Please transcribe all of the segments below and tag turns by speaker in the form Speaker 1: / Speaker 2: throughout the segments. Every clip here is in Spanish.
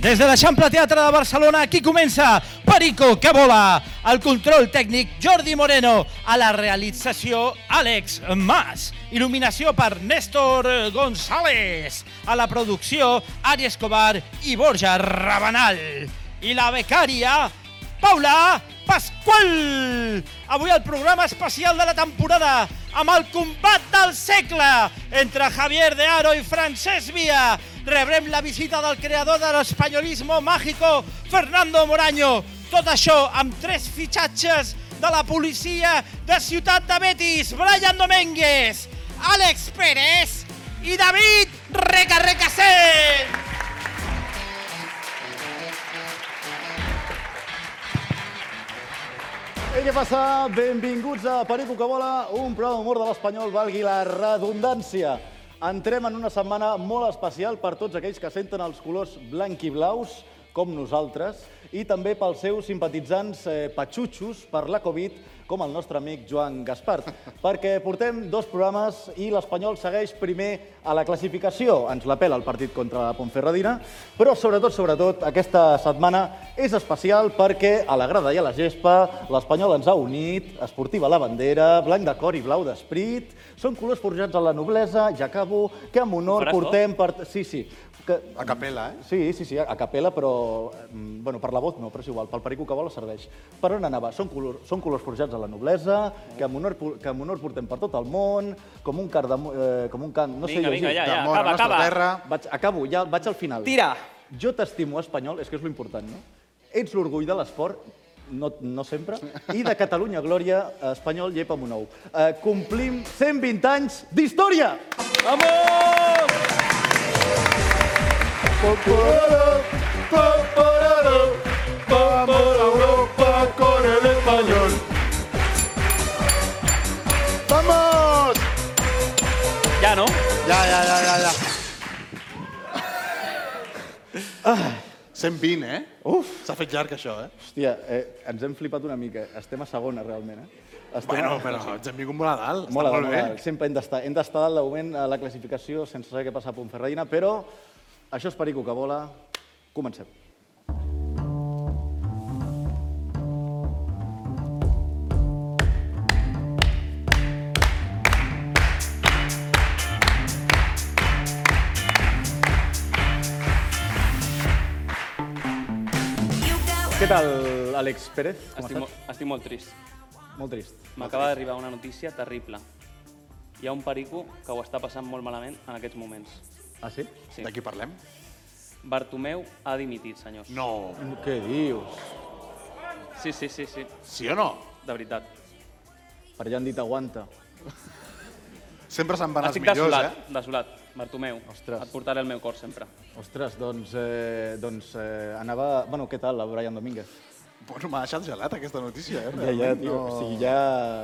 Speaker 1: Des de l'Eixample Teatre de Barcelona, aquí comença Perico que vola. El control tècnic Jordi Moreno. A la realització Àlex Mas. Il·luminació per Néstor González. A la producció Ari Escobar i Borja Rabanal. I la becària Paula Pasqual. Avui el programa especial de la temporada amb el combat del segle entre Javier de Aro i Francesc Via. Rebrem la visita del creador de l'espanyolismo mágico, Fernando Moraño. Tot això amb tres fitxatges de la policia de Ciutat de Betis, Brian Dominguez, Àlex Pérez i David Recarrecasent.
Speaker 2: Ei, què passa? Benvinguts a Perico que vola, un programa d'humor de l'Espanyol, valgui la redundància. Entrem en una setmana molt especial per tots aquells que senten els colors blanc i blaus, com nosaltres, i també pels seus simpatitzants eh, patxutxos per la Covid, com el nostre amic Joan Gaspart, perquè portem dos programes i l'Espanyol segueix primer a la classificació. Ens la pela el partit contra la Pontferradina, però sobretot, sobretot, aquesta setmana és especial perquè a la grada i a la gespa l'Espanyol ens ha unit, esportiva la bandera, blanc de cor i blau d'esprit, són colors forjats a la noblesa, ja acabo, que amb honor
Speaker 3: Faràs tot?
Speaker 2: portem... Per... Sí, sí, que...
Speaker 4: A capella, eh?
Speaker 2: Sí, sí, sí, a a capella, però... mm, Bueno, per la vot no, però és igual, pel perico que vola serveix. Per on anava? Són, color, són colors forjats a la noblesa, que amb, honor, pu- que amb honor portem per tot el món, com un car de... mo- Eh, com un can... No
Speaker 3: Vinga,
Speaker 2: sé llegir.
Speaker 3: vinga, ja, ja.
Speaker 4: D'amor a
Speaker 3: acaba,
Speaker 4: la nostra
Speaker 3: acaba.
Speaker 4: terra.
Speaker 2: Vaig, acabo, ja vaig al final.
Speaker 3: Tira.
Speaker 2: Jo t'estimo, espanyol, és que és l'important, no? Ets l'orgull de l'esport, no, no sempre, i de Catalunya Glòria, espanyol, llepa amb un ou. Eh, complim 120 anys d'història!
Speaker 4: Vamos a Europa con el español. ¡Vamos!
Speaker 3: Ja, no?
Speaker 4: Ja, ja, ja, ja, ja. 120, eh? Uf! S'ha fet llarg, això, eh?
Speaker 2: Hòstia, eh, ens hem flipat una mica. Estem a segona, realment, eh? Estem
Speaker 4: Bueno, però ens hem vingut molt a dalt.
Speaker 2: Mola,
Speaker 4: Està molt bé.
Speaker 2: mola. Sempre hem d'estar hem d'estar dalt de moment a la classificació sense saber què passa a Pontferradina, però això és Perico que vola. Comencem. Què tal, Àlex Pérez? Com
Speaker 3: Estic, mo
Speaker 2: estàs?
Speaker 3: estic molt trist.
Speaker 2: Molt trist.
Speaker 3: M'acaba d'arribar una notícia terrible. Hi ha un perico que ho està passant molt malament en aquests moments.
Speaker 2: Ah, sí?
Speaker 3: Sí.
Speaker 4: De qui parlem?
Speaker 3: Bartomeu ha dimitit, senyors.
Speaker 4: No.
Speaker 2: Què dius?
Speaker 3: Sí, sí, sí, sí,
Speaker 4: Sí o no?
Speaker 3: de veritat.
Speaker 2: Per allà han dit aguanta.
Speaker 4: Sempre se'n van els
Speaker 3: estic
Speaker 4: millors,
Speaker 3: desolat,
Speaker 4: eh?
Speaker 3: desolat. Bartomeu,
Speaker 2: Ostres.
Speaker 3: et portaré el meu cor sempre.
Speaker 2: Ostres, doncs, eh, doncs eh, anava... Bueno, què tal, la Brian Domínguez?
Speaker 4: Bueno, m'ha deixat gelat aquesta notícia, eh?
Speaker 2: Ja, ja, tio, no... o sigui, ja...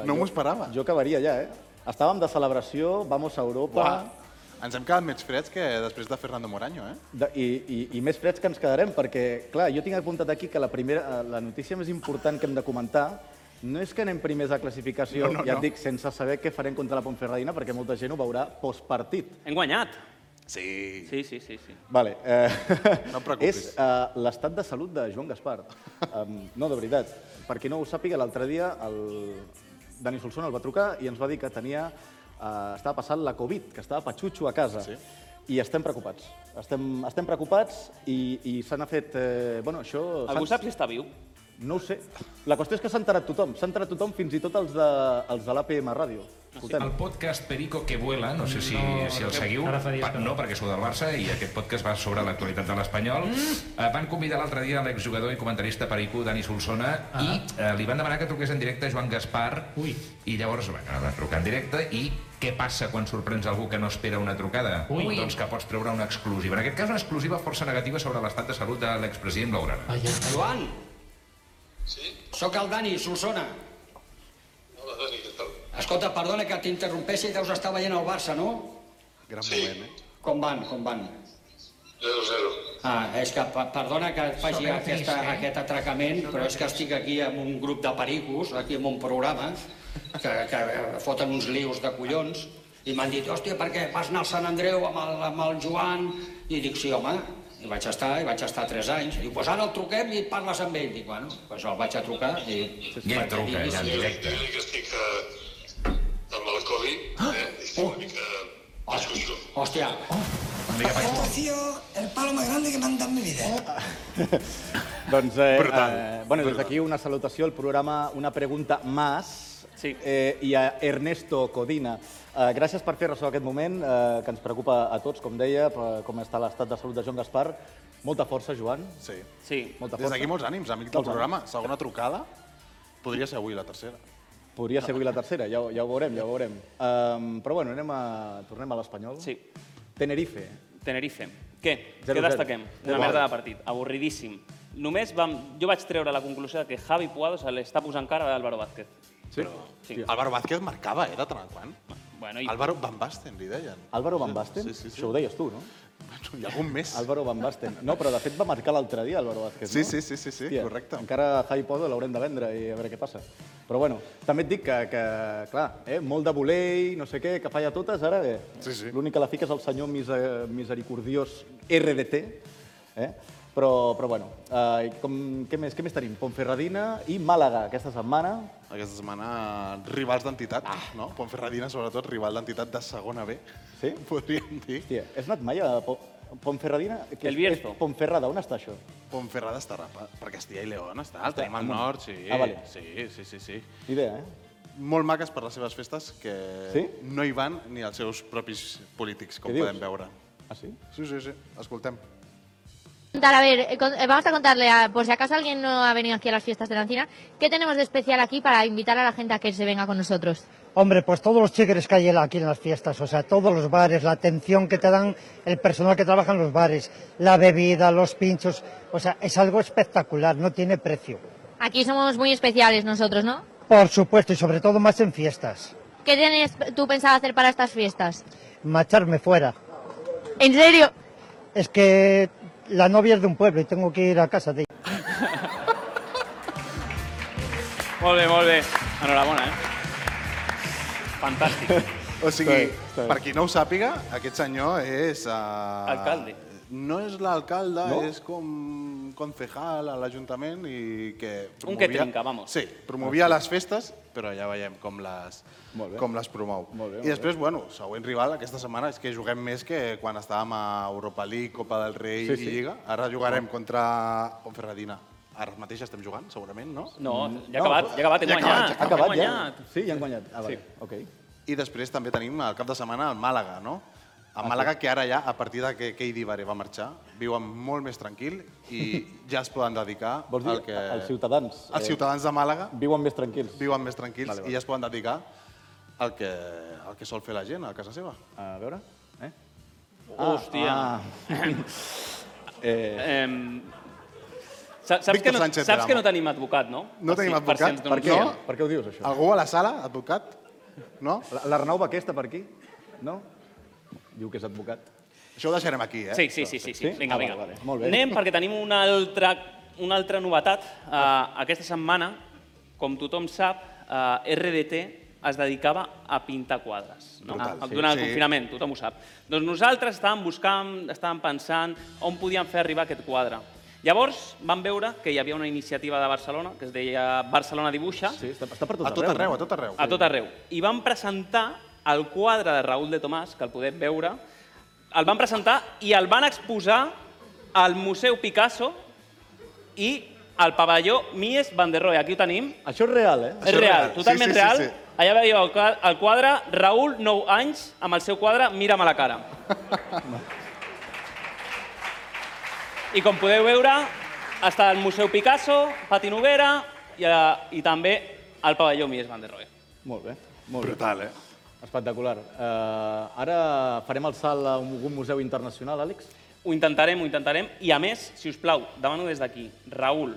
Speaker 4: No
Speaker 2: jo-
Speaker 4: m'ho esperava.
Speaker 2: Jo acabaria ja, eh? Estàvem de celebració, vamos a Europa...
Speaker 4: Uah. Ens hem quedat més freds que després de Fernando Moraño, eh?
Speaker 2: De, i, i, I més freds que ens quedarem, perquè, clar, jo tinc apuntat aquí que la, primera, eh, la notícia més important que hem de comentar no és que anem primers a classificació,
Speaker 4: No, no,
Speaker 2: ja
Speaker 4: no.
Speaker 2: et dic, sense saber què farem contra la Pontferradina, perquè molta gent ho veurà postpartit.
Speaker 3: Hem guanyat!
Speaker 4: Sí.
Speaker 3: Sí, sí, sí, sí.
Speaker 2: Vale, eh,
Speaker 4: No et preocupis.
Speaker 2: És eh, l'estat de salut de Joan Gaspar. Um, no, de veritat. Per qui no ho sàpiga, l'altre dia el Dani Solsona el va trucar i ens va dir que tenia, eh, estava passant la Covid, que estava patxutxo a casa.
Speaker 4: Sí.
Speaker 2: I estem preocupats. Estem, estem preocupats i, i s'han fet... Eh, bueno, això...
Speaker 3: Algú
Speaker 2: s'han-
Speaker 3: sap si està viu?
Speaker 2: No ho sé. La qüestió és que s'ha enterat tothom. S'ha enterat tothom, fins i tot els de, els de l'APM Ràdio.
Speaker 4: Ah,
Speaker 2: Escoltem.
Speaker 5: El podcast Perico que vuela, no sé si, si el seguiu, pa, no perquè sou del Barça i aquest podcast va sobre l'actualitat de l'Espanyol. Eh, van convidar l'altre dia l'exjugador i comentarista Perico, Dani Solsona, i eh, li van demanar que truqués en directe a Joan Gaspar Ui. i llavors va acabar de trucar en directe i què passa quan sorprens algú que no espera una trucada? Ui. Doncs que pots treure una exclusiva. En aquest cas, una exclusiva força negativa sobre l'estat de salut de l'expresident Blaugrana.
Speaker 6: Joan! Sí? Sóc el Dani, Solsona.
Speaker 7: Hola, Dani, què tal?
Speaker 6: Escolta, perdona que t'interrompessi, deus estar veient el Barça, no?
Speaker 4: Gran
Speaker 7: Sí.
Speaker 4: moment, eh?
Speaker 6: Com van, com van?
Speaker 7: 0-0.
Speaker 6: Ah, és que pe- perdona que et faci aquesta,
Speaker 3: eh?
Speaker 6: aquest atracament, però és que estic aquí amb un grup de pericos, aquí amb un programa, que, que foten uns lius de collons, i m'han dit, hòstia, per què vas anar al Sant Andreu amb el, amb el Joan? I dic, sí, home, I vaig estar, i vaig estar 3 anys. Diu, pues ara el truquem i parles amb ell. Dic, bueno, pues el vaig a trucar i...
Speaker 8: I em truca, ja en directe.
Speaker 9: Digue-li que estic eh, amb el Covid, eh? Estic una mica... Discussió.
Speaker 6: Hòstia,
Speaker 8: Ah!
Speaker 10: Esto ha sido el palo más grande que me han dado en mi vida.
Speaker 2: Doncs, eh,
Speaker 4: Brutal.
Speaker 2: eh, bueno, des d'aquí una salutació al programa Una pregunta más
Speaker 3: Sí.
Speaker 2: eh, i a Ernesto Codina. Eh, gràcies per fer ressò aquest moment, eh, que ens preocupa a tots, com deia, per com està l'estat de salut de Joan Gaspar. Molta força, Joan.
Speaker 4: Sí.
Speaker 3: Sí,
Speaker 2: Molta
Speaker 4: Des
Speaker 2: força.
Speaker 4: d'aquí molts ànims, amic del
Speaker 2: Molts ànims.
Speaker 4: programa. Segona trucada, podria ser avui la tercera.
Speaker 2: Podria ser avui la tercera, ja, ho- ja ho veurem, ja ho veurem. Um, però bueno, anem a, tornem a l'Espanyol.
Speaker 3: sí.
Speaker 2: Tenerife.
Speaker 3: Tenerife. Què?
Speaker 2: Zero,
Speaker 3: Què destaquem?
Speaker 2: zero.
Speaker 3: Una
Speaker 2: Zero.
Speaker 3: merda de partit, avorridíssim. Només vam, jo vaig treure la conclusió de que Javi Puado se l'està posant cara a Álvaro Vázquez.
Speaker 2: Sí?
Speaker 3: Sí.
Speaker 4: Sí. Álvaro Vázquez marcava, eh, de tant en quant.
Speaker 3: Bueno, i...
Speaker 4: Álvaro Van Basten, li deien.
Speaker 2: Álvaro Van Basten?
Speaker 4: Sí, sí, sí.
Speaker 2: Això ho deies tu, no?
Speaker 4: Bueno, hi ha algun més.
Speaker 2: Álvaro Van Basten. No, però de fet va marcar l'altre dia Álvaro Vázquez,
Speaker 4: Sí,
Speaker 2: no?
Speaker 4: sí, sí, sí, sí, correcte.
Speaker 2: Encara Javi Podo l'haurem de vendre i a veure què passa. Però bueno, també et dic que, que clar, eh, molt de volei, no sé què, que falla totes, ara bé.
Speaker 4: Sí, sí.
Speaker 2: L'únic que la fica és el senyor misa, misericordiós RDT, eh? Però, però bueno, eh, i com, què, més, què més tenim? Pontferradina i Màlaga aquesta setmana.
Speaker 4: Aquesta setmana, rivals d'entitat,
Speaker 2: Ah.
Speaker 4: no? Pontferradina, sobretot, rival d'entitat de segona B,
Speaker 2: Sí?
Speaker 4: podríem dir.
Speaker 2: Hòstia, has anat mai a Po- Pontferradina? Que
Speaker 3: El
Speaker 2: és-
Speaker 3: Bierzo.
Speaker 2: és Pontferrada, on està això?
Speaker 4: Pontferrada està rapa, perquè Estia i León està, el tenim al
Speaker 2: amunt.
Speaker 4: nord, sí.
Speaker 2: Ah, vale.
Speaker 4: Sí, sí, sí, sí.
Speaker 2: Ni Idea, eh?
Speaker 4: Molt maques per les seves festes que
Speaker 2: Sí?
Speaker 4: no hi van ni els seus propis polítics, com
Speaker 2: Què dius?
Speaker 4: podem veure.
Speaker 2: Ah, sí?
Speaker 4: Sí, sí, sí. Escoltem.
Speaker 11: contar, a ver, eh, con- eh, vamos a contarle, a- por si acaso alguien no ha venido aquí a las fiestas de la encina, ¿qué tenemos de especial aquí para invitar a la gente a que se venga con nosotros?
Speaker 1: Hombre, pues todos los cheques que hay aquí en las fiestas, o sea, todos los bares, la atención que te dan el personal que trabaja en los bares, la bebida, los pinchos, o sea, es algo espectacular, no tiene precio.
Speaker 11: Aquí somos muy especiales nosotros, ¿no?
Speaker 1: Por supuesto, y sobre todo más en fiestas.
Speaker 11: ¿Qué tienes tú pensado hacer para estas fiestas?
Speaker 1: Macharme fuera.
Speaker 11: ¿En serio?
Speaker 1: Es que la novia es de un pueblo y tengo que ir a casa de ella.
Speaker 3: Molt bé, molt bé. Enhorabona, eh? Fantàstic.
Speaker 4: O sigui,
Speaker 2: Està bé, està bé.
Speaker 4: per qui no ho sàpiga, aquest senyor és... Uh...
Speaker 3: Alcalde.
Speaker 4: No és l'alcalde,
Speaker 2: No?
Speaker 4: no? és com concejal a l'Ajuntament i que
Speaker 3: Un que trinca, vamos.
Speaker 4: Sí, promovia les festes, però ja veiem com les,
Speaker 2: Molt bé.
Speaker 4: com les promou.
Speaker 2: Molt bé, molt
Speaker 4: I després, bueno, següent rival aquesta setmana és que juguem més que quan estàvem a Europa League, Copa del Rei
Speaker 2: Sí,
Speaker 4: sí,
Speaker 2: sí.
Speaker 4: sí. i Lliga. Ara jugarem contra Ponferradina. Ara mateix estem jugant, segurament, no?
Speaker 3: No,
Speaker 2: Mm,
Speaker 3: ja ha acabat, ja ha acabat, hem
Speaker 4: Ja ha acabat,
Speaker 3: guanyat.
Speaker 2: Ha acabat
Speaker 3: hem
Speaker 2: ja?
Speaker 3: guanyat.
Speaker 2: Sí, ja han guanyat. Ah, vale, ok.
Speaker 4: I després també tenim el cap de setmana el Màlaga, no?
Speaker 2: Ah,
Speaker 4: El Màlaga, que ara ja, a partir de que Keidi Baré va marxar, viuen molt més tranquil i ja es poden dedicar
Speaker 2: Vols dir,
Speaker 4: al que...
Speaker 2: els ciutadans, eh,
Speaker 4: Els Ah, ciutadans de Màlaga
Speaker 2: Viuen més tranquils.
Speaker 4: viuen més tranquils
Speaker 2: Vale, vale.
Speaker 4: i ja es poden dedicar al que, al que sol fer la gent a casa seva.
Speaker 2: A veure, eh?
Speaker 3: Ah, Hòstia.
Speaker 2: Ah. eh,
Speaker 3: Em, sa- saps
Speaker 4: Víctor
Speaker 3: que, no,
Speaker 4: Sánchez
Speaker 3: saps que
Speaker 4: Drama.
Speaker 3: no tenim advocat, no?
Speaker 4: No tenim
Speaker 3: si-
Speaker 4: advocat?
Speaker 3: ens
Speaker 4: Per
Speaker 2: per,
Speaker 3: donen-
Speaker 4: no?
Speaker 2: què? per què ho dius, això?
Speaker 4: Algú a la sala, advocat? No?
Speaker 2: L- L'Arnau va aquesta per aquí? No? Diu que és advocat.
Speaker 4: Això ho deixarem aquí, eh?
Speaker 3: Sí, sí, sí, sí, sí.
Speaker 2: Sí?
Speaker 3: Vinga,
Speaker 2: Ah,
Speaker 3: vinga.
Speaker 2: vale, vale. Molt bé.
Speaker 3: Anem perquè tenim una altra, una altra novetat. Uh, aquesta setmana, com tothom sap, uh, RDT es dedicava a pintar quadres. No?
Speaker 4: Brutal,
Speaker 3: Ah,
Speaker 4: sí.
Speaker 3: Durant
Speaker 4: Sí.
Speaker 3: el confinament, tothom ho sap. Doncs nosaltres estàvem buscant, estàvem pensant on podíem fer arribar aquest quadre. Llavors vam veure que hi havia una iniciativa de Barcelona que es deia Barcelona dibuixa,
Speaker 2: Sí, està, està per tot
Speaker 4: A tot
Speaker 2: arreu.
Speaker 4: arreu,
Speaker 2: no?
Speaker 4: a tot arreu.
Speaker 3: a tot arreu. I van presentar el quadre de Raül de Tomàs, que el podem veure, el van presentar i el van exposar al Museu Picasso i al pavelló Mies van der Rohe. Aquí ho tenim.
Speaker 2: Això és real, eh?
Speaker 3: és
Speaker 4: és
Speaker 3: real,
Speaker 4: real.
Speaker 3: totalment
Speaker 4: Sí, sí, sí,
Speaker 3: real.
Speaker 4: sí.
Speaker 3: Allà veieu el, qua- el quadre Raül, 9 anys, amb el seu quadre Mira'm a la cara. I com podeu veure, està al Museu Picasso, Pati Noguera i, a, i també al pavelló Mies van der Rohe.
Speaker 2: Molt bé, molt bé.
Speaker 4: Brutal, eh?
Speaker 2: Espectacular. Eh, ara farem el salt a un, algun museu internacional, Àlex?
Speaker 3: Ho intentarem, ho intentarem. I a més, si us plau, demano des d'aquí, Raúl,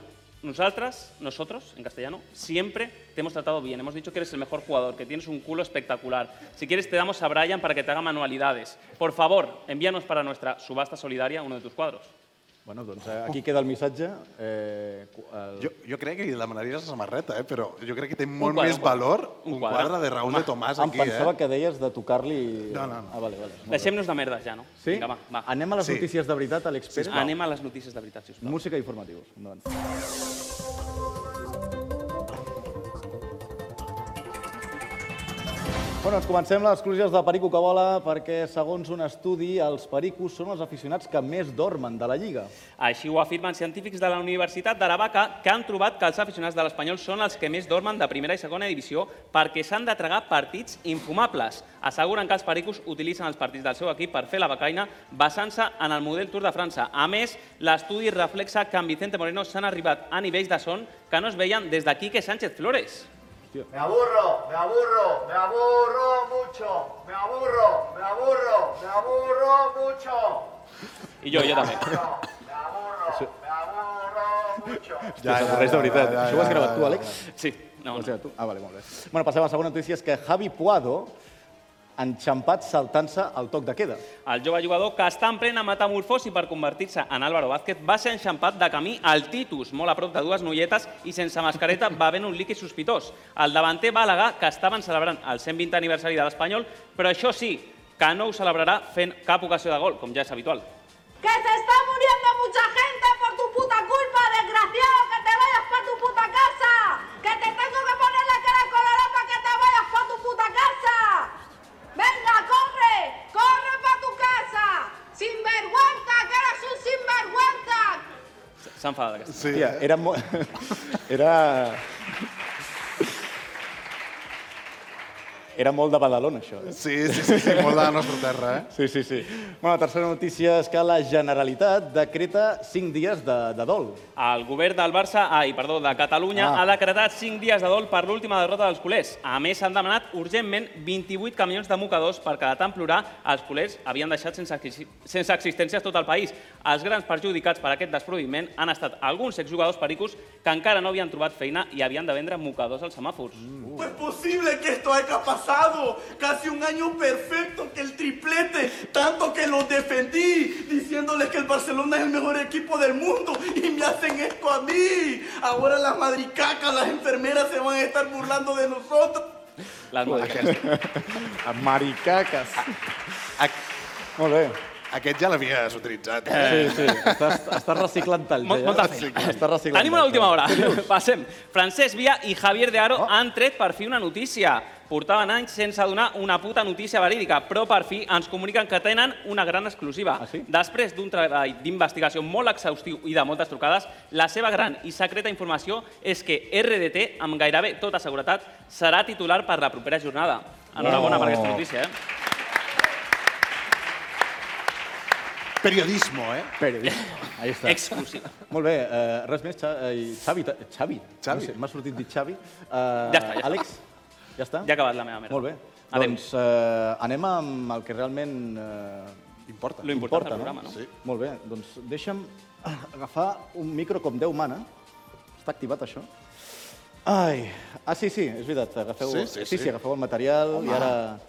Speaker 3: nosotras, nosotros, en castellano, siempre te hemos tratado bien. Hemos dicho que eres el mejor jugador, que tienes un culo espectacular. Si quieres, te damos a Brian para que te haga manualidades. Por favor, envíanos para nuestra subasta solidaria uno de tus cuadros.
Speaker 2: Bueno, doncs eh, aquí queda el missatge. Eh, cu- el...
Speaker 4: Jo, jo crec que li demanaries la samarreta, eh? però jo crec que té molt
Speaker 2: quadre,
Speaker 4: més
Speaker 2: un quadre.
Speaker 4: valor
Speaker 2: Un
Speaker 4: un
Speaker 2: quadre.
Speaker 4: quadre de Raúl de Tomàs
Speaker 2: em
Speaker 4: aquí,
Speaker 2: pensava
Speaker 4: eh?
Speaker 2: que deies de tocar-li...
Speaker 4: No, no, no.
Speaker 2: Ah, vale, vale. molt bé.
Speaker 3: Deixem-nos de merdes ja, no?
Speaker 2: Sí?
Speaker 3: Vinga, va, va.
Speaker 2: Anem a les
Speaker 3: Sí.
Speaker 2: notícies de veritat, Àlex Pérez.
Speaker 3: Sisplau. Anem a les notícies de veritat, sisplau.
Speaker 2: Música i informatius. Endavant. Bueno, doncs comencem les exclusives de Perico que vola perquè, segons un estudi, els pericos són els aficionats que més dormen de la Lliga.
Speaker 3: Així ho afirmen científics de la Universitat d'Aravaca que han trobat que els aficionats de l'Espanyol són els que més dormen de primera i segona divisió perquè s'han de tragar partits infumables. Asseguren que els pericos utilitzen els partits del seu equip per fer la becaina basant-se en el model Tour de França. A més, l'estudi reflexa que amb Vicente Moreno s'han arribat a nivells de son que no es veien des de Quique Sánchez Flores.
Speaker 12: Me aburro, me aburro, me aburro mucho, me aburro, me aburro, me aburro mucho.
Speaker 3: I jo, jo també.
Speaker 2: Ja, ja, ja, de veritat. Ja, ja, Això ho has gravat tu, Àlex?
Speaker 3: Sí. No,
Speaker 2: no. Tu? Ah, vale, molt bé. Bueno, passem a la segona notícia, és que Javi Puado ha enxampat saltant-se al toc de queda.
Speaker 3: El jove jugador que està en plena metamorfosi per convertir-se en Álvaro Vázquez va ser enxampat de camí al Titus, molt a prop de dues noietes i sense mascareta va haver un líquid sospitós. El davanter va al·legar que estaven celebrant el 120 aniversari de l'Espanyol, però això sí, que no ho celebrarà fent cap ocasió de gol, com ja és habitual.
Speaker 13: ¡Que se está muriendo mucha gente por tu puta culpa, desgraciado! ¡Que te vayas pa' tu puta casa! ¡Que te tengo que poner la cara colorada para que te vayas pa' tu puta casa! ¡Venga, corre! ¡Corre pa' tu casa! ¡Sinvergüenza! ¡Que eres un sinvergüenza!
Speaker 3: S'ha enfadat aquesta.
Speaker 2: Sí, Tia, era molt... era... Era molt de Badalona, això. Eh?
Speaker 4: Sí, sí, sí, sí, molt de la nostra terra, eh?
Speaker 2: Sí, sí, sí. Bueno, la tercera notícia és que la Generalitat decreta 5 dies de, de dol.
Speaker 3: El govern del Barça, ai, perdó, de Catalunya
Speaker 2: Ah.
Speaker 3: ha decretat 5 dies de dol per l'última derrota dels culers. A més, s'han demanat urgentment 28 camions de mocadors perquè de tant plorar els culers havien deixat sense, exi- sense existències tot el país. Els grans perjudicats per aquest desproviment han estat alguns exjugadors pericos que encara no havien trobat feina i havien de vendre mocadors als semàfors.
Speaker 12: No
Speaker 1: Mm.
Speaker 12: es posible que esto haya pasado. Casi un año perfecto que el triplete, tanto que lo defendí, diciéndoles que el Barcelona es el mejor equipo del mundo y me hacen esto a mí. Ahora las madricacas, las enfermeras se van a estar burlando de nosotros.
Speaker 3: Les
Speaker 2: Maricaques. Molt bé.
Speaker 4: Aquest ja l'havies utilitzat.
Speaker 2: Sí, sí. Estàs, estàs reciclant talls.
Speaker 3: Mol-
Speaker 2: eh,
Speaker 3: molta
Speaker 2: ja.
Speaker 3: feina.
Speaker 2: Estàs reciclant
Speaker 3: Tenim una
Speaker 2: talls,
Speaker 3: última
Speaker 2: eh.
Speaker 3: hora.
Speaker 2: Què dius?
Speaker 3: Passem. Francesc Via i Javier de
Speaker 2: Oh.
Speaker 3: Aro han tret per fi una notícia. Portaven anys sense donar una puta notícia verídica, però per fi ens comuniquen que tenen una gran exclusiva.
Speaker 2: Ah,
Speaker 3: Després d'un treball d'investigació molt exhaustiu i de moltes trucades, la seva gran i secreta informació és que RDT, amb gairebé tota seguretat, serà titular per la propera jornada. Enhorabona
Speaker 4: Oh.
Speaker 3: per aquesta notícia, eh?
Speaker 4: Periodismo, eh?
Speaker 2: Periodismo. Ahí està.
Speaker 3: Exclusiva.
Speaker 2: Molt bé, eh, res més, Xa- eh, Xavi. ta- Xavi.
Speaker 4: Xavi.
Speaker 2: No sé, M'ha sortit dir Xavi. Eh,
Speaker 3: Ja està, ja està.
Speaker 2: Àlex, ja està?
Speaker 3: Ja ha acabat la meva merda.
Speaker 2: Molt bé.
Speaker 3: Anem.
Speaker 2: Doncs eh, anem amb el que realment eh,
Speaker 4: importa.
Speaker 3: Lo important del programa, no?
Speaker 2: Sí. Molt bé, doncs deixa'm agafar un micro com Déu mana. Està activat, això? Ai, ah, sí, sí, és veritat. Agafeu,
Speaker 4: Sí, sí,
Speaker 2: sí,
Speaker 4: sí.
Speaker 2: agafeu el material
Speaker 4: Home.
Speaker 2: i ara...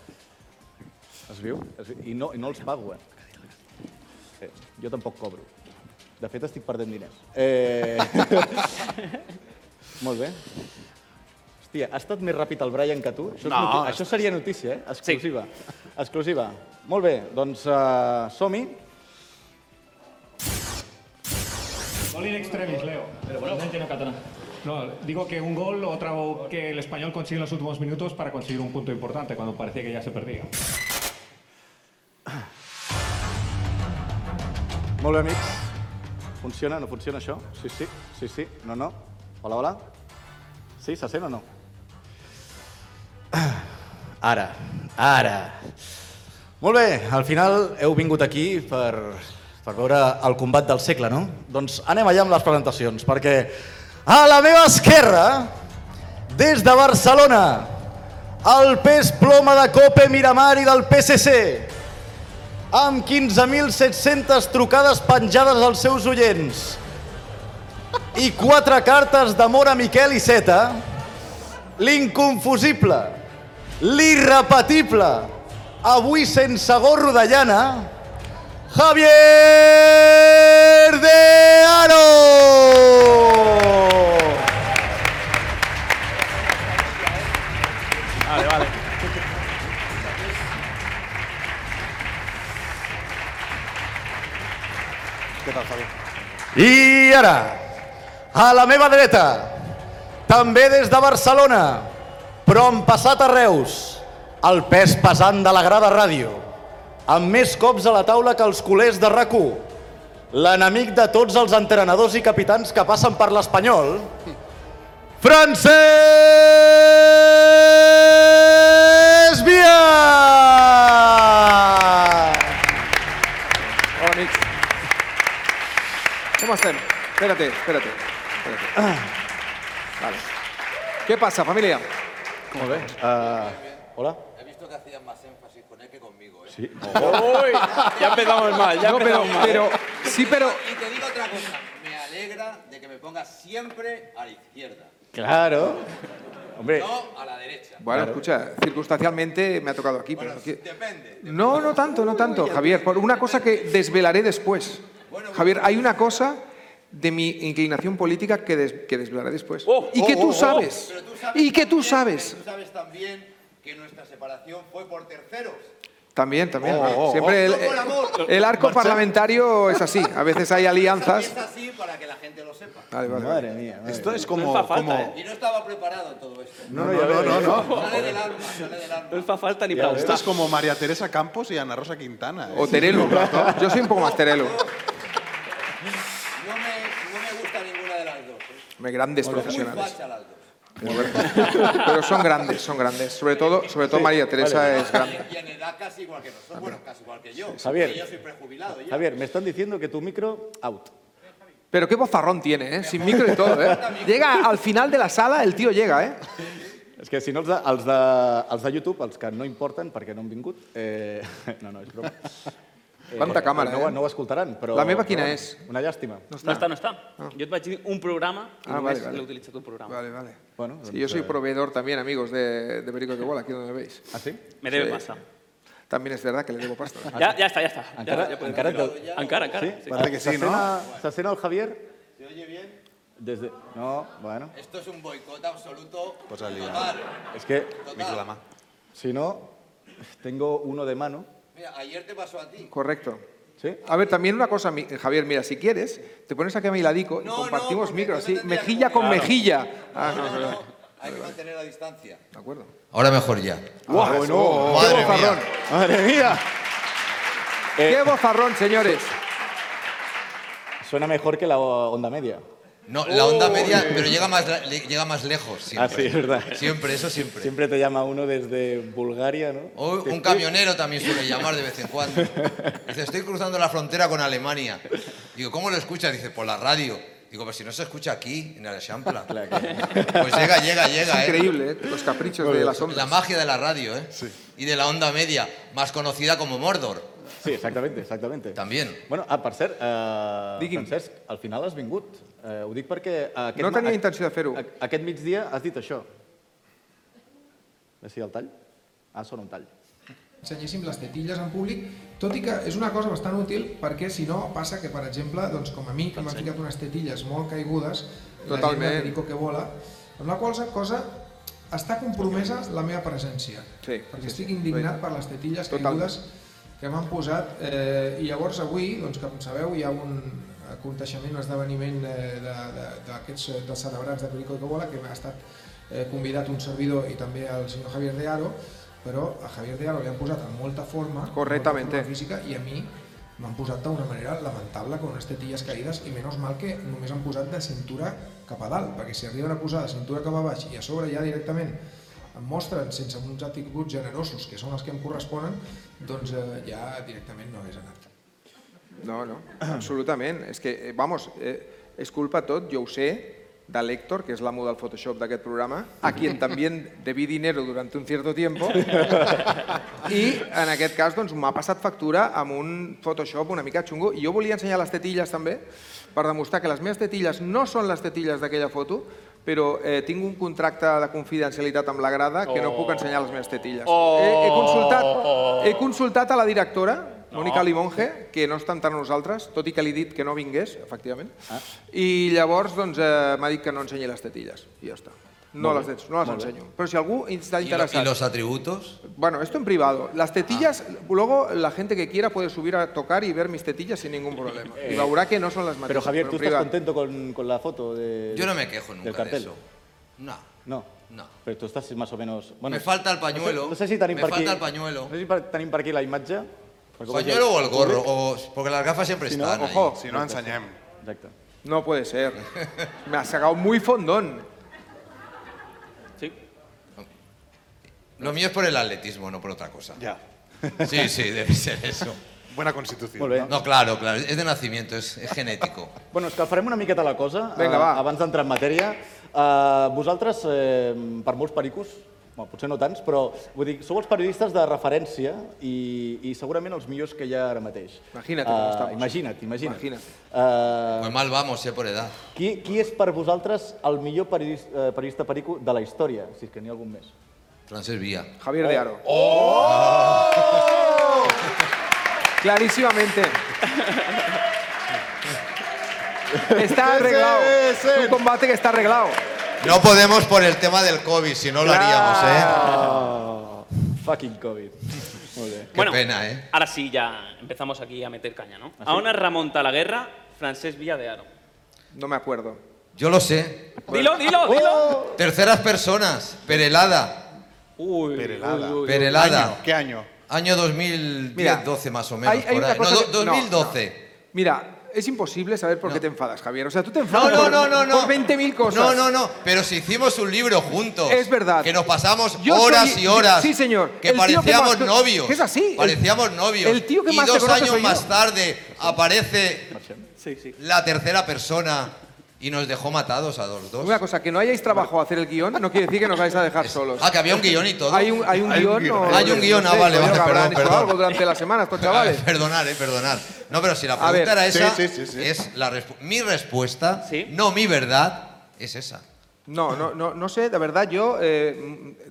Speaker 2: Es viu? Es viu? I, no, I no els pago, eh? eh? Jo tampoc cobro. De fet, estic perdent diners. Eh... Molt bé. Hòstia, ha estat més ràpid el Brian que tu? Això, és
Speaker 4: No,
Speaker 2: noti-
Speaker 4: ha
Speaker 2: això seria notícia, eh? Exclusiva. Sí. Exclusiva. Molt bé, doncs uh, som-hi.
Speaker 14: Gol in extremis, Leo. Pero bueno, no Catana. No, digo que un gol o otra o que el español consigue en los últimos minutos para conseguir un punto importante cuando parecía que ya se perdía.
Speaker 2: Molt bé, amics. Funciona, no funciona això? Sí, sí, sí, sí. No, no. Hola, hola. Sí, se sent o no? Ara, ara. Molt bé, al final heu vingut aquí per, per veure el combat del segle, no? Doncs anem allà amb les presentacions, perquè a la meva esquerra, des de Barcelona, el pes ploma de Cope Miramar i del PSC, amb 15.700 trucades penjades als seus oients i quatre cartes d'amor a Miquel Iceta, l'inconfusible, l'irrepetible, avui sense gorro de llana, Javier de Aro.
Speaker 3: Vale, vale.
Speaker 4: Què tal, Javi?
Speaker 2: I ara, a la meva dreta, també des de Barcelona, però han passat a Reus, el pes pesant de la grada ràdio, amb més cops a la taula que els culers de rac l'enemic de tots els entrenadors i capitans que passen per l'Espanyol, Francesc Via!
Speaker 5: Hola, amics. Com estem? Espérate, espérate. espérate. Vale. Què passa, família?
Speaker 2: Molt bé. Uh, hola.
Speaker 5: Sí.
Speaker 3: ¿eh? Uy, ya empezamos mal, ya
Speaker 5: no, pero,
Speaker 3: empezamos mal.
Speaker 5: pero, sí, pero...
Speaker 15: Y te digo otra cosa, me alegra de que me pongas siempre a la izquierda.
Speaker 2: Claro. Hombre.
Speaker 15: No a la derecha.
Speaker 5: Bueno,
Speaker 15: Claro.
Speaker 5: escucha, circunstancialmente me ha tocado aquí, pero... aquí- No, no tanto, no tanto, Javier. Por una cosa que desvelaré después. Javier, hay una cosa de mi inclinación política que, des- que desvelaré después. y que
Speaker 15: oh,
Speaker 5: tú
Speaker 15: oh, oh.
Speaker 5: sabes.
Speaker 15: Pero tú sabes
Speaker 5: Y que tú
Speaker 15: también-
Speaker 5: sabes.
Speaker 15: Tú sabes también que nuestra separación fue por terceros.
Speaker 5: También, también.
Speaker 15: Oh, oh,
Speaker 5: Siempre
Speaker 15: oh.
Speaker 5: el,
Speaker 15: No por amor.
Speaker 5: el arco
Speaker 15: Marcel.
Speaker 5: parlamentario es así. A veces hay alianzas.
Speaker 15: Es así para que la gente lo sepa.
Speaker 5: Vale, vale.
Speaker 2: Madre mía.
Speaker 4: Esto es como... como...
Speaker 15: Y eh. no estaba preparado en todo esto.
Speaker 4: No, no, ya veo, ya veo.
Speaker 15: Sale del alma, sale del alma.
Speaker 3: No fa falta ni
Speaker 4: Ja, eh?
Speaker 3: preguntar.
Speaker 4: esto es como María Teresa Campos y Ana Rosa Quintana. eh?
Speaker 5: O Terelu. Yo soy un poco más Terelu.
Speaker 15: No me, no me gusta ninguna de las dos. ¿eh?
Speaker 5: Hombre, Grandes
Speaker 15: Muy
Speaker 5: profesionales.
Speaker 15: facha las dos.
Speaker 5: Muy bueno. Pero son grandes, son grandes. Sobre todo, sobre todo María Teresa eh,
Speaker 2: vale.
Speaker 5: es grande.
Speaker 15: Y en edad casi igual que nosotros. Bueno, casi igual que yo.
Speaker 2: Javier.
Speaker 15: porque Yo soy prejubilado ya.
Speaker 2: Javier, me están diciendo que tu micro, out.
Speaker 5: Pero qué bozarrón tiene, ¿eh? Sin micro y todo, ¿eh? Llega al final de la sala, el tío llega, ¿eh?
Speaker 2: És que si no, els de, els de, els de YouTube, els que no importen perquè no han vingut... Eh, no, no, és broma.
Speaker 5: Quanta càmera,
Speaker 2: no, ho-
Speaker 5: eh?
Speaker 2: No ho escoltaran, però...
Speaker 5: La meva quina
Speaker 2: però,
Speaker 5: és?
Speaker 2: Una llàstima.
Speaker 3: No está, no está. Yo te voy a decir un programa y
Speaker 5: Ah,
Speaker 3: no
Speaker 5: vale,
Speaker 3: es
Speaker 5: vale.
Speaker 3: lo utiliza tu programa.
Speaker 5: Vale, vale.
Speaker 2: Bueno,
Speaker 5: Sí, yo soy proveedor también, amigos, de, de Perico que Bola, aquí donde me veis.
Speaker 2: ¿Ah, sí?
Speaker 3: Me debe pasta.
Speaker 5: También es verdad que le debo pasta.
Speaker 3: Ya, ya está, ya está. Ya,
Speaker 2: Encara-
Speaker 3: ya puedes
Speaker 2: encara
Speaker 3: decirlo.
Speaker 2: te-
Speaker 3: Encara, encara, sí.
Speaker 2: S'escena- S'escena el Javier?
Speaker 15: ¿Se oye bien?
Speaker 2: Des de... No, bueno.
Speaker 15: Esto es un boicot absoluto.
Speaker 4: Pues al día.
Speaker 15: total.
Speaker 2: Es que-
Speaker 15: Total.
Speaker 4: Micro la mà.
Speaker 2: Si no, tengo uno de mano.
Speaker 15: Mira, ayer te pasó a ti.
Speaker 5: Correcto.
Speaker 2: ¿Sí?
Speaker 5: A ver, también una cosa, mi- Javier, mira, si quieres, te pones aquí a mi ladico y compartimos micro, así, mejilla con
Speaker 15: Claro.
Speaker 5: mejilla. Ah,
Speaker 15: No, no,
Speaker 5: no,
Speaker 15: no. Hay que mantener la distancia.
Speaker 5: De acuerdo.
Speaker 7: Ahora mejor ya.
Speaker 5: ¡Guau!
Speaker 7: bueno.
Speaker 5: ¡Qué
Speaker 7: Madre
Speaker 5: bozarrón!
Speaker 7: mía.
Speaker 2: Madre mía.
Speaker 5: ¡Qué bozarrón, señores!
Speaker 2: Suena mejor que la o- onda media.
Speaker 7: No, la onda media, pero llega más, la- le- llega más lejos. Siempre.
Speaker 2: Ah, sí, es verdad.
Speaker 7: Siempre, eso siempre.
Speaker 2: Siempre te llama uno desde Bulgaria, ¿no?
Speaker 7: O un camionero también suele llamar de vez en cuando. Dice, estoy cruzando la frontera con Alemania. Digo, ¿cómo lo escuchas? Dice, por la radio. Digo, pero si no se escucha aquí, en el Champla. Pues llega, llega, llega.
Speaker 5: Es
Speaker 7: ¿eh?
Speaker 5: increíble, ¿eh? Los caprichos de las ondas.
Speaker 7: La magia de la radio, ¿eh? Y de la onda media, más conocida como Mordor.
Speaker 2: Sí, exactament, exactament.
Speaker 7: També.
Speaker 2: Bueno, ah, per cert, eh,
Speaker 7: Digui'm.
Speaker 2: Francesc, al final has vingut. Eh, ho dic perquè... eh, Aquest,
Speaker 5: No
Speaker 2: ma-
Speaker 5: tenia
Speaker 2: a-
Speaker 5: intenció de fer-ho.
Speaker 2: a- Aquest migdia has dit això. Ve si el tall? Ah, sona un tall.
Speaker 16: ensenyéssim les tetilles en públic, tot i que és una cosa bastant útil perquè si no passa que, per exemple, doncs, com a mi, que m'ha ficat unes tetilles molt caigudes, la gent
Speaker 5: Totalment.
Speaker 16: de Perico que vola, amb la qual cosa està compromesa la meva presència.
Speaker 5: Sí,
Speaker 16: perquè estic indignat per les tetilles caigudes que m'han posat eh, i llavors avui, doncs, com sabeu, hi ha un aconteixement, un esdeveniment eh, de- de- d'aquests de, dels celebrats de Perico que vola que ha estat eh, convidat un servidor i també el senyor Javier de Aro, però a Javier de Aro li han posat en molta forma, en molta
Speaker 5: Correctamente.
Speaker 16: forma física i a mi m'han posat d'una manera lamentable con unes tetilles caïdes i menys mal que només han posat de cintura cap a dalt, perquè si arriben a posar de cintura cap a baix i a sobre ja directament em mostren sense uns atributs generosos que són els que em corresponen, doncs eh, ja directament no hagués anat.
Speaker 5: No, no, absolutament. És que, eh, vamos, eh, és culpa tot, jo ho sé, de l'Héctor, que és l'amo del Photoshop d'aquest programa, a quien també debí dinero durante un cierto tiempo, i en aquest cas doncs, m'ha passat factura amb un Photoshop una mica xungo, i jo volia ensenyar les tetilles també, per demostrar que les meves tetilles no són les tetilles d'aquella foto, però eh, tinc un contracte de confidencialitat amb la Eh, grada que no puc ensenyar les meves tetilles. He, he, consultat, he consultat a la directora, no. Mònica Limonge, que no està entre nosaltres, tot i que li he dit que no vingués, efectivament. Ah. I llavors doncs, eh, m'ha dit que no ensenyi les tetilles. I ja està. No
Speaker 7: Molt
Speaker 5: les,
Speaker 7: bé,
Speaker 5: ets- no les
Speaker 7: molt bé.
Speaker 5: ensenyo. Però si algú está
Speaker 7: ¿Y, lo-
Speaker 5: interesado...
Speaker 7: y los atributos? Ah.
Speaker 5: Bueno, esto en privado. Las tetillas, luego la gente que quiera puede subir a tocar y ver mis tetillas sin ningún problema.
Speaker 7: Eh.
Speaker 5: Y verá que no son las
Speaker 2: Pero
Speaker 5: materias.
Speaker 2: Javier, ¿tú estás contento con, con la foto de,
Speaker 5: Yo no me quejo nunca
Speaker 2: del
Speaker 5: de
Speaker 2: cartel?
Speaker 5: eso.
Speaker 7: No.
Speaker 2: No.
Speaker 7: No.
Speaker 2: Pero tú estás más o menos...
Speaker 7: Me falta el pañuelo.
Speaker 2: No sé, no sé si tenim
Speaker 7: Me
Speaker 2: per aquí...
Speaker 7: falta el pañuelo.
Speaker 2: No sé si per, tenim per aquí la imatge. Perquè com
Speaker 7: Pañuelo
Speaker 2: que-
Speaker 7: o el gorro, o- porque las gafas siempre
Speaker 2: Si no,
Speaker 7: están ahí.
Speaker 2: ojo.
Speaker 7: Si no, enseñem.
Speaker 2: Exacte.
Speaker 5: No puede ser. Me has sacado muy fondón.
Speaker 7: Lo mío es por el atletismo, no por otra cosa. Ya. Sí, sí, debe ser eso.
Speaker 4: Buena constitución.
Speaker 2: Molt bé.
Speaker 7: No, claro, claro. Es de nacimiento, es, es genético.
Speaker 2: Bueno, escalfarem una miqueta la cosa,
Speaker 7: Vinga,
Speaker 2: eh,
Speaker 7: va.
Speaker 2: abans d'entrar en matèria. Eh, vosaltres, eh, per molts pericos, bueno, potser no tants, però vull dir, sou els periodistes de referència i, i segurament els millors que hi ha ara mateix. Eh,
Speaker 5: Imagina't com estamos.
Speaker 2: Imagina't, imagina't.
Speaker 5: Imagina't.
Speaker 2: Eh,
Speaker 7: Pues mal vamos, eh, por edad.
Speaker 2: qui, qui és per vosaltres el millor periodista, eh, periodista perico de la història, si és que n'hi ha algun més?
Speaker 7: Francesc Vía.
Speaker 5: Javier de Aro.
Speaker 7: Ah.
Speaker 2: Oh!
Speaker 5: Clarísimamente. Está arreglado. Es un combate que está arreglado.
Speaker 7: No podemos por el tema del COVID, si no lo haríamos, ¿eh?
Speaker 2: Fucking COVID. Molt bé.
Speaker 7: Qué pena, ¿eh?
Speaker 3: Ahora sí, ya empezamos aquí a meter caña, ¿no?
Speaker 7: ¿Ah, sí?
Speaker 3: A una remonta la guerra Francés Villa de Aro.
Speaker 5: No me acuerdo. Oh.
Speaker 7: Yo lo sé.
Speaker 3: Dilo, dilo, dilo.
Speaker 7: Terceras personas. Perelada.
Speaker 3: Uy,
Speaker 4: Perelada.
Speaker 3: uy, uy.
Speaker 7: Perelada.
Speaker 4: ¿Qué año?
Speaker 7: Año 2010,
Speaker 5: Mira,
Speaker 7: 12 más o menos.
Speaker 5: hay- hay
Speaker 7: por
Speaker 5: una
Speaker 7: ahí. No,
Speaker 5: cosa
Speaker 7: do-
Speaker 5: que- no,
Speaker 7: 2012.
Speaker 5: Mira, es imposible saber por qué te enfadas, Javier. O sea, tú te
Speaker 7: No,
Speaker 5: enfadas
Speaker 7: no,
Speaker 5: por,
Speaker 7: no, no, no.
Speaker 5: por 20.000 cosas.
Speaker 7: No, no, no. Pero si hicimos un libro juntos.
Speaker 5: Es verdad.
Speaker 7: Que nos pasamos
Speaker 5: Yo
Speaker 7: horas
Speaker 5: soy-
Speaker 7: y horas.
Speaker 5: sí, señor.
Speaker 7: Que
Speaker 5: El tío que
Speaker 7: parecíamos
Speaker 5: más-
Speaker 7: novios.
Speaker 5: que es así. El-
Speaker 7: Parecíamos novios.
Speaker 5: el tío que
Speaker 7: y
Speaker 5: más te
Speaker 7: dos
Speaker 5: conoce
Speaker 7: años
Speaker 5: soy yo.
Speaker 7: más tarde aparece la tercera persona y nos dejó matados a los dos.
Speaker 5: Una cosa, que no hayáis trabajado a hacer el guión no quiere decir que nos vais a dejar solos.
Speaker 7: Ah, que había un guión y todo.
Speaker 5: Hay un, hay un guión. o-
Speaker 7: Hay un guión,
Speaker 5: no
Speaker 7: ah,
Speaker 5: sé,
Speaker 7: vale,
Speaker 5: coño,
Speaker 7: vale,
Speaker 5: que habrán
Speaker 7: perdón,
Speaker 5: hecho
Speaker 7: perdón.
Speaker 5: algo durante la semana estos chavales.
Speaker 7: A ver, Perdonad, eh, perdonad. No, pero si la
Speaker 5: A
Speaker 7: pregunta
Speaker 5: ver.
Speaker 7: era
Speaker 5: Sí,
Speaker 7: esa,
Speaker 5: sí, sí, sí.
Speaker 7: es la respu- mi respuesta, no mi verdad, es esa.
Speaker 5: No, no, no, no sé, de verdad yo eh,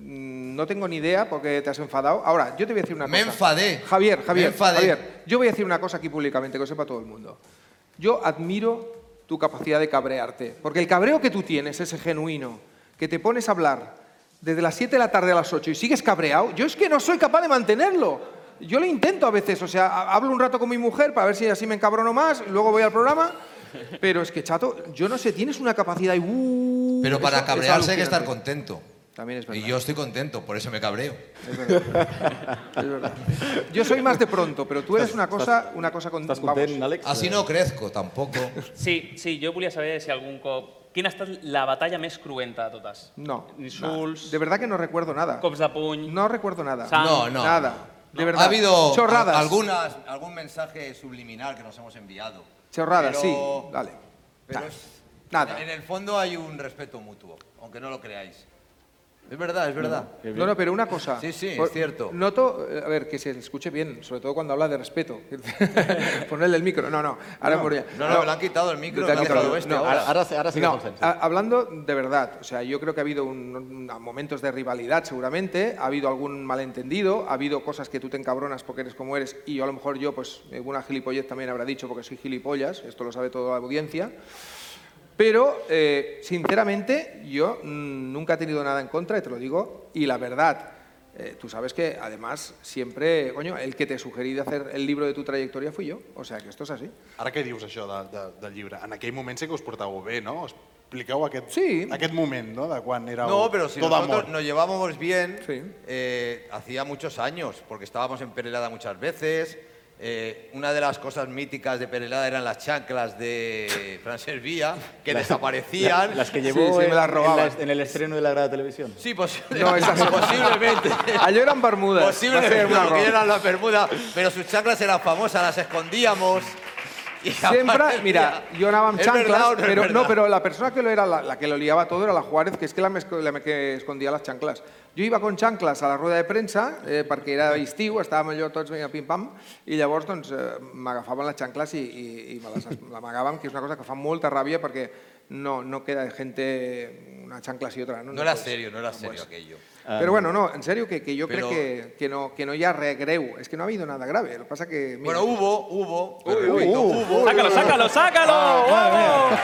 Speaker 5: mm, mm, no tengo ni idea porque te has enfadado. Ahora, yo te voy a decir una
Speaker 7: Me
Speaker 5: cosa.
Speaker 7: enfadé.
Speaker 5: Javier, Javier,
Speaker 7: Me enfadé.
Speaker 5: Javier, yo voy a decir una cosa aquí públicamente que lo sepa todo el mundo. Yo admiro tu capacidad de cabrearte, porque el cabreo que tú tienes, ese genuino, que te pones a hablar desde las 7 de la tarde a las 8 y sigues cabreado, yo es que no soy capaz de mantenerlo. Yo lo intento a veces, o sea, ha- hablo un rato con mi mujer para ver si así me encabrono más, luego voy al programa, pero es que chato, yo no sé, tienes una capacidad y uh,
Speaker 7: Pero para
Speaker 5: eso- eso
Speaker 7: cabrearse hay que estar
Speaker 5: alucinante.
Speaker 7: contento.
Speaker 5: También es
Speaker 7: verdad. Y yo estoy contento, por eso me cabreo.
Speaker 5: Es verdad. Yo soy más de pronto, pero tú eres una cosa, una cosa con vamos.
Speaker 7: Así no crezco tampoco.
Speaker 3: Sí, sí, jo volia saber si algun cop... Quina ha estat la batalla més cruenta de totes?
Speaker 5: No.
Speaker 3: Insults.
Speaker 5: nada. De verdad que no recuerdo nada.
Speaker 3: Cops de puny.
Speaker 5: No recuerdo nada.
Speaker 3: Sang.
Speaker 7: No, no.
Speaker 5: Nada. De verdad.
Speaker 7: Ha habido
Speaker 5: chorradas.
Speaker 7: al- algunas, algún mensaje subliminal que nos hemos enviado.
Speaker 5: Chorradas,
Speaker 7: Pero-
Speaker 5: sí. Dale. Nah. Nada.
Speaker 7: En el fondo hay un respeto mutuo, aunque no lo creáis. Es verdad, es verdad.
Speaker 5: No, no, pero una cosa.
Speaker 7: Sí, sí,
Speaker 5: Por-
Speaker 7: es cierto.
Speaker 5: Noto, eh, a ver, que se escuche bien, sobre todo cuando habla de respeto. Ponerle el micro. No, no. Ahora
Speaker 7: No.
Speaker 5: por ya.
Speaker 7: No, no, me lo han quitado el micro,
Speaker 5: Te
Speaker 7: me
Speaker 5: han
Speaker 7: han
Speaker 5: quitado.
Speaker 7: dejado este
Speaker 5: No,
Speaker 7: ahora.
Speaker 2: Ahora se- ahora sí que
Speaker 5: No,
Speaker 2: es consenso.
Speaker 5: a- hablando de verdad, o sea, yo creo que ha habido un- un- momentos de rivalidad seguramente, ha habido algún malentendido, ha habido cosas que tú te encabronas porque eres como eres y yo a lo mejor yo, pues, alguna gilipollez también habrá dicho porque soy gilipollas, esto lo sabe toda la audiencia. Pero, eh, sinceramente, yo mm, nunca he tenido nada en contra, y te lo digo, y la verdad, eh, tú sabes que además siempre, coño, el que te sugerí de hacer el libro de tu trayectoria fui yo, o sea que esto es así.
Speaker 4: Ara què dius això de, de, del llibre? En aquell moment sé que us portàveu bé, no? Expliqueu aquest, sí. aquest moment, no? De quan éreu
Speaker 7: No, pero si
Speaker 4: tot
Speaker 7: nosotros
Speaker 4: amor.
Speaker 7: nos llevábamos bien, eh, hacía muchos años, porque estábamos en Perelada muchas veces. eh, una de las cosas míticas de Perelada eran las chanclas de Francesc Villa, que
Speaker 2: Las-
Speaker 7: desaparecían.
Speaker 2: Las que llevó
Speaker 5: sí, me
Speaker 2: en-
Speaker 5: las
Speaker 2: en
Speaker 5: robaban.
Speaker 2: la- en el estreno de la grada televisión.
Speaker 7: Sí, posible-
Speaker 5: No, esas-
Speaker 7: posiblemente.
Speaker 5: Allí eran Bermudas.
Speaker 7: Posiblemente,
Speaker 5: Va a ser una
Speaker 7: porque
Speaker 5: roba.
Speaker 7: eran las Bermudas, pero sus chanclas eran famosas, las escondíamos. y
Speaker 5: Siempre,
Speaker 7: aparecía.
Speaker 5: mira, yo andaba en
Speaker 7: ¿Es
Speaker 5: chanclas,
Speaker 7: verdad o no es
Speaker 5: pero no,
Speaker 7: verdad?
Speaker 5: pero la persona que lo era, la, la que lo liaba todo era la Juárez, que es que la, me esco- la me- que escondía las chanclas. Yo iba con chanclas a la rueda de premsa, eh, perquè era estiu, estàvem allò tots venint pim-pam, i llavors doncs, eh, m'agafaven les chanclas i, i, i me les amagaven, que és una cosa que fa molta ràbia perquè no, no queda gent una xancla sí, otra no.
Speaker 7: No era
Speaker 5: pots-
Speaker 7: serio, no era serio
Speaker 5: pots.
Speaker 7: aquello.
Speaker 5: Pero bueno, no, en serio, que, que yo
Speaker 7: Ah. Pero-
Speaker 5: creo que, que no, que no hi ha res greu. És que no ha habido nada grave. Lo que pasa que...
Speaker 7: Bueno, hubo, hubo.
Speaker 5: Uy,
Speaker 7: uy, no, hubo. Sácalo, sácalo,
Speaker 3: sácalo.
Speaker 5: Ah,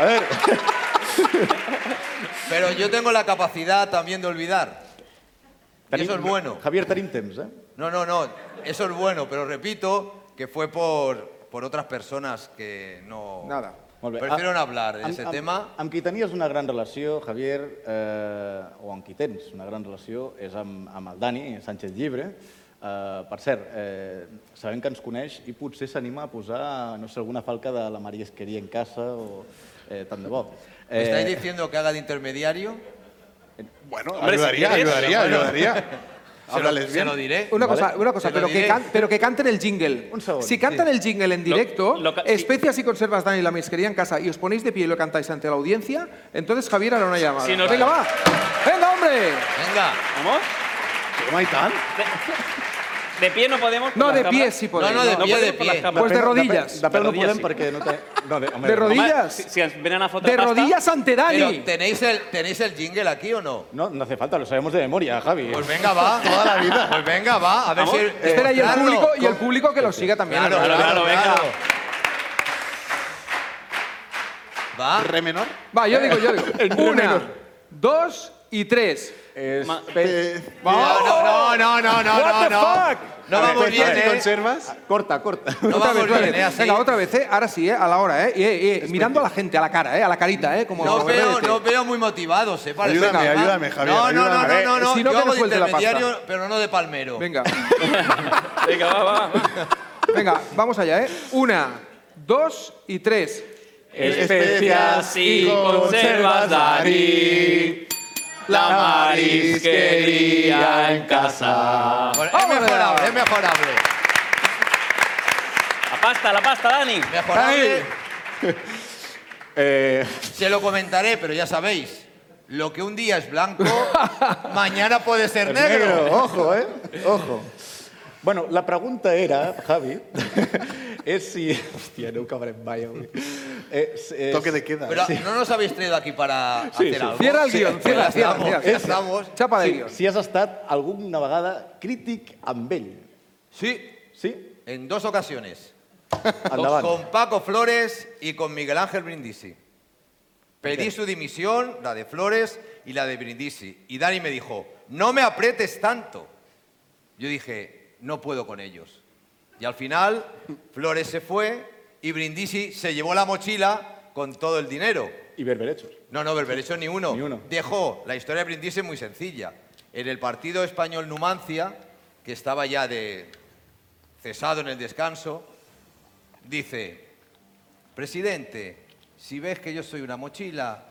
Speaker 5: A ver,
Speaker 7: Pero yo tengo la capacidad también de olvidar. Y eso es bueno.
Speaker 2: Javier, tenim temps, eh?
Speaker 7: No, no, no. Eso es bueno, pero repito que fue por, por otras personas que no.
Speaker 5: Nada.
Speaker 2: Molt bé.
Speaker 7: Prefirieron
Speaker 2: Ah,
Speaker 7: hablar de
Speaker 2: amb-
Speaker 7: ese
Speaker 2: amb-
Speaker 7: tema.
Speaker 2: Amb qui tenies una gran relació, Javier, eh, o amb qui tens una gran relació, és amb, amb el Dani Sánchez Llibre. Eh, per cert, eh, sabem que ens coneix i potser s'anima a posar, no sé, alguna falca de la Maria Esqueria en casa o eh, tant de bo. Eh,
Speaker 7: ¿Me estáis diciendo que haga de intermediario?
Speaker 4: Bueno,
Speaker 5: Hombre, si ayudaría, quieres. ayudaría, ayudaría.
Speaker 7: Se lo, se lo diré.
Speaker 5: Una cosa, una cosa
Speaker 7: Se lo
Speaker 5: pero, que
Speaker 7: diré.
Speaker 5: can- pero que canten el jingle. Si cantan el jingle en directo, especias y conservas Dani la misquería en casa y os ponéis de pie y lo cantáis ante la audiencia, entonces Javier hará una llamada.
Speaker 3: Si nos-
Speaker 5: Venga, va. Venga, hombre.
Speaker 7: Venga.
Speaker 3: ¿Vamos?
Speaker 2: ¿Cómo hay tan?
Speaker 3: De pie no podemos. por
Speaker 5: No,
Speaker 3: las
Speaker 5: de
Speaker 3: cámaras.
Speaker 5: pie sí podéis. No, no, de pie,
Speaker 3: podemos
Speaker 5: de
Speaker 3: por las
Speaker 5: pie.
Speaker 3: cámaras.
Speaker 5: Pues de rodillas.
Speaker 2: De pèl no
Speaker 3: De rodillas,
Speaker 2: podem
Speaker 3: sí.
Speaker 2: perquè no té... No, de, home,
Speaker 5: De rodillas.
Speaker 2: home,
Speaker 3: Si, si ens venen a fotre
Speaker 7: De
Speaker 3: pasta-
Speaker 7: rodillas
Speaker 5: ante Dani.
Speaker 7: Pero, ¿tenéis el, ¿Tenéis el jingle aquí o no?
Speaker 2: Eh, No, no hace falta, lo sabemos de memoria, Javi.
Speaker 7: Pues venga, va.
Speaker 2: Toda la vida.
Speaker 7: Pues venga, va. A ver
Speaker 2: Vamos. Eh,
Speaker 7: si.
Speaker 5: Espera, y el
Speaker 7: Claro,
Speaker 5: público, y el
Speaker 7: con-
Speaker 5: público que lo siga también.
Speaker 7: Claro,
Speaker 5: ¿verdad?
Speaker 7: claro, claro. Va.
Speaker 4: Re menor.
Speaker 5: Va, yo digo, yo digo. Una, dos y tres.
Speaker 4: Ma-
Speaker 5: Pe-
Speaker 7: No, no, no, no, no,
Speaker 5: What the
Speaker 7: no, no.
Speaker 5: fuck?
Speaker 7: No vamos bien,
Speaker 5: espérate.
Speaker 7: ¿eh?
Speaker 2: Conservas? Corta, corta.
Speaker 7: No
Speaker 5: otra
Speaker 7: vamos
Speaker 5: vez, otra
Speaker 7: bien,
Speaker 5: vez.
Speaker 7: ¿eh? Así.
Speaker 5: Venga, otra vez, ¿eh? Ahora sí, ¿eh? A la hora, ¿eh? Y, eh, y, eh, mirando a la gente, a la cara, ¿eh? A la carita, ¿eh? Como
Speaker 7: No
Speaker 5: como
Speaker 7: veo,
Speaker 5: revete.
Speaker 7: no veo muy motivados, ¿eh? Para
Speaker 5: Ayúdame,
Speaker 7: este tema.
Speaker 5: ayúdame, Javier,
Speaker 7: No, no, no,
Speaker 5: ayúdame.
Speaker 7: no, no, no.
Speaker 5: Si no,
Speaker 7: Yo
Speaker 5: que
Speaker 7: hago
Speaker 5: nos
Speaker 7: de
Speaker 5: suelte la pasta.
Speaker 7: intermediario, pero no de palmero.
Speaker 5: Venga.
Speaker 3: Venga, va, va.
Speaker 5: Venga, vamos allá, ¿eh? Una, dos y tres.
Speaker 12: Especias y conservas Dari, la marisquería en casa.
Speaker 7: Bueno, es mejorable, es mejorable.
Speaker 5: eh,
Speaker 3: La pasta, la pasta, Dani.
Speaker 7: Mejorable.
Speaker 2: Eh,
Speaker 7: Se lo comentaré, pero ya sabéis. Lo que un día es blanco, mañana puede ser
Speaker 2: Es negro.
Speaker 7: negro.
Speaker 2: Ojo, ¿eh? Ojo. Bueno, la pregunta era, Javi, es si... Hostia, no cabrem mai avui. És, és...
Speaker 7: Toque de
Speaker 2: queda.
Speaker 7: Pero no nos habéis traído aquí para
Speaker 2: Sí,
Speaker 7: hacer
Speaker 2: sí.
Speaker 7: algo.
Speaker 2: Cierra el guión,
Speaker 7: pues
Speaker 2: cierra,
Speaker 7: ya
Speaker 2: cierra,
Speaker 7: estamos,
Speaker 2: cierra.
Speaker 7: ya estamos.
Speaker 2: si, Si has estat alguna vegada crític amb ell.
Speaker 7: Sí.
Speaker 2: Sí?
Speaker 7: En dos ocasiones.
Speaker 2: Endavant.
Speaker 7: Con Paco Flores y con Miguel Ángel Brindisi. Pedí su dimisión, la de Flores y la de Brindisi. Y Dani me dijo, no me apretes tanto. Yo dije, no puedo con ellos. Y al final, Flores se fue y Brindisi se llevó la mochila con todo el dinero.
Speaker 2: I berberechos.
Speaker 7: No, no, Berberechos ni uno.
Speaker 2: Ni uno.
Speaker 7: Dejó la historia de Brindisi muy sencilla. En el partido español Numancia, que estaba ya de cesado en el descanso, dice, presidente, si ves que yo soy una mochila,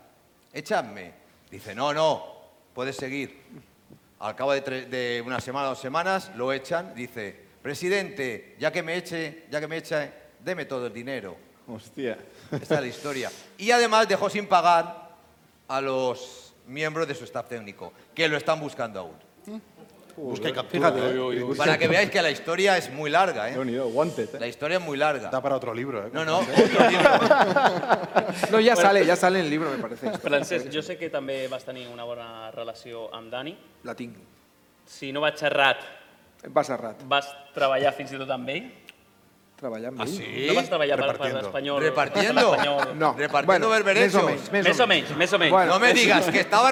Speaker 7: echadme. Dice, no, no, puedes seguir. Al cabo de, tre- de una semana o dos semanas lo echan, dice, presidente, ya que me eche, ya que me echa, deme todo el dinero.
Speaker 2: Hòstia.
Speaker 7: Esta es la historia. Y además dejó sin pagar a los miembros de su staff técnico, que lo están buscando aún.
Speaker 4: Busca y captura.
Speaker 7: Fíjate,
Speaker 4: eh.
Speaker 7: para que veáis que la historia es muy larga. ¿eh?
Speaker 2: Déu-n'hi-do, wanted. Eh?
Speaker 7: La historia es muy larga.
Speaker 4: Da para otro libro, ¿eh?
Speaker 7: No, no, otro libro.
Speaker 5: No, ya
Speaker 3: Bueno.
Speaker 5: sale, ya sale en el libro, me parece.
Speaker 3: Francesc, jo sé que també vas tenir una bona relació amb Dani.
Speaker 5: La tinc.
Speaker 3: Si no vaig errat,
Speaker 5: Vas errat.
Speaker 3: vas treballar fins i tot amb ell.
Speaker 5: Treballar amb
Speaker 3: Ah,
Speaker 5: ell.
Speaker 3: sí? No vas treballar per- per Repartiendo. l'Espanyol-
Speaker 7: Repartiendo.
Speaker 3: per l'Espanyol.
Speaker 5: No.
Speaker 7: Repartiendo
Speaker 5: Bueno,
Speaker 7: berberechos.
Speaker 5: més o menys, més o Més o menys. menys, més o menys.
Speaker 7: no me
Speaker 5: Bueno.
Speaker 7: digas que estaba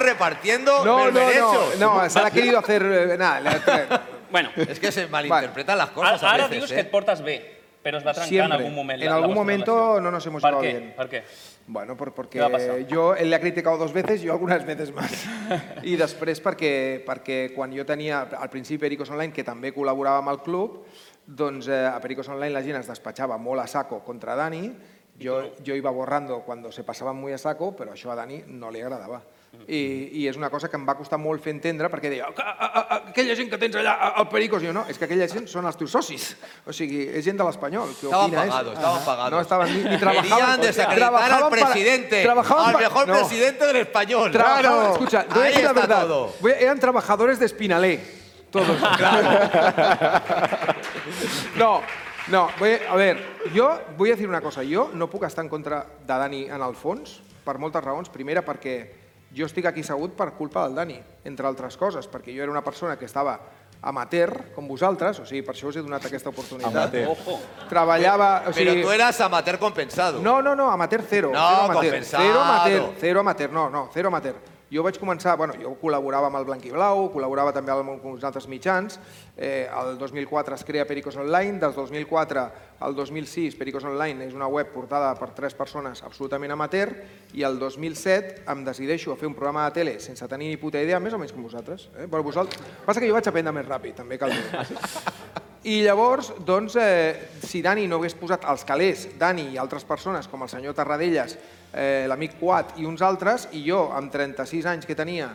Speaker 5: No,
Speaker 7: repartiendo
Speaker 5: no, no,
Speaker 7: berberechos.
Speaker 5: no, se la ha querido hacer... eh, nada, la-
Speaker 3: Bueno.
Speaker 7: Es que se malinterpretan las cosas
Speaker 3: Ara,
Speaker 7: a
Speaker 3: ara
Speaker 7: veces,
Speaker 3: dius
Speaker 7: eh?
Speaker 3: que et portes bé, però es va trencar en
Speaker 5: Siempre.
Speaker 3: algun moment.
Speaker 5: En algun momento no nos hemos
Speaker 3: ¿Por
Speaker 5: llevado
Speaker 3: qué?
Speaker 5: bien.
Speaker 3: ¿Por qué?
Speaker 5: Bueno, por,
Speaker 3: Què va passar?
Speaker 5: porque yo él le ha criticado dos veces, yo algunas veces más. I després perquè, perquè quan jo tenia, al principi Pericos Online, que també col·laborava amb el club, doncs eh, a Pericos Online la gent es despatxava molt a saco contra Dani, jo, jo iba borrando quan se passaven molt a saco, però això a Dani no li agradava. I, I és una cosa que em va costar molt fer entendre perquè deia, "Ah, ah, ah, ah, aquella gent que tens allà, ah, al Pericos, i jo no, és que aquella gent són els teus socis, o sigui, és gent de l'Espanyol. que
Speaker 7: Estaban
Speaker 5: opina
Speaker 7: pagados,
Speaker 5: eso".
Speaker 7: estaban pagados.
Speaker 5: No estaven ni, ni
Speaker 7: Querían
Speaker 5: trabajaban.
Speaker 7: desacreditar al
Speaker 5: para-
Speaker 7: presidente,
Speaker 5: trabajaban
Speaker 7: al
Speaker 5: para-
Speaker 7: mejor
Speaker 5: no.
Speaker 7: presidente del español.
Speaker 5: Trabajaban- Escucha, te voy a
Speaker 7: ahí
Speaker 5: decir la
Speaker 7: está
Speaker 5: verdad.
Speaker 7: todo.
Speaker 5: Voy a- eran trabajadores de Espinalé, todos. no, no, voy a, a ver, jo vull decir una cosa. Jo no puc estar en contra de Dani en el fons, per moltes raons. Primera, perquè jo estic aquí segut per culpa del Dani, entre altres coses, perquè jo era una persona que estava amateur, com vosaltres, o sigui, per això us he donat aquesta oportunitat.
Speaker 7: Amateur.
Speaker 5: Ojo. Treballava... O sigui,
Speaker 7: Pero tú eras amateur compensado.
Speaker 5: No, no, no, amateur cero.
Speaker 7: No,
Speaker 5: cero amateur,
Speaker 7: compensado.
Speaker 5: Cero amateur, cero amateur, no, no, cero amateur. Jo vaig començar, bueno, jo col·laborava amb el Blanc i Blau, col·laborava també amb uns altres mitjans. Eh, el 2004 es crea Pericos Online, del 2004 al 2006 Pericos Online és una web portada per tres persones absolutament amateur i el 2007 em decideixo a fer un programa de tele sense tenir ni puta idea, més o menys com vosaltres. Eh? Però vosaltres... Passa que jo vaig aprendre més ràpid, també cal dir. I llavors, doncs, eh, si Dani no hagués posat els calés, Dani i altres persones, com el senyor Tarradellas, eh, l'amic Quat i uns altres, i jo, amb 36 anys que tenia,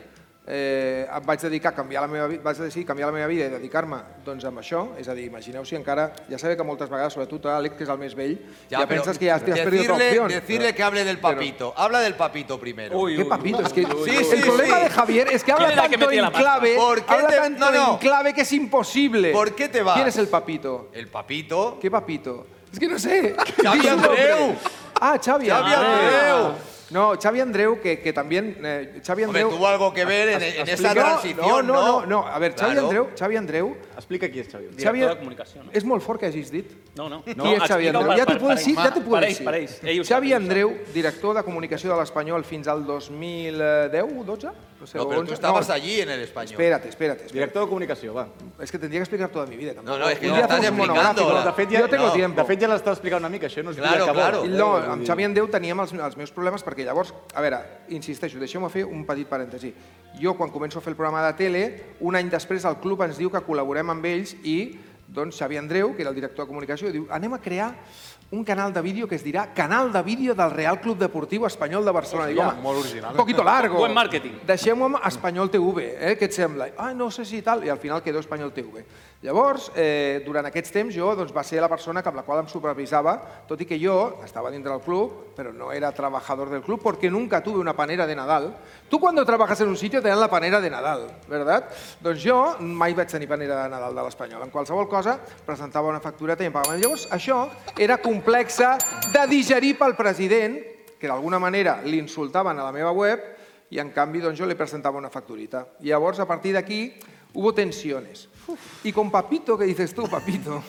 Speaker 5: eh, em vaig dedicar a canviar la meva vida, vaig decidir canviar la meva vida i dedicar-me doncs, amb això, és a dir, imagineu si encara, ja sabeu que moltes vegades, sobretot Àlex, que és el més vell, ja, ja
Speaker 7: pero
Speaker 5: penses que ja has, has perdut
Speaker 7: decirle,
Speaker 5: opcions.
Speaker 7: decirle que hable del papito. Habla del papito primero.
Speaker 5: ¿Qué papito? Es que
Speaker 7: Sí,
Speaker 5: el
Speaker 7: sí,
Speaker 5: problema
Speaker 7: sí.
Speaker 5: de Javier es que habla
Speaker 7: ¿Quién era el que
Speaker 5: tanto
Speaker 7: metía la
Speaker 5: en
Speaker 7: pasta?
Speaker 5: clave,
Speaker 7: ¿Por qué
Speaker 5: habla
Speaker 7: te-
Speaker 5: tanto
Speaker 7: no, no.
Speaker 5: en clave que es imposible.
Speaker 7: ¿Por qué te vas?
Speaker 5: ¿Quién es el papito?
Speaker 7: El papito.
Speaker 5: ¿Qué papito? Es que no sé.
Speaker 7: Xavi
Speaker 5: Digo, hombre.
Speaker 7: Andreu.
Speaker 5: Ah, Xavi,
Speaker 7: Xavi Andreu.
Speaker 5: No, Xavi Andreu, que, que también... eh, Xavi
Speaker 7: Hombre,
Speaker 5: Andreu...
Speaker 7: tuvo algo que ver en-
Speaker 5: Es-
Speaker 7: en esa
Speaker 5: explica-
Speaker 7: transición,
Speaker 5: no, no,
Speaker 7: ¿no?
Speaker 5: no, no. A ver, Xavi
Speaker 7: Claro.
Speaker 5: Andreu... Xavi Andreu...
Speaker 2: Explica qui és Xavi
Speaker 3: Director de comunicació, no?
Speaker 5: És molt fort que hagis dit.
Speaker 3: No, no.
Speaker 5: Qui és Xavi
Speaker 3: explica-ho
Speaker 5: Andreu?
Speaker 3: per-
Speaker 5: Ja t'ho
Speaker 3: per-
Speaker 5: puc
Speaker 3: per
Speaker 5: decir,
Speaker 3: ells.
Speaker 5: ja t'ho puc
Speaker 3: Per
Speaker 5: decir.
Speaker 3: ells, per ells. Ell ho sap,
Speaker 5: Xavi
Speaker 3: ell ho
Speaker 5: Andreu, director de comunicació de l'Espanyol fins al 2010, 12? No sé,
Speaker 7: No,
Speaker 5: o
Speaker 7: pero
Speaker 5: 11.
Speaker 7: tú estabas
Speaker 5: No,
Speaker 7: allí en el español.
Speaker 5: Espérate, espérate, espérate.
Speaker 2: Director de comunicació, va.
Speaker 5: És que tendria que explicar tota la mi vida. Tampoc.
Speaker 7: no, és que
Speaker 5: Un
Speaker 7: no
Speaker 5: dia
Speaker 7: estàs
Speaker 5: fas un
Speaker 7: explicando
Speaker 5: monogràfic.
Speaker 7: ahora.
Speaker 5: De fet, ja, jo tengo
Speaker 7: no.
Speaker 5: tiempo.
Speaker 2: De fet, ja l'estàs explicant una mica, això no és vida que vol.
Speaker 5: No, amb Xavi Andreu teníem els, els meus problemes perquè llavors, a veure, insisteixo, deixeu-me fer un petit parèntesi. Jo, quan començo a fer el programa de tele, un any després el club ens diu que col·laborem amb ells i doncs Xavi Andreu, que era el director de comunicació, diu anem a crear un canal de vídeo que es dirà Canal de Vídeo del Real Club Deportiu Espanyol de Barcelona. Dic,
Speaker 4: Hòstia,
Speaker 5: home,
Speaker 4: molt original. eh?"
Speaker 5: Un poquito largo.
Speaker 4: Buen marketing.
Speaker 5: Deixem-ho amb Espanyol TV, eh? què et sembla? Ah, no sé si tal, i al final quedó Espanyol TV. Llavors, eh, durant aquests temps, jo doncs, va ser la persona que amb la qual em supervisava, tot i que jo estava dintre del club, però no era trabajador del club, porque nunca tuve una panera de Nadal. Tu, quan trabajas en un sitio, te dan la panera de Nadal, ¿verdad? Doncs jo mai vaig tenir panera de Nadal de l'Espanyol. En qualsevol cosa, presentava una factureta i em pagaven. Llavors, això era complexa de digerir pel president, que d'alguna manera li insultaven a la meva web, i en canvi doncs, jo li presentava una facturita. I llavors, a partir d'aquí, hubo tensiones. I con Papito, que dices tu, Papito,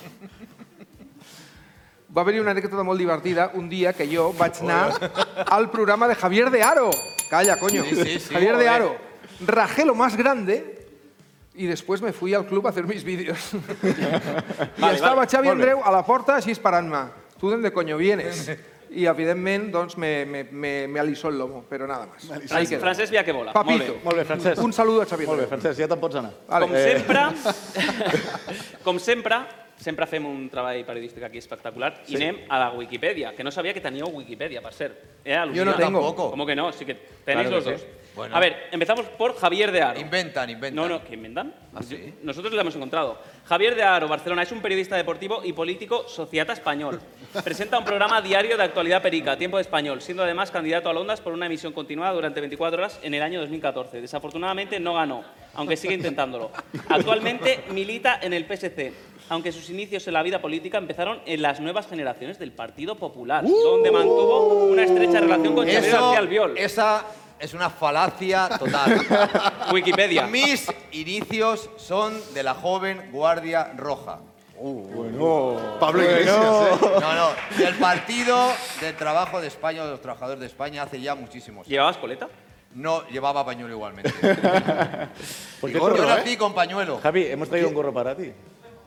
Speaker 5: va haver-hi una anècdota molt divertida un dia que jo vaig anar al programa de Javier de Aro. Calla, coño.
Speaker 7: Sí, sí, sí,
Speaker 5: Javier de
Speaker 7: joder.
Speaker 5: Aro. Rajé lo más grande y después me fui al club a hacer mis vídeos. I
Speaker 3: Vale,
Speaker 5: vale, estava
Speaker 3: vale,
Speaker 5: vale. Xavi
Speaker 3: molt bé.
Speaker 5: Andreu a la porta així esperant-me. Tu d'on de coño vienes? I, evidentment, doncs, me, me, me, me alisó el lomo, però nada más. Ahí queda.
Speaker 3: Francesc Villaquevola.
Speaker 5: Papito.
Speaker 3: Molt bé.
Speaker 2: Molt bé, Francesc.
Speaker 5: Un saludo a Xavi
Speaker 2: Molt bé,
Speaker 5: Andreu.
Speaker 2: Francesc, ja te'n pots anar.
Speaker 5: Vale. eh,
Speaker 3: Com
Speaker 7: eh.
Speaker 3: sempre, com sempre, sempre fem un treball periodístic aquí espectacular
Speaker 5: Sí.
Speaker 3: i anem a la Wikipedia, que no sabia que teníeu Wikipedia, per cert. He al·lucinat.
Speaker 7: tengo. tampoco.
Speaker 3: ¿Cómo que no? Sí que tenéis
Speaker 7: Claro que
Speaker 3: los
Speaker 7: sí.
Speaker 3: dos.
Speaker 7: Bueno.
Speaker 3: A ver, empezamos por Javier de Aro.
Speaker 7: Inventan, inventan. Ah,
Speaker 3: No, no, que inventan. Yo- Nosotros lo hemos encontrado. Javier de Aro, Barcelona, es un periodista deportivo y político sociata español. Presenta un programa diario de actualidad perica, Tiempo de Español, siendo además candidato a Ondas por una emisión continuada durante 24 horas en el año 2014. Desafortunadamente no ganó, aunque sigue intentándolo. Actualmente milita en el PSC, aunque sus inicios en la vida política empezaron en las nuevas generaciones del Partido Popular, donde mantuvo una estrecha relación con Xavier
Speaker 7: ¡Uh! Eso-
Speaker 3: García Albiol.
Speaker 7: Esa es una falacia total.
Speaker 3: Wikipedia.
Speaker 7: Mis inicios son de la joven Guardia Roja.
Speaker 2: bueno.
Speaker 4: Pablo Iglesias, ¿eh?
Speaker 7: No, no, del Partido del Trabajo de España, de los Trabajadores de España, hace ya muchísimos años.
Speaker 3: ¿Llevabas coleta?
Speaker 7: No, llevaba pañuelo igualmente.
Speaker 2: Pues
Speaker 7: Y
Speaker 2: qué
Speaker 7: gorro,
Speaker 2: gorro,
Speaker 7: Yo nací
Speaker 2: ¿eh?
Speaker 7: con pañuelo.
Speaker 2: Javi, hemos traído un gorro para ti.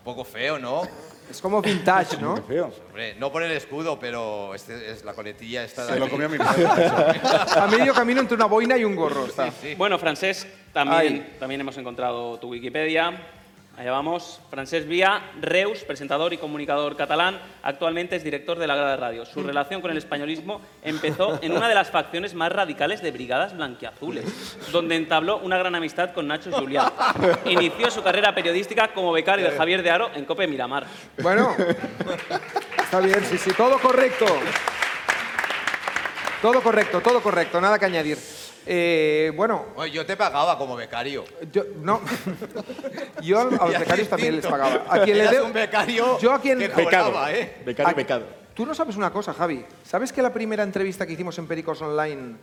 Speaker 7: Poco feo, ¿no?
Speaker 5: Es como vintage, ¿no?
Speaker 2: Feo.
Speaker 7: Hombre, no por el escudo, pero este es la coletilla esta.
Speaker 4: Se
Speaker 7: de
Speaker 4: lo
Speaker 7: aquí.
Speaker 4: comió mi
Speaker 5: A medio camino entre una boina y un gorro. Está.
Speaker 3: Bueno, Francés, también, también hemos encontrado tu Wikipedia. Allá vamos. Francés Vía, Reus, presentador y comunicador catalán, actualmente es director de la Grada Radio. Su relación con el españolismo empezó en una de las facciones más radicales de Brigadas Blanquiazules, donde entabló una gran amistad con Nacho Julián. Inició su carrera periodística como becario de Javier de Aro en Cope Miramar.
Speaker 5: Bueno, está bien, sí, sí, todo correcto. Todo correcto, todo correcto, nada que añadir. Eh, bueno,
Speaker 7: Bueno, yo te pagaba como becario.
Speaker 5: yo, no. yo a los
Speaker 7: Ya
Speaker 5: becarios también les
Speaker 7: distinto.
Speaker 5: pagaba. A quien le
Speaker 7: Eras
Speaker 5: debo-
Speaker 7: un becario
Speaker 5: Yo a quien.
Speaker 7: que Becado. cobraba, ¿eh?
Speaker 2: Becario,
Speaker 5: A-
Speaker 2: becado.
Speaker 5: Tú no sabes una cosa, Javi. ¿Sabes que la primera entrevista que hicimos en Pericos Online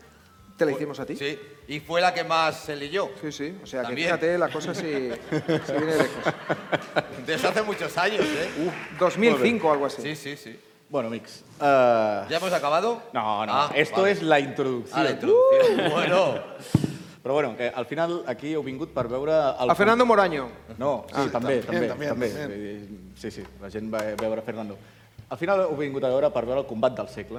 Speaker 5: ¿Te la hicimos a ti?
Speaker 7: Sí. Y fue la que más se leyó.
Speaker 5: Sí, sí. O sea,
Speaker 7: También.
Speaker 5: que fíjate, la cosa sí, sí viene de lejos.
Speaker 7: Desde hace muchos años, ¿eh?
Speaker 5: 2005 o algo así.
Speaker 7: Sí, sí, sí.
Speaker 2: Bueno, Mix. eh,
Speaker 7: ¿Ya hemos acabado?
Speaker 2: No, no,
Speaker 7: Ah,
Speaker 2: esto
Speaker 7: vale.
Speaker 2: és la introducció.
Speaker 7: Ah, la introducció.
Speaker 2: Uh!
Speaker 7: Bueno.
Speaker 2: Però bueno, que al final aquí heu vingut per veure... El...
Speaker 5: A Fernando Moraño.
Speaker 2: No, sí,
Speaker 5: Ah,
Speaker 2: també, també, també,
Speaker 5: també, també,
Speaker 2: també. Vull dir, Sí, sí, la gent va veure Fernando. Al final heu vingut a veure per veure el combat del segle.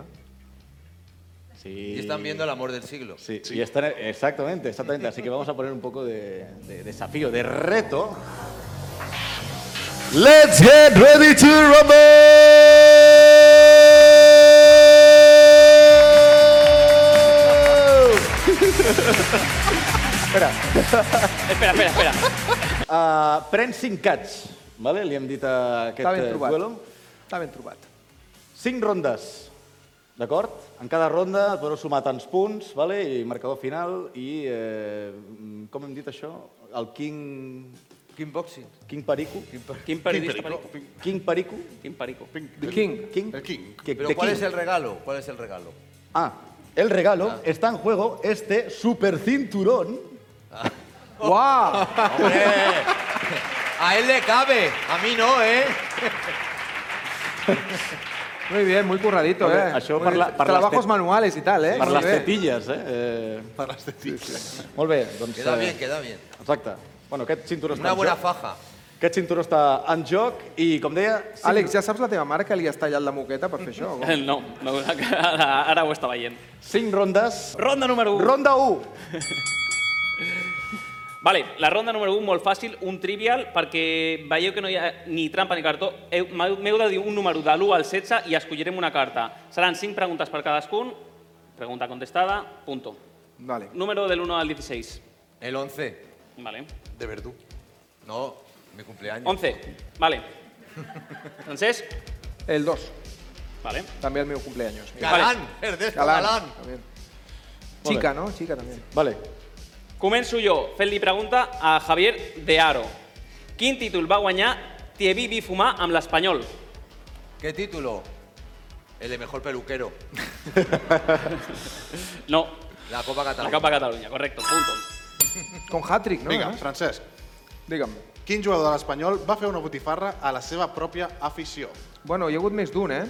Speaker 2: Sí.
Speaker 7: Y están viendo el amor del siglo.
Speaker 2: Sí, Y están, exactamente, exactamente. Así que vamos a poner un poco de, de desafío, de reto.
Speaker 17: Let's get ready to rumble!
Speaker 2: Espera.
Speaker 3: Espera, espera, espera.
Speaker 2: Uh, pren 5 cats, vale? li hem dit a aquest
Speaker 5: Està ben
Speaker 2: eh,
Speaker 5: trobat.
Speaker 2: duelo.
Speaker 5: Està ben trobat.
Speaker 2: 5 rondes, d'acord? En cada ronda podeu sumar tants punts, vale? i marcador final, i eh, com hem dit això? El King...
Speaker 7: King Boxing.
Speaker 2: King Perico. King,
Speaker 3: King Periodista Perico.
Speaker 2: King Perico.
Speaker 3: King Perico.
Speaker 2: The King. King.
Speaker 7: El King.
Speaker 2: Que-
Speaker 7: Pero
Speaker 2: The
Speaker 7: ¿cuál
Speaker 2: King.
Speaker 7: es el regalo? ¿Cuál es el regalo?
Speaker 2: Ah, el regalo está en juego este super cinturón.
Speaker 5: ¡Guau!
Speaker 7: ¡Hombre! A él le cabe, a mí no, ¿eh?
Speaker 5: Muy bien, muy curradito,
Speaker 2: Hombre,
Speaker 5: eh?
Speaker 2: això
Speaker 5: Muy
Speaker 2: per la-
Speaker 5: bien.
Speaker 2: per les
Speaker 5: Trabajos
Speaker 2: tet-
Speaker 5: manuales y tal, eh?
Speaker 2: Per
Speaker 5: Muy
Speaker 2: les
Speaker 5: bien.
Speaker 2: tetilles, eh? eh per les tetilles. Molt bé, doncs...
Speaker 7: Queda
Speaker 2: eh,
Speaker 7: bien, queda bien.
Speaker 2: Exacte. Bueno, aquest cinturó està
Speaker 7: Una
Speaker 2: en
Speaker 7: buena
Speaker 2: joc.
Speaker 7: faja.
Speaker 2: Aquest cinturó està en joc i, com deia... cinc-
Speaker 5: Àlex, ja saps la teva mare que li has tallat la moqueta per fer
Speaker 2: Oh.
Speaker 5: això? o com?
Speaker 3: No, no ara, ara ho està veient.
Speaker 2: Cinc rondes.
Speaker 3: Ronda número 1.
Speaker 2: Ronda 1.
Speaker 3: Vale, la ronda número 1, molt fàcil, un trivial, perquè veieu que no hi ha ni trampa ni cartó. Heu- M'heu m'heu de dir un número de l'1 al 16 i escollirem una carta. Seran 5 preguntes per cadascun, pregunta contestada, punto.
Speaker 5: Vale.
Speaker 3: Número del 1 al 16.
Speaker 7: El 11.
Speaker 3: Vale.
Speaker 7: De Verdú. No, mi cumpleaños.
Speaker 3: 11, vale. Francesc,
Speaker 5: El 2,
Speaker 3: vale.
Speaker 5: també el meu cumpleaños.
Speaker 3: Galán,
Speaker 7: es de esto,
Speaker 5: Galán.
Speaker 7: galán.
Speaker 5: También.
Speaker 3: Molt
Speaker 5: Chica,
Speaker 3: bé.
Speaker 5: no? Chica también.
Speaker 2: Vale.
Speaker 3: Començo jo fent-li pregunta a Javier de Aro. Quin títol va guanyar Tievi Bifumà amb l'Espanyol?
Speaker 7: ¿Qué título? El de mejor peluquero.
Speaker 3: No,
Speaker 7: La Copa Cataluña.
Speaker 3: la Copa Catalunya, correcto, punto.
Speaker 5: Con hat-trick, no?
Speaker 4: Vinga,
Speaker 5: Eh?
Speaker 4: Francesc.
Speaker 5: Digue'm.
Speaker 4: Quin jugador de l'Espanyol va fer una botifarra a la seva pròpia afició?
Speaker 5: Bueno, hi ha hagut més d'un, eh?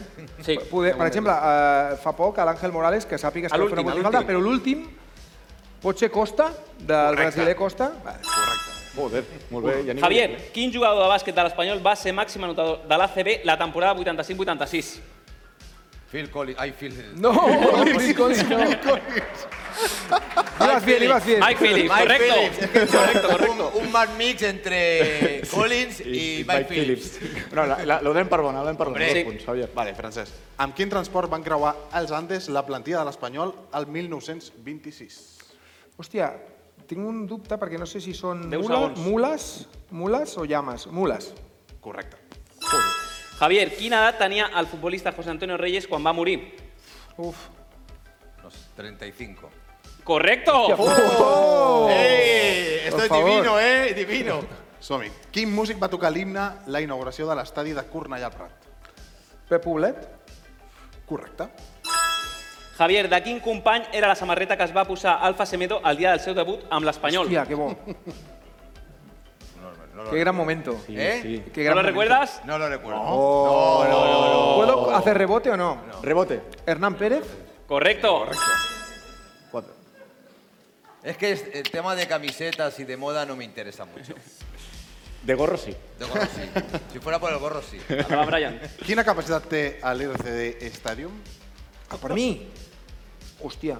Speaker 3: Sí.
Speaker 5: Poder, per exemple, eh, fa poc a l'Àngel Morales, que sàpigues
Speaker 4: A
Speaker 5: que va fer
Speaker 4: l'últim,
Speaker 5: una
Speaker 4: a l'últim.
Speaker 5: botifarra, però l'últim pot ser Costa, del brasiler Costa.
Speaker 2: Joder, molt bé. Ja n'hi
Speaker 3: Javier,
Speaker 2: havia.
Speaker 3: quin jugador de bàsquet de l'Espanyol va ser màxim anotador de l'ACB la temporada 85-86?
Speaker 7: Phil Collins. Ay, Phil.
Speaker 5: No, Phil Collins, no. Ibas bien, ibas bien.
Speaker 3: Mike Phillips, correcto.
Speaker 7: correcto, correcto. Un, un mad mix entre Eh, Collins y, Mike Phillips.
Speaker 2: No, la, la, la donem per bona, la donem per bona.
Speaker 7: Hombre.
Speaker 2: Dos punts, Javier.
Speaker 4: Vale, Francesc. Amb quin transport van creuar els Andes la plantilla de l'Espanyol el 1926?
Speaker 5: Hòstia, tinc un dubte perquè no sé si són
Speaker 3: Deu
Speaker 5: mula,
Speaker 3: segons.
Speaker 5: mules, mules o llames. Mules.
Speaker 4: Correcte.
Speaker 3: Javier, quina edat tenia el futbolista José Antonio Reyes quan va morir?
Speaker 5: Uf.
Speaker 7: Los 35.
Speaker 3: Correcto.
Speaker 4: ¡Eh!
Speaker 7: Esto es divino, ¿eh? Divino.
Speaker 4: Som-hi. Quin músic va tocar l'himne la inauguració de l'estadi de Cornellà al Prat?
Speaker 5: Pep Poblet.
Speaker 4: Correcte.
Speaker 3: Javier, de quin company era la samarreta que es va posar Alfa Semedo el dia del seu debut amb l'Espanyol?
Speaker 5: Hòstia, que bo. Qué gran momento.
Speaker 7: ¿Eh?
Speaker 5: Qué
Speaker 3: ¿No
Speaker 5: gran
Speaker 3: lo
Speaker 5: momento.
Speaker 3: recuerdas?
Speaker 7: No lo recuerdo.
Speaker 5: Oh. ¿Puedo hacer rebote o no?
Speaker 2: Rebote.
Speaker 5: Hernán Pérez.
Speaker 3: Correcto.
Speaker 2: Quatre.
Speaker 7: Es que es- el tema de camisetas y de moda no me interesa mucho.
Speaker 2: De gorro sí.
Speaker 7: De gorro sí. Si fuera por el gorro sí.
Speaker 3: Acaba Brian.
Speaker 4: Quina capacitat té l'RCD Stadium?
Speaker 5: Ah, per mi? Hòstia.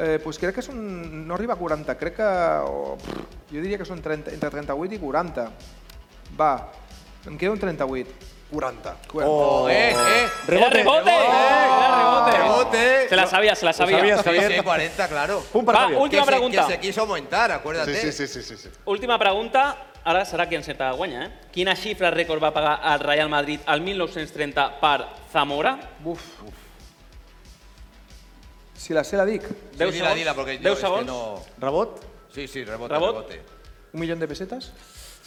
Speaker 5: Eh, pues crec que és un... no arriba a 40, crec que... O, pff, jo diria que són 30, entre 38 i 40. Va, em queda un 38.
Speaker 4: 40.
Speaker 7: Oh, eh, eh.
Speaker 3: ¡Era rebote! eh,
Speaker 5: Eh,
Speaker 3: ¡Era rebote!
Speaker 7: Rebote.
Speaker 3: Se la sabía, se la sabía.
Speaker 7: Sí, sí, 40, claro.
Speaker 2: Pum per
Speaker 3: Va,
Speaker 2: Javier.
Speaker 3: última
Speaker 7: Que se-
Speaker 3: pregunta.
Speaker 7: Que se quiso montar, acuérdate.
Speaker 4: Sí, sí, sí, sí, sí.
Speaker 3: Última pregunta. Ara serà qui encerta guanya, eh? Quina xifra rècord va pagar el Real Madrid al 1930 per Zamora?
Speaker 5: Buf. Si la sé la dic.
Speaker 3: Deu
Speaker 7: Sí, dila,
Speaker 3: segons.
Speaker 7: dila, porque yo
Speaker 3: Deu
Speaker 7: es que
Speaker 3: segons.
Speaker 7: no...
Speaker 2: Rebot?
Speaker 7: Sí, sí, rebote,
Speaker 3: Rebot.
Speaker 7: rebote.
Speaker 5: Un milió de pessetes?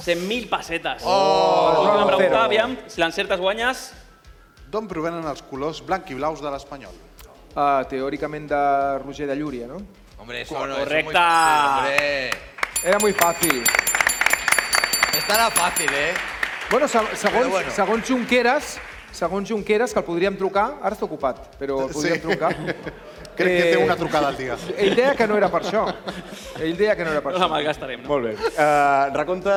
Speaker 3: 100.000 pessetes. Oh, Última
Speaker 5: no,
Speaker 3: pregunta,
Speaker 5: zero.
Speaker 3: aviam. Si l'encertes guanyes...
Speaker 4: D'on provenen els colors blanc i blaus de l'Espanyol?
Speaker 5: eh, teòricament de Roger de Llúria, no?
Speaker 7: Hombre, eso no, eso es muy
Speaker 5: Correcte.
Speaker 7: fácil, hombre.
Speaker 5: Era muy fácil.
Speaker 7: Esta era fácil, ¿eh?
Speaker 5: Bueno, se- segons,
Speaker 7: Però bueno.
Speaker 5: bueno. segons Junqueras, segons Junqueras, que el podríem trucar, ara està ocupat, però el podríem
Speaker 4: Sí.
Speaker 5: trucar. Eh,
Speaker 4: Crec que té una trucada al dia.
Speaker 5: Ell deia que no era per això. Ell deia que no era per
Speaker 3: No
Speaker 5: això.
Speaker 3: la malgastarem, no?
Speaker 2: Molt bé. Uh, recompte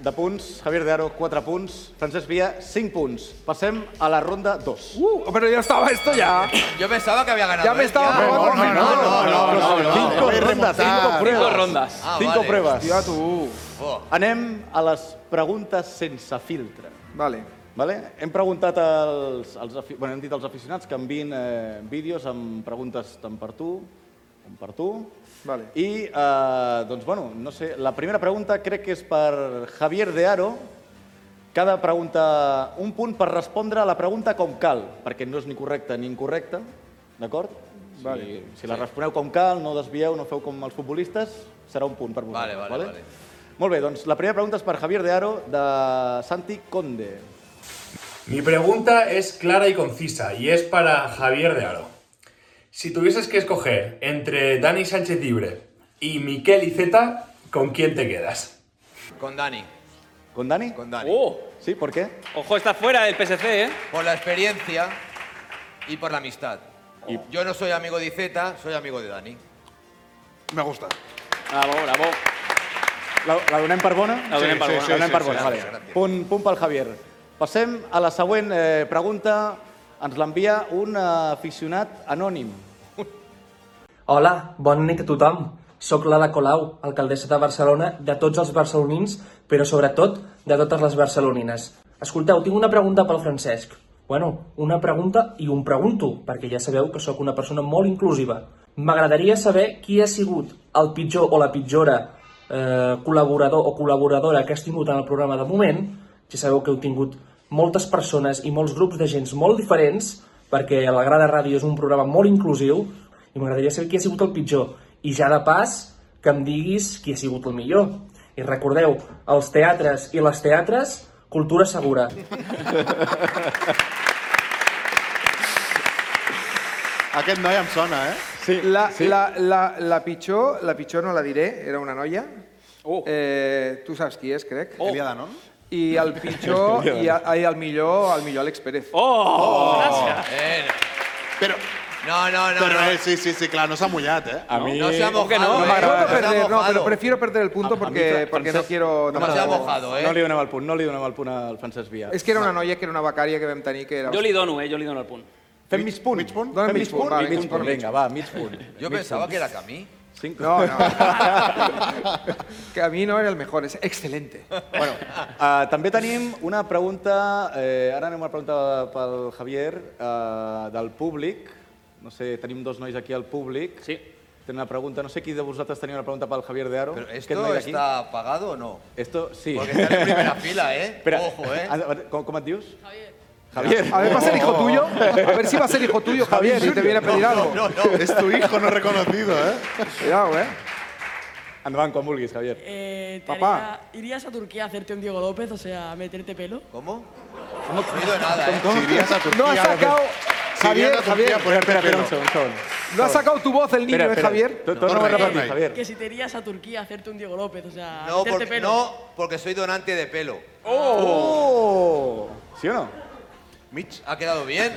Speaker 2: de punts. Javier de Aro, 4 punts. Francesc Via, 5 punts. Passem a la ronda 2.
Speaker 5: Uh, però ja estava, esto ya.
Speaker 7: Yo pensaba que había ganado.
Speaker 5: Ya
Speaker 2: ¿eh?
Speaker 5: me
Speaker 7: él,
Speaker 5: estaba
Speaker 7: tío.
Speaker 5: probando. No, no, no, no, no,
Speaker 2: Cinco
Speaker 5: no, no, no,
Speaker 2: rondas,
Speaker 5: no,
Speaker 2: cinco
Speaker 5: no,
Speaker 2: pruebas.
Speaker 5: cinco rondas.
Speaker 7: Ah,
Speaker 2: cinco
Speaker 7: vale.
Speaker 2: pruebas.
Speaker 7: Hòstia,
Speaker 5: tu.
Speaker 7: Oh.
Speaker 2: Anem a les preguntes sense filtre.
Speaker 5: Vale.
Speaker 2: Vale? Hem preguntat als, als, afi- bueno, hem dit als aficionats que envin eh, vídeos amb preguntes tant per tu com per tu.
Speaker 5: Vale.
Speaker 2: I, eh, doncs, bueno, no sé, la primera pregunta crec que és per Javier de Aro, que ha de preguntar un punt per respondre a la pregunta com cal, perquè no és ni correcta ni incorrecta, d'acord? Vale. Si, si la responeu com cal, no desvieu, no feu com els futbolistes, serà un punt per vosaltres.
Speaker 7: vale, vale.
Speaker 2: Molt bé, doncs la primera pregunta és per Javier de Aro, de Santi Conde.
Speaker 18: Mi pregunta es clara y concisa y es para Javier de Aro. Si tuvieses que escoger entre Dani Sánchez Libre y Miquel Iceta, ¿con quién te quedas?
Speaker 7: Con Dani.
Speaker 2: ¿Con Dani?
Speaker 7: Con Dani. Oh.
Speaker 2: Sí, ¿por qué?
Speaker 3: Ojo, está fuera del PSC, ¿eh?
Speaker 7: Por la experiencia y por la amistad. Yo no soy amigo de Iceta, soy amigo de Dani.
Speaker 4: Me gusta.
Speaker 3: Bravo, bravo.
Speaker 2: La, la donem per bona?
Speaker 3: La donem per bona.
Speaker 2: La donem per
Speaker 3: Sí,
Speaker 2: bona,
Speaker 3: sí, sí,
Speaker 2: vale.
Speaker 3: sí, gràcies.
Speaker 2: Punt, punt pel Javier. Passem a la següent eh, pregunta. Ens l'envia un eh, aficionat anònim.
Speaker 19: Hola, bona nit a tothom. Soc l'Ada Colau, alcaldessa de Barcelona, de tots els barcelonins, però sobretot de totes les barcelonines. Escolteu, tinc una pregunta pel Francesc. Bueno, una pregunta i un pregunto, perquè ja sabeu que sóc una persona molt inclusiva. M'agradaria saber qui ha sigut el pitjor o la pitjora eh, col·laborador o col·laboradora que has tingut en el programa de moment. Ja sabeu que heu tingut moltes persones i molts grups de gens molt diferents, perquè la Grada Ràdio és un programa molt inclusiu, i m'agradaria saber qui ha sigut el pitjor. I ja de pas, que em diguis qui ha sigut el millor. I recordeu, els teatres i les teatres, cultura segura.
Speaker 4: Aquest noi em sona, eh?
Speaker 5: Sí, la,
Speaker 4: sí.
Speaker 5: La, la, la, pitjor, la pitjor no la diré, era una noia. Oh. Eh, tu saps qui és, crec.
Speaker 4: Oh. Elia Danon?
Speaker 5: I el pitjor, i, a, i el millor, el millor Àlex Pérez.
Speaker 3: Oh,
Speaker 7: Eh,
Speaker 4: Pero...
Speaker 7: No, no, no.
Speaker 4: Pero
Speaker 7: no.
Speaker 4: eh, sí, sí, sí, claro, no se ha mullat, ¿eh?
Speaker 7: A mí- No se ha mojado,
Speaker 5: No,
Speaker 7: eh.
Speaker 5: me agrada
Speaker 7: No se ha
Speaker 5: perder, no,
Speaker 7: mojado.
Speaker 5: pero prefiero perder el punto porque, porque no quiero... tampoco-
Speaker 2: No li donem el punt, no li donem el punt al Francesc Via.
Speaker 5: És que era una noia que era una becària que vam tenir que era...
Speaker 3: Yo le dono, ¿eh? Yo le dono el punt.
Speaker 2: Fem mig punt. Mig punt?
Speaker 5: Dóna'm
Speaker 2: Fem
Speaker 5: mig
Speaker 2: mig
Speaker 5: punt,
Speaker 2: punt?
Speaker 5: vale,
Speaker 2: Mig
Speaker 5: mig
Speaker 2: punt,
Speaker 5: punt.
Speaker 2: vinga, va, mig punt.
Speaker 7: Yo
Speaker 2: Mig
Speaker 7: pensaba
Speaker 2: punt.
Speaker 7: que era Camí.
Speaker 2: Cinc.
Speaker 5: No, no. que a mi no era el mejor, es excelente.
Speaker 2: Bueno, uh, també tenim una pregunta, eh, ara anem a una pregunta pel Javier, eh, del públic. No sé, tenim dos nois aquí al públic.
Speaker 3: Sí.
Speaker 2: Tenen una pregunta, no sé qui de vosaltres tenia una pregunta pel Javier de Aro.
Speaker 7: Pero
Speaker 2: Aquest
Speaker 7: ¿Esto
Speaker 2: noi d'aquí.
Speaker 7: está pagado o no?
Speaker 2: Esto, sí. Ah,
Speaker 7: Porque está en primera fila, ¿eh? Ojo, ¿eh?
Speaker 2: a veure, Com, com et dius? Javier.
Speaker 5: A ver, va a ser hijo tuyo. A ver si va a ser hijo tuyo, Javier, y te viene a pedir algo.
Speaker 4: Es tu hijo no reconocido, ¿eh?
Speaker 5: Cuidado, ¿eh?
Speaker 2: Endavant, quan vulguis, Javier.
Speaker 20: Eh, te
Speaker 2: Papá.
Speaker 20: haría- ¿Irías a Turquía a hacerte un Diego López, o sea, a meterte pelo?
Speaker 7: ¿Cómo? No he oído nada, ¿eh?
Speaker 5: ¿Cómo? Si irías a Turquía, No ha sacado- Si Javier, irías a Turquía, Javier.
Speaker 2: Espera, espera, espera,
Speaker 5: pelo.
Speaker 2: un segon, un segon.
Speaker 5: No ha sacado tu voz el niño,
Speaker 2: Espera,
Speaker 5: ¿eh,
Speaker 2: espera.
Speaker 5: Javier?
Speaker 2: To- Torna a repetir, Javier.
Speaker 20: Que si te irías a Turquía a hacerte un Diego López, o sea, a
Speaker 7: No,
Speaker 20: Ah, meterte
Speaker 7: porque,
Speaker 20: pelo.
Speaker 7: no, porque soy donante de pelo.
Speaker 2: Oh! ¿Sí o no?
Speaker 7: Mitch, ha quedado bien.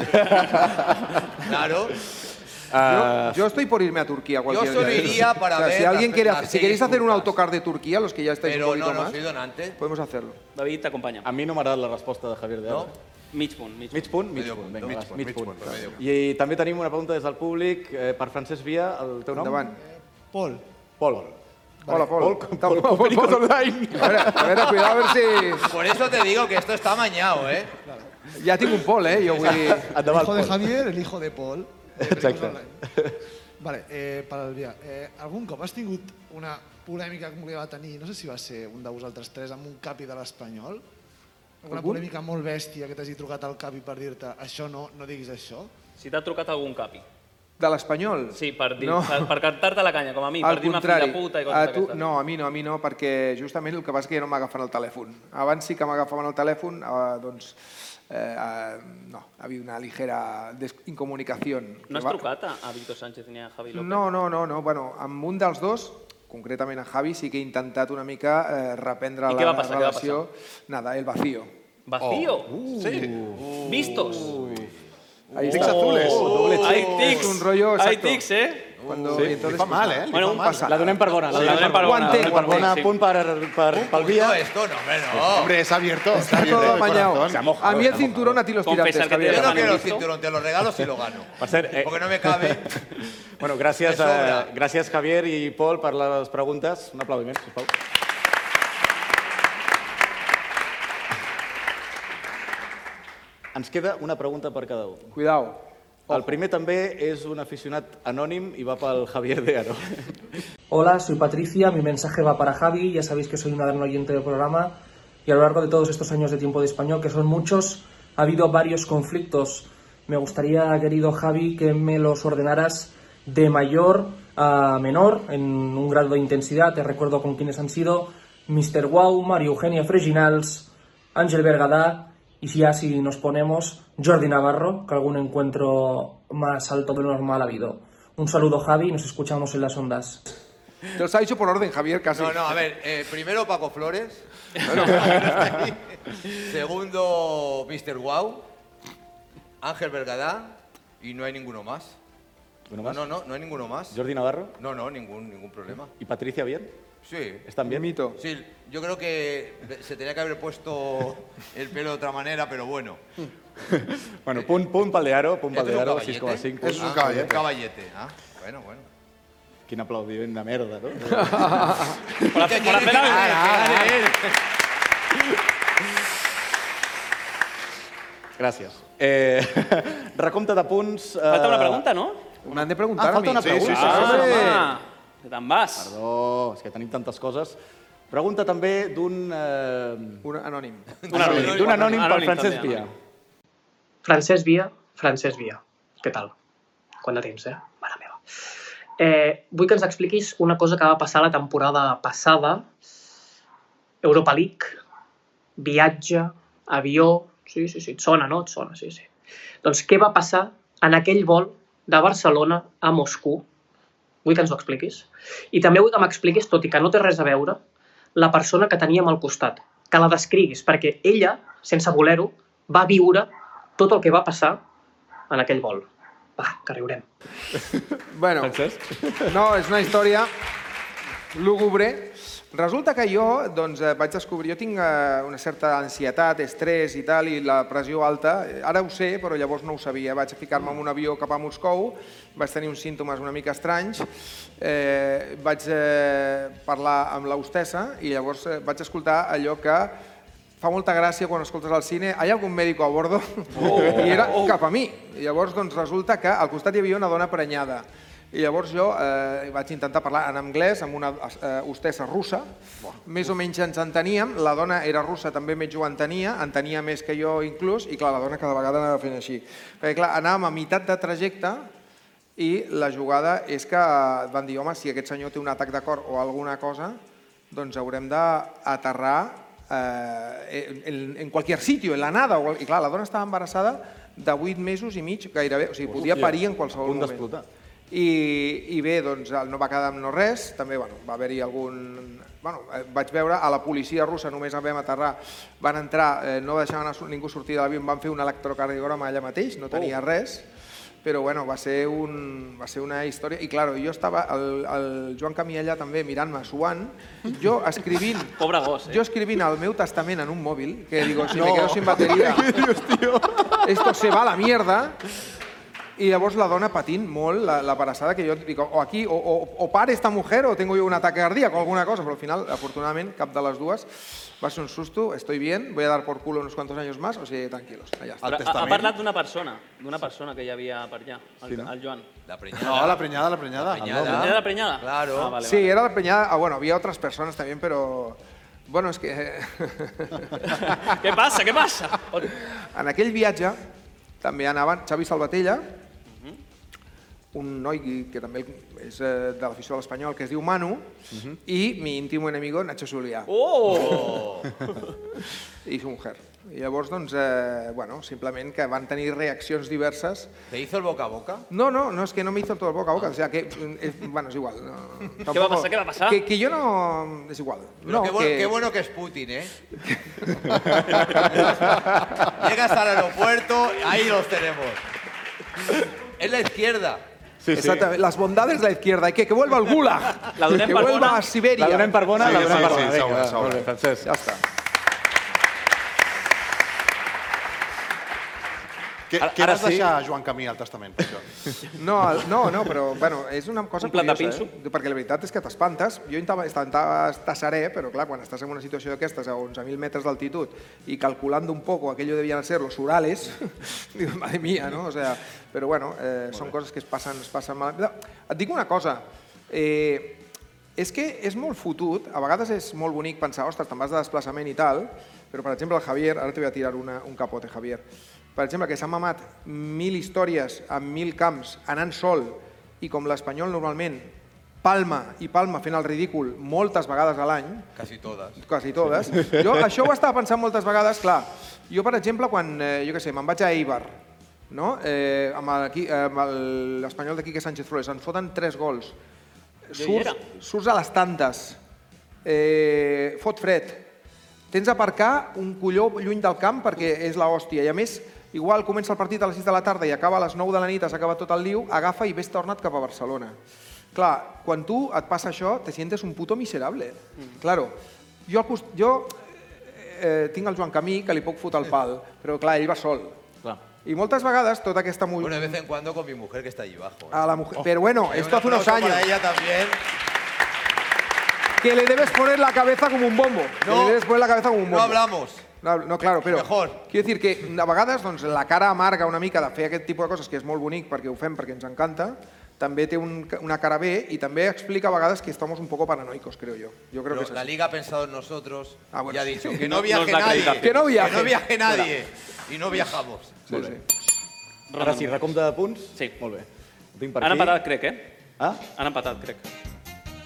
Speaker 7: claro.
Speaker 5: yo,
Speaker 2: Ah,
Speaker 5: yo estoy por irme a Turquía cualquier
Speaker 7: solo
Speaker 5: día.
Speaker 7: iría para
Speaker 5: O sea,
Speaker 7: ver
Speaker 5: Si,
Speaker 7: las
Speaker 5: alguien quiere,
Speaker 7: películas
Speaker 5: si queréis hacer un
Speaker 7: juntas.
Speaker 5: autocar de Turquía, los que ya estáis
Speaker 7: Pero
Speaker 5: un poquito
Speaker 7: no, no,
Speaker 5: más,
Speaker 7: soy donante.
Speaker 5: podemos hacerlo.
Speaker 3: David, t'acompanya.
Speaker 2: A mi no m'agrada la resposta de Javier de Aro.
Speaker 3: Mig punt, mig punt.
Speaker 2: Mig punt, mig
Speaker 3: Medio
Speaker 2: punt.
Speaker 3: punt,
Speaker 2: Vinga,
Speaker 3: mig
Speaker 2: vas,
Speaker 3: punt,
Speaker 2: mig
Speaker 3: mig
Speaker 2: punt.
Speaker 3: punt, medio punt.
Speaker 2: I també tenim una pregunta des del públic eh, per Francesc Via, el teu nom?
Speaker 5: Endavant.
Speaker 2: Pol. Pol.
Speaker 5: Hola, Pol.
Speaker 2: Pol, com- Pol, com Películas Online.
Speaker 5: A ver, a ver, cuidado, a ver
Speaker 7: Por eso te digo que esto está amañado, ¿eh?
Speaker 5: si... Ya tengo un Pol, ¿eh? Yo voy...
Speaker 2: Endavant,
Speaker 21: hijo de
Speaker 2: Pol.
Speaker 21: Javier, el hijo de Paul. de Pericos
Speaker 2: Exacte.
Speaker 21: Online. Vale, eh, per al dia. Eh, algun cop has tingut una polèmica com li va tenir, no sé si va ser un de vosaltres tres, amb un capi de l'Espanyol? Alguna
Speaker 3: Algun?
Speaker 21: polèmica molt bèstia que t'hagi trucat al capi per dir-te això no, no diguis això?
Speaker 3: Si t'ha trucat algun capi.
Speaker 5: de l'Espanyol.
Speaker 3: Sí, per, dir,
Speaker 5: No.
Speaker 3: per, per cantar-te la canya, com a mi,
Speaker 5: Al
Speaker 3: per dir-me fill
Speaker 5: contrari,
Speaker 3: de puta i
Speaker 5: a
Speaker 3: coses
Speaker 5: tu,
Speaker 3: d'aquestes.
Speaker 5: no, a mi no, a mi no, perquè justament el que passa és que ja no m'agafen el telèfon. Abans sí que m'agafaven el telèfon, eh, doncs, eh, eh, no, havia una ligera des- incomunicació.
Speaker 3: No has trucat a, a Víctor Sánchez ni a Javi López?
Speaker 5: No, no, no, no. Bueno, amb un dels dos, concretament a Javi, sí que he intentat una mica eh, reprendre
Speaker 3: I
Speaker 5: la
Speaker 3: què va passar, què va
Speaker 5: relació. Nada, el vacío.
Speaker 3: ¿Vacío?
Speaker 5: Oh.
Speaker 3: Sí. Vistos.
Speaker 5: Ahí
Speaker 3: Tics
Speaker 5: está. Oh.
Speaker 3: azules. Doble tic. Hay tics.
Speaker 5: Un rollo
Speaker 3: Hay
Speaker 5: exacto.
Speaker 3: tics, ¿eh?
Speaker 5: Cuando,
Speaker 2: Sí.
Speaker 5: y entonces,
Speaker 2: Li fa mal, eh? Li
Speaker 5: Bueno,
Speaker 2: fa
Speaker 5: un
Speaker 2: mal.
Speaker 5: passa.
Speaker 2: La donem per bona, la
Speaker 5: Sí,
Speaker 2: donem per bona,
Speaker 5: Guante,
Speaker 2: la donem per bona.
Speaker 5: guante.
Speaker 2: Punt per, per, pel via.
Speaker 7: esto, no, hombre,
Speaker 5: no.
Speaker 2: Hombre, es abierto.
Speaker 5: Está todo amañado. A mí el cinturón a ti los tirates, Javier.
Speaker 7: Yo no quiero el cinturón, te lo regalo si lo gano.
Speaker 2: Per cert, eh...
Speaker 7: Porque no me cabe.
Speaker 2: Bueno, gràcies,
Speaker 7: Me sobra.
Speaker 2: a, gràcies Javier i Pol per les preguntes. Un aplaudiment, sisplau. Ens queda una pregunta per cada un.
Speaker 5: Cuidao.
Speaker 2: El primer també és un aficionat anònim i va pel Javier de Aro.
Speaker 19: Hola, soy Patricia, mi mensaje va para Javi, ya sabéis que soy una gran oyente del programa y a lo largo de todos estos años de tiempo de español, que son muchos, ha habido varios conflictos. Me gustaría, querido Javi, que me los ordenaras de mayor a menor, en un grado de intensidad, te recuerdo con quienes han sido Mr. Wow, María Eugenia Freginals, Ángel Bergadá y si ya si nos ponemos Jordi Navarro, que algún encuentro más alto de lo normal ha habido. Un saludo Javi y nos escuchamos en las ondas.
Speaker 5: Te los ha dicho por orden, Javier, casi.
Speaker 7: No, no, a ver, eh, primero Paco Flores. Segundo, Mr. Wow. Ángel Bergadá. Y no hay ninguno más.
Speaker 2: ¿Ninguno más?
Speaker 7: No, no, no, no hay ninguno más.
Speaker 2: Jordi Navarro
Speaker 7: No, no, ningún, ningún problema.
Speaker 2: i Patricia Bien.
Speaker 7: Sí.
Speaker 2: Estan bien? Mito.
Speaker 7: Sí, yo creo que se tenía que haber puesto el pelo de otra manera, pero bueno.
Speaker 2: Bueno, punt, punt pel de Aro, punt pel
Speaker 7: ¿Esto
Speaker 2: de
Speaker 7: es un
Speaker 2: Aro, 6,5.
Speaker 7: caballete? Ah,
Speaker 2: punts.
Speaker 7: Un caballete. Ah, bueno, bueno.
Speaker 2: Quin aplaudiment de merda, no?
Speaker 7: Por hacer- por hacer algo. Ah, ah,
Speaker 2: Gràcies. Eh, recompte de punts... Eh...
Speaker 3: Falta una pregunta, no?
Speaker 5: Me han de preguntar
Speaker 2: ah, falta
Speaker 5: a mi.
Speaker 2: una pregunta.
Speaker 3: Ah, home, que te'n vas.
Speaker 2: Perdó, és que tenim tantes coses. Pregunta també d'un... Eh...
Speaker 5: Un anònim.
Speaker 2: D'un anònim, d'un anònim per
Speaker 19: Anònim,
Speaker 2: Francesc
Speaker 19: també,
Speaker 2: Pia.
Speaker 22: Francesc Via, Francesc Via. Què tal? Quant de temps, eh? Mare meva. Eh, vull que ens expliquis una cosa que va passar la temporada passada. Europa League, viatge, avió... Sí, sí, sí, et sona, no? Et sona, sí, sí. Doncs què va passar en aquell vol de Barcelona a Moscou? Vull que ens ho expliquis. I també vull que m'expliquis, tot i que no té res a veure, la persona que teníem al costat. Que la descriguis, perquè ella, sense voler-ho, va viure tot el que va passar en aquell vol. Va, que riurem.
Speaker 5: Bueno, no, és una història lúgubre. Resulta que jo doncs, eh, vaig descobrir, jo tinc eh, una certa ansietat, estrès i tal, i la pressió alta. Eh, Ara ho sé, però llavors no ho sabia. Vaig ficar-me en un avió cap a Moscou, vaig tenir uns símptomes una mica estranys, eh, vaig eh, parlar amb l'hostessa i llavors eh, vaig escoltar allò que fa molta gràcia quan escoltes al cine, hi ha algun mèdico a bordo? Oh. I era cap a mi. I llavors doncs, resulta que al costat hi havia una dona prenyada. I llavors jo eh, vaig intentar parlar en anglès amb una eh, hostessa russa, més o menys ens enteníem, la dona era russa, també menys ho entenia, entenia més que jo inclús, i clar, la dona cada vegada anava fent així. Perquè clar, anàvem a meitat de trajecte, i la jugada és que et van dir, home, si aquest senyor té un atac de cor o alguna cosa, doncs haurem d'aterrar eh, en, en qualsevol sitio, en la nada. o- I clar, la dona estava embarassada de 8 mesos i mig, gairebé, o sigui, podia
Speaker 2: Hòstia,
Speaker 5: parir en qualsevol
Speaker 2: punt
Speaker 5: moment.
Speaker 2: d'explotar.
Speaker 5: I, I bé, doncs el no va quedar amb no res, també bueno, va haver-hi algun... Bueno, eh, vaig veure a la policia russa, només vam aterrar, van entrar, eh, no deixaven a su- ningú sortir de l'avió, em van fer un electrocardiograma allà mateix, no tenia
Speaker 8: Oh.
Speaker 5: res, però bueno, va ser, un, va ser una història... I claro, jo estava, el, el Joan Camiella també, mirant-me, suant, jo escrivint...
Speaker 3: Pobre gos, eh?
Speaker 5: Jo escrivint el meu testament en un mòbil, que digo, si
Speaker 3: No.
Speaker 5: me quedo sin bateria... Esto se va a la mierda. I llavors la dona patint molt la, la embarassada, que jo dic, o aquí, o, o, o para esta mujer, o tengo yo un ataque cardíac o alguna cosa, però al final, afortunadament, cap de les dues va ser un susto, estoy bien, voy a dar por culo unos cuantos años más, o sigui, tranquilos, allà està.
Speaker 3: Però ha, ha parlat d'una persona, d'una persona que hi havia per allà, el,
Speaker 5: Sí, no?
Speaker 3: el Joan.
Speaker 7: La
Speaker 4: No, la prenyada, la prenyada.
Speaker 7: La prenyada.
Speaker 3: La prenyada, la prenyada. Claro. Ah, vale,
Speaker 5: sí,
Speaker 3: vale.
Speaker 5: era la preñada, ah, bueno, había otras personas también, pero... Bueno, es que...
Speaker 3: Què passa, què passa?
Speaker 5: En aquell viatge també anaven Xavi Salvatella, un noi que també és eh, de l'afició a l'Espanyol, que es diu Manu,
Speaker 8: Ujú.
Speaker 5: i mi íntimo enemigo, Nacho Julià.
Speaker 8: Oh!
Speaker 5: I su mujer. I llavors, doncs, eh, bueno, simplement que van tenir reaccions diverses.
Speaker 7: ¿Te hizo el boca a boca?
Speaker 5: No, no, no, es que no me hizo todo el boca a boca, o sea que, mm, es, bueno, es igual. no,
Speaker 7: ¿Qué va a pasar? ¿Qué va a pasar?
Speaker 5: Que, que yo no, es igual.
Speaker 7: Pero
Speaker 5: no,
Speaker 7: qué, bueno,
Speaker 5: que-
Speaker 7: qué bueno que es Putin, ¿eh? Llegas al aeropuerto, ahí los tenemos. Es la izquierda.
Speaker 5: Sí, Exactament. Les bondades de la izquierda. I que, que vuelva al Gulag.
Speaker 7: La donem
Speaker 5: que
Speaker 7: per
Speaker 5: vuelva
Speaker 7: bona?
Speaker 5: a Sibèria.
Speaker 7: La donem per bona,
Speaker 2: la donem per bona. Vinga,
Speaker 5: segura,
Speaker 2: va,
Speaker 5: segura.
Speaker 2: molt bé, Francesc.
Speaker 5: Ja està.
Speaker 4: Què,
Speaker 5: Ara-
Speaker 4: què
Speaker 5: ara
Speaker 4: vas
Speaker 5: sí.
Speaker 4: deixar a Joan Camí al testament, per això?
Speaker 5: No, el- no, no, però bueno, és una cosa
Speaker 4: Un plat de
Speaker 5: curiosa, eh? perquè la veritat és que t'espantes. Jo intentava, intentava estar serè, però clar, quan estàs en una situació d'aquestes a 11.000 metres d'altitud i calculando un poco aquello debían ser los Urales, digo, madre mía, no? O sea, però bueno, eh, són coses que es passen, es passen mal. Et dic una cosa, eh, és que és molt fotut, a vegades és molt bonic pensar, ostres, te'n vas de desplaçament i tal, però per exemple el Javier, ara t'he de tirar una, un capote, Javier, per exemple, que s'ha mamat mil històries en mil camps anant sol i com l'Espanyol normalment palma i palma fent el ridícul moltes vegades a l'any,
Speaker 7: Casi todas.
Speaker 5: quasi totes, jo això ho estava pensant moltes vegades, clar, jo per exemple quan, eh, jo què sé, me'n vaig a Eibar, no? Eh, amb el qui- eh, amb el- l'Espanyol de Quique Sánchez Flores, en foten tres gols,
Speaker 3: Jo hi era.
Speaker 5: surts, surts a les tantes, eh, fot fred, tens a aparcar un colló lluny del camp perquè és la hòstia. I a més, igual comença el partit a les 6 de la tarda i acaba a les 9 de la nit, has acabat tot el lío, agafa i vés tornat cap a Barcelona. Clar, quan tu et passa això, te sientes un puto miserable. Claro, jo, al cost... jo eh, tinc el Joan Camí que li puc fotre el pal, però clar, ell va sol.
Speaker 7: Clar.
Speaker 5: I moltes vegades tota aquesta... Mu...
Speaker 7: Bueno, de vez en cuando con mi mujer que está allí abajo.
Speaker 5: A la mujer. Pero bueno,
Speaker 7: Eh,
Speaker 5: esto
Speaker 7: un
Speaker 5: hace unos
Speaker 7: aplauso
Speaker 5: años.
Speaker 7: para ella también.
Speaker 5: Que le debes poner la cabeza como un bombo.
Speaker 7: No.
Speaker 5: que le debes poner la cabeza como un
Speaker 7: No
Speaker 5: bombo.
Speaker 7: hablamos.
Speaker 5: No, no, claro, però... Mejor. Quiero decir que a vegades doncs, la cara amarga una mica de fer aquest tipus de coses, que és molt bonic perquè ho fem, perquè ens encanta, també té un, una cara bé i també explica a vegades que estamos un poco paranoicos, creo yo. Yo creo
Speaker 7: Pero
Speaker 5: que es
Speaker 7: la
Speaker 5: así. Ah,
Speaker 7: liga ha pensado en nosotros
Speaker 5: bueno,
Speaker 7: y ha dicho
Speaker 5: sí.
Speaker 7: que
Speaker 5: No-
Speaker 7: no
Speaker 5: nos
Speaker 7: viaje
Speaker 5: da
Speaker 7: nadie.
Speaker 5: acreditación. Que no viaje.
Speaker 7: Que no viaje nadie.
Speaker 5: Espera.
Speaker 7: Y no viajamos.
Speaker 2: Sí, sí. Ara sí, recompte de punts? Sí. Molt bé. Ho tinc per
Speaker 3: Han
Speaker 2: aquí.
Speaker 3: empatat, crec, eh?
Speaker 2: Ah?
Speaker 3: Han empatat, crec,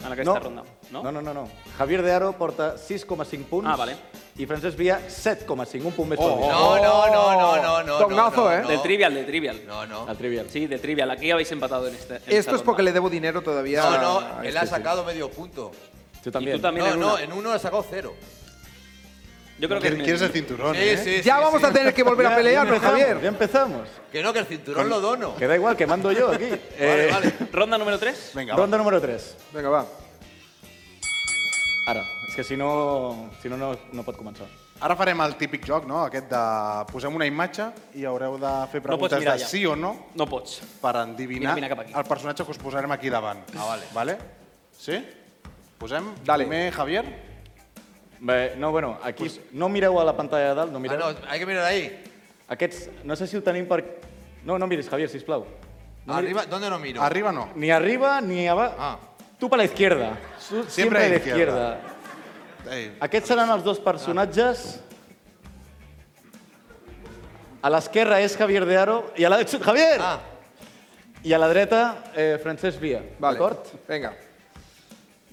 Speaker 3: en aquesta
Speaker 2: No.
Speaker 3: ronda. No?
Speaker 2: No, no, no, no. Javier de Aro porta 6,5 punts.
Speaker 3: Ah, vale.
Speaker 2: I Francesc Via, 7,5. Un punt més
Speaker 3: Oh,
Speaker 2: pel mig.
Speaker 3: no, no, no, no, no, no,
Speaker 5: Tongazo, no, no. eh?
Speaker 3: De trivial, de trivial.
Speaker 7: No, no.
Speaker 3: Al trivial. Sí, de trivial. Aquí habéis empatado en este. en esta
Speaker 5: Esto es
Speaker 3: ronda.
Speaker 5: porque le debo dinero todavía.
Speaker 7: No,
Speaker 5: a
Speaker 7: no, él
Speaker 5: este
Speaker 7: ha
Speaker 5: tío.
Speaker 7: sacado medio punto.
Speaker 2: Tú
Speaker 3: también. Y tú también
Speaker 7: no,
Speaker 3: en
Speaker 7: no,
Speaker 3: una.
Speaker 7: en uno ha sacado cero.
Speaker 3: Yo creo
Speaker 4: Quieres-
Speaker 3: que
Speaker 4: quieres el cinturón,
Speaker 7: Sí, ¿eh? sí,
Speaker 5: Ya sí, vamos sí. a tener que volver a pelear,
Speaker 2: ya empezamos,
Speaker 5: Javier.
Speaker 2: Ya empezamos.
Speaker 7: Que no, que el cinturón
Speaker 2: Con-
Speaker 7: lo dono.
Speaker 2: Que da igual, que mando yo aquí. Eh,
Speaker 3: Ronda número 3.
Speaker 4: Venga,
Speaker 2: Ronda número 3.
Speaker 5: Vinga, va.
Speaker 2: Ara. És que si no, si no, no, no pot començar.
Speaker 4: Ara farem el típic joc, no? Aquest de... Posem una imatge i haureu de fer preguntes
Speaker 3: mirar
Speaker 4: de
Speaker 3: ja.
Speaker 4: sí o no
Speaker 3: No pots.
Speaker 4: per endevinar
Speaker 3: Mira, mira cap aquí.
Speaker 4: el personatge que us posarem aquí davant.
Speaker 7: Ah, vale.
Speaker 4: Vale? Sí? Posem?
Speaker 2: Dale.
Speaker 4: Primer, Javier.
Speaker 2: Bé, no, bueno, aquí... No mireu a la pantalla de dalt, no mireu.
Speaker 7: Ah, no, hay que mirar ahí.
Speaker 2: Aquests, no sé si ho tenim per... No, no miris, Javier, sisplau. No miris-
Speaker 7: Arriba, ¿dónde no miro? Ah.
Speaker 4: Arriba no.
Speaker 2: Ni arriba ni abajo. Tú para la izquierda. Tú Siempre,
Speaker 4: Siempre
Speaker 2: a la
Speaker 4: a la izquierda.
Speaker 2: izquierda. Aquests seran els dos personatges. A l'esquerra és Javier de Aro. I a la... Xut, Javier! Ah. I a la dreta, eh, Francesc Via.
Speaker 5: Vale.
Speaker 2: D'acord?
Speaker 5: Vinga.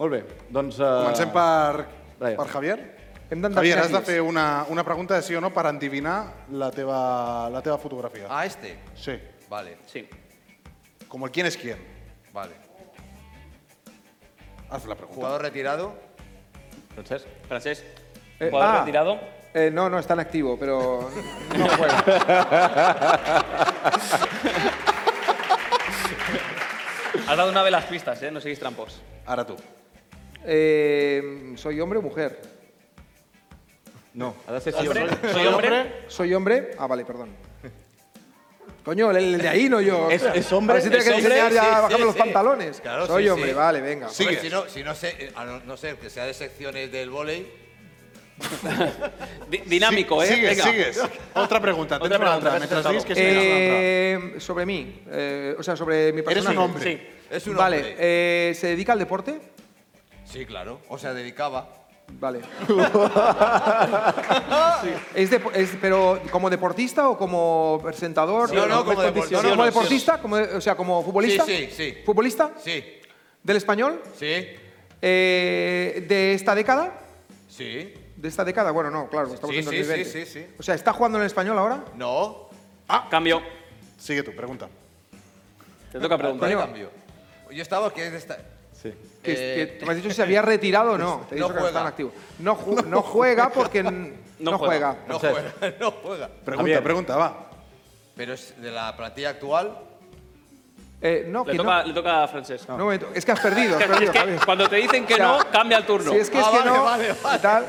Speaker 2: Molt bé. Doncs... Eh...
Speaker 4: Comencem per,
Speaker 2: Brian.
Speaker 4: per Javier.
Speaker 5: Hem
Speaker 4: Javier, has de fer una, una pregunta de sí o no per endevinar la teva, la teva fotografia.
Speaker 7: ¿A este?
Speaker 4: Sí.
Speaker 7: Vale.
Speaker 3: Sí.
Speaker 4: Como el quién es quién.
Speaker 7: Vale.
Speaker 4: Haz la pregunta.
Speaker 7: ¿Jugador retirado?
Speaker 2: Francesc.
Speaker 3: Francesc.
Speaker 5: Eh,
Speaker 3: Jugador
Speaker 5: ah.
Speaker 3: retirado.
Speaker 5: Eh, no, no, está en activo, pero no juega.
Speaker 3: Has dado una de las pistas, ¿eh? No seguís trampos.
Speaker 4: Ahora tú.
Speaker 5: Eh, ¿Soy hombre o mujer?
Speaker 2: No, ha de ser sí o
Speaker 5: Hombre.
Speaker 2: no.
Speaker 3: Soy hombre.
Speaker 5: ¿Soy hombre? Ah, vale, perdón. Coño, el, el de ahí no yo.
Speaker 2: ¿Es- es hombre?
Speaker 5: A ver si tengo
Speaker 2: ¿Es
Speaker 5: que
Speaker 2: hombre?
Speaker 5: enseñar ya,
Speaker 2: Sí, sí,
Speaker 5: bajarme los
Speaker 2: sí.
Speaker 5: pantalones.
Speaker 7: Claro,
Speaker 5: Soy
Speaker 7: sí,
Speaker 5: hombre,
Speaker 7: sí.
Speaker 5: vale, venga.
Speaker 7: Hombre, si no, si no sé, eh, a no, no ser que sea de secciones del volei.
Speaker 3: Di- dinámico, ¿eh?
Speaker 4: Sigues,
Speaker 3: Venga.
Speaker 4: sigues. Otra pregunta. Tens una altra. Mentre diguis que sí,
Speaker 5: Eh, sobre mí, eh, o sea, sobre mi persona.
Speaker 4: un hombre. Sí.
Speaker 7: Es un
Speaker 5: vale,
Speaker 7: hombre.
Speaker 5: eh, ¿se dedica al deporte?
Speaker 7: Sí, claro. O sea, dedicaba.
Speaker 5: Vale. ¿Es de- es- pero como deportista o como presentador?
Speaker 7: No, no, como
Speaker 5: competición.
Speaker 7: deportista.
Speaker 5: ¿Como deportista? Como de- o sea, como futbolista.
Speaker 7: Sí, sí, sí.
Speaker 5: ¿Futbolista?
Speaker 7: Sí,
Speaker 5: ¿Del español?
Speaker 7: sí,
Speaker 5: Eh, ¿De esta década?
Speaker 7: sí.
Speaker 5: ¿De esta década? Bueno, no, claro, estamos
Speaker 7: Sí,
Speaker 5: en
Speaker 7: sí,
Speaker 5: 2020.
Speaker 7: sí, sí, sí.
Speaker 5: O sea, ¿está jugando en el español ahora?
Speaker 7: No.
Speaker 3: Ah, cambio.
Speaker 4: Sigue tu pregunta.
Speaker 3: Te toca preguntar.
Speaker 7: Vale, cambio. Yo estaba que es de esta...
Speaker 2: Sí.
Speaker 5: Que,
Speaker 7: Eh,
Speaker 5: que- tú me has dicho si se había retirado o no. Te he
Speaker 7: No
Speaker 5: dicho que no está
Speaker 7: juega.
Speaker 5: en activo. No, ju- no juega porque n- no, juega.
Speaker 7: No juega, no juega.
Speaker 4: Pregunta, pregunta, va.
Speaker 7: Pero es de la plantilla actual.
Speaker 5: Eh, no,
Speaker 3: Le
Speaker 5: que
Speaker 3: toca,
Speaker 5: no.
Speaker 3: le toca a Francesc.
Speaker 5: No, un momento. Es que has perdido. has
Speaker 3: Es que-
Speaker 5: perdido,
Speaker 3: es que
Speaker 5: Javi.
Speaker 3: cuando te dicen que
Speaker 5: O sea,
Speaker 3: no, cambia el turno. Ah,
Speaker 5: Si es que es que no. y tal.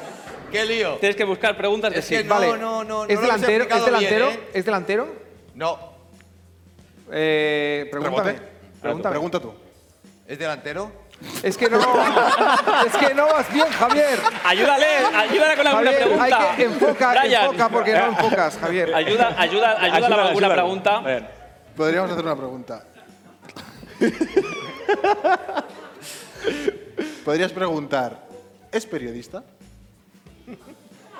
Speaker 7: ¿Qué lío?
Speaker 3: Tienes que buscar preguntas de sí.
Speaker 5: vale.
Speaker 7: no
Speaker 5: ¿Es
Speaker 7: lo
Speaker 5: delantero?
Speaker 7: has explicado
Speaker 5: ¿Es delantero?
Speaker 7: bien, ¿eh?
Speaker 5: ¿Es delantero?
Speaker 7: No.
Speaker 5: Eh, pregúntame.
Speaker 7: Rebote.
Speaker 5: Pregúntame.
Speaker 4: Pregunta tú.
Speaker 7: ¿Es delantero?
Speaker 5: Es que no. es que no vas bien, Javier.
Speaker 3: Ayúdale, ayúdale con alguna
Speaker 5: Javier,
Speaker 3: pregunta.
Speaker 5: Hay que enfoca,
Speaker 3: Brian.
Speaker 5: enfoca porque no enfocas, Javier.
Speaker 3: Ayuda, ayuda, ayuda con alguna pregunta.
Speaker 4: Podríamos hacer una pregunta. Podrías preguntar, ¿es periodista?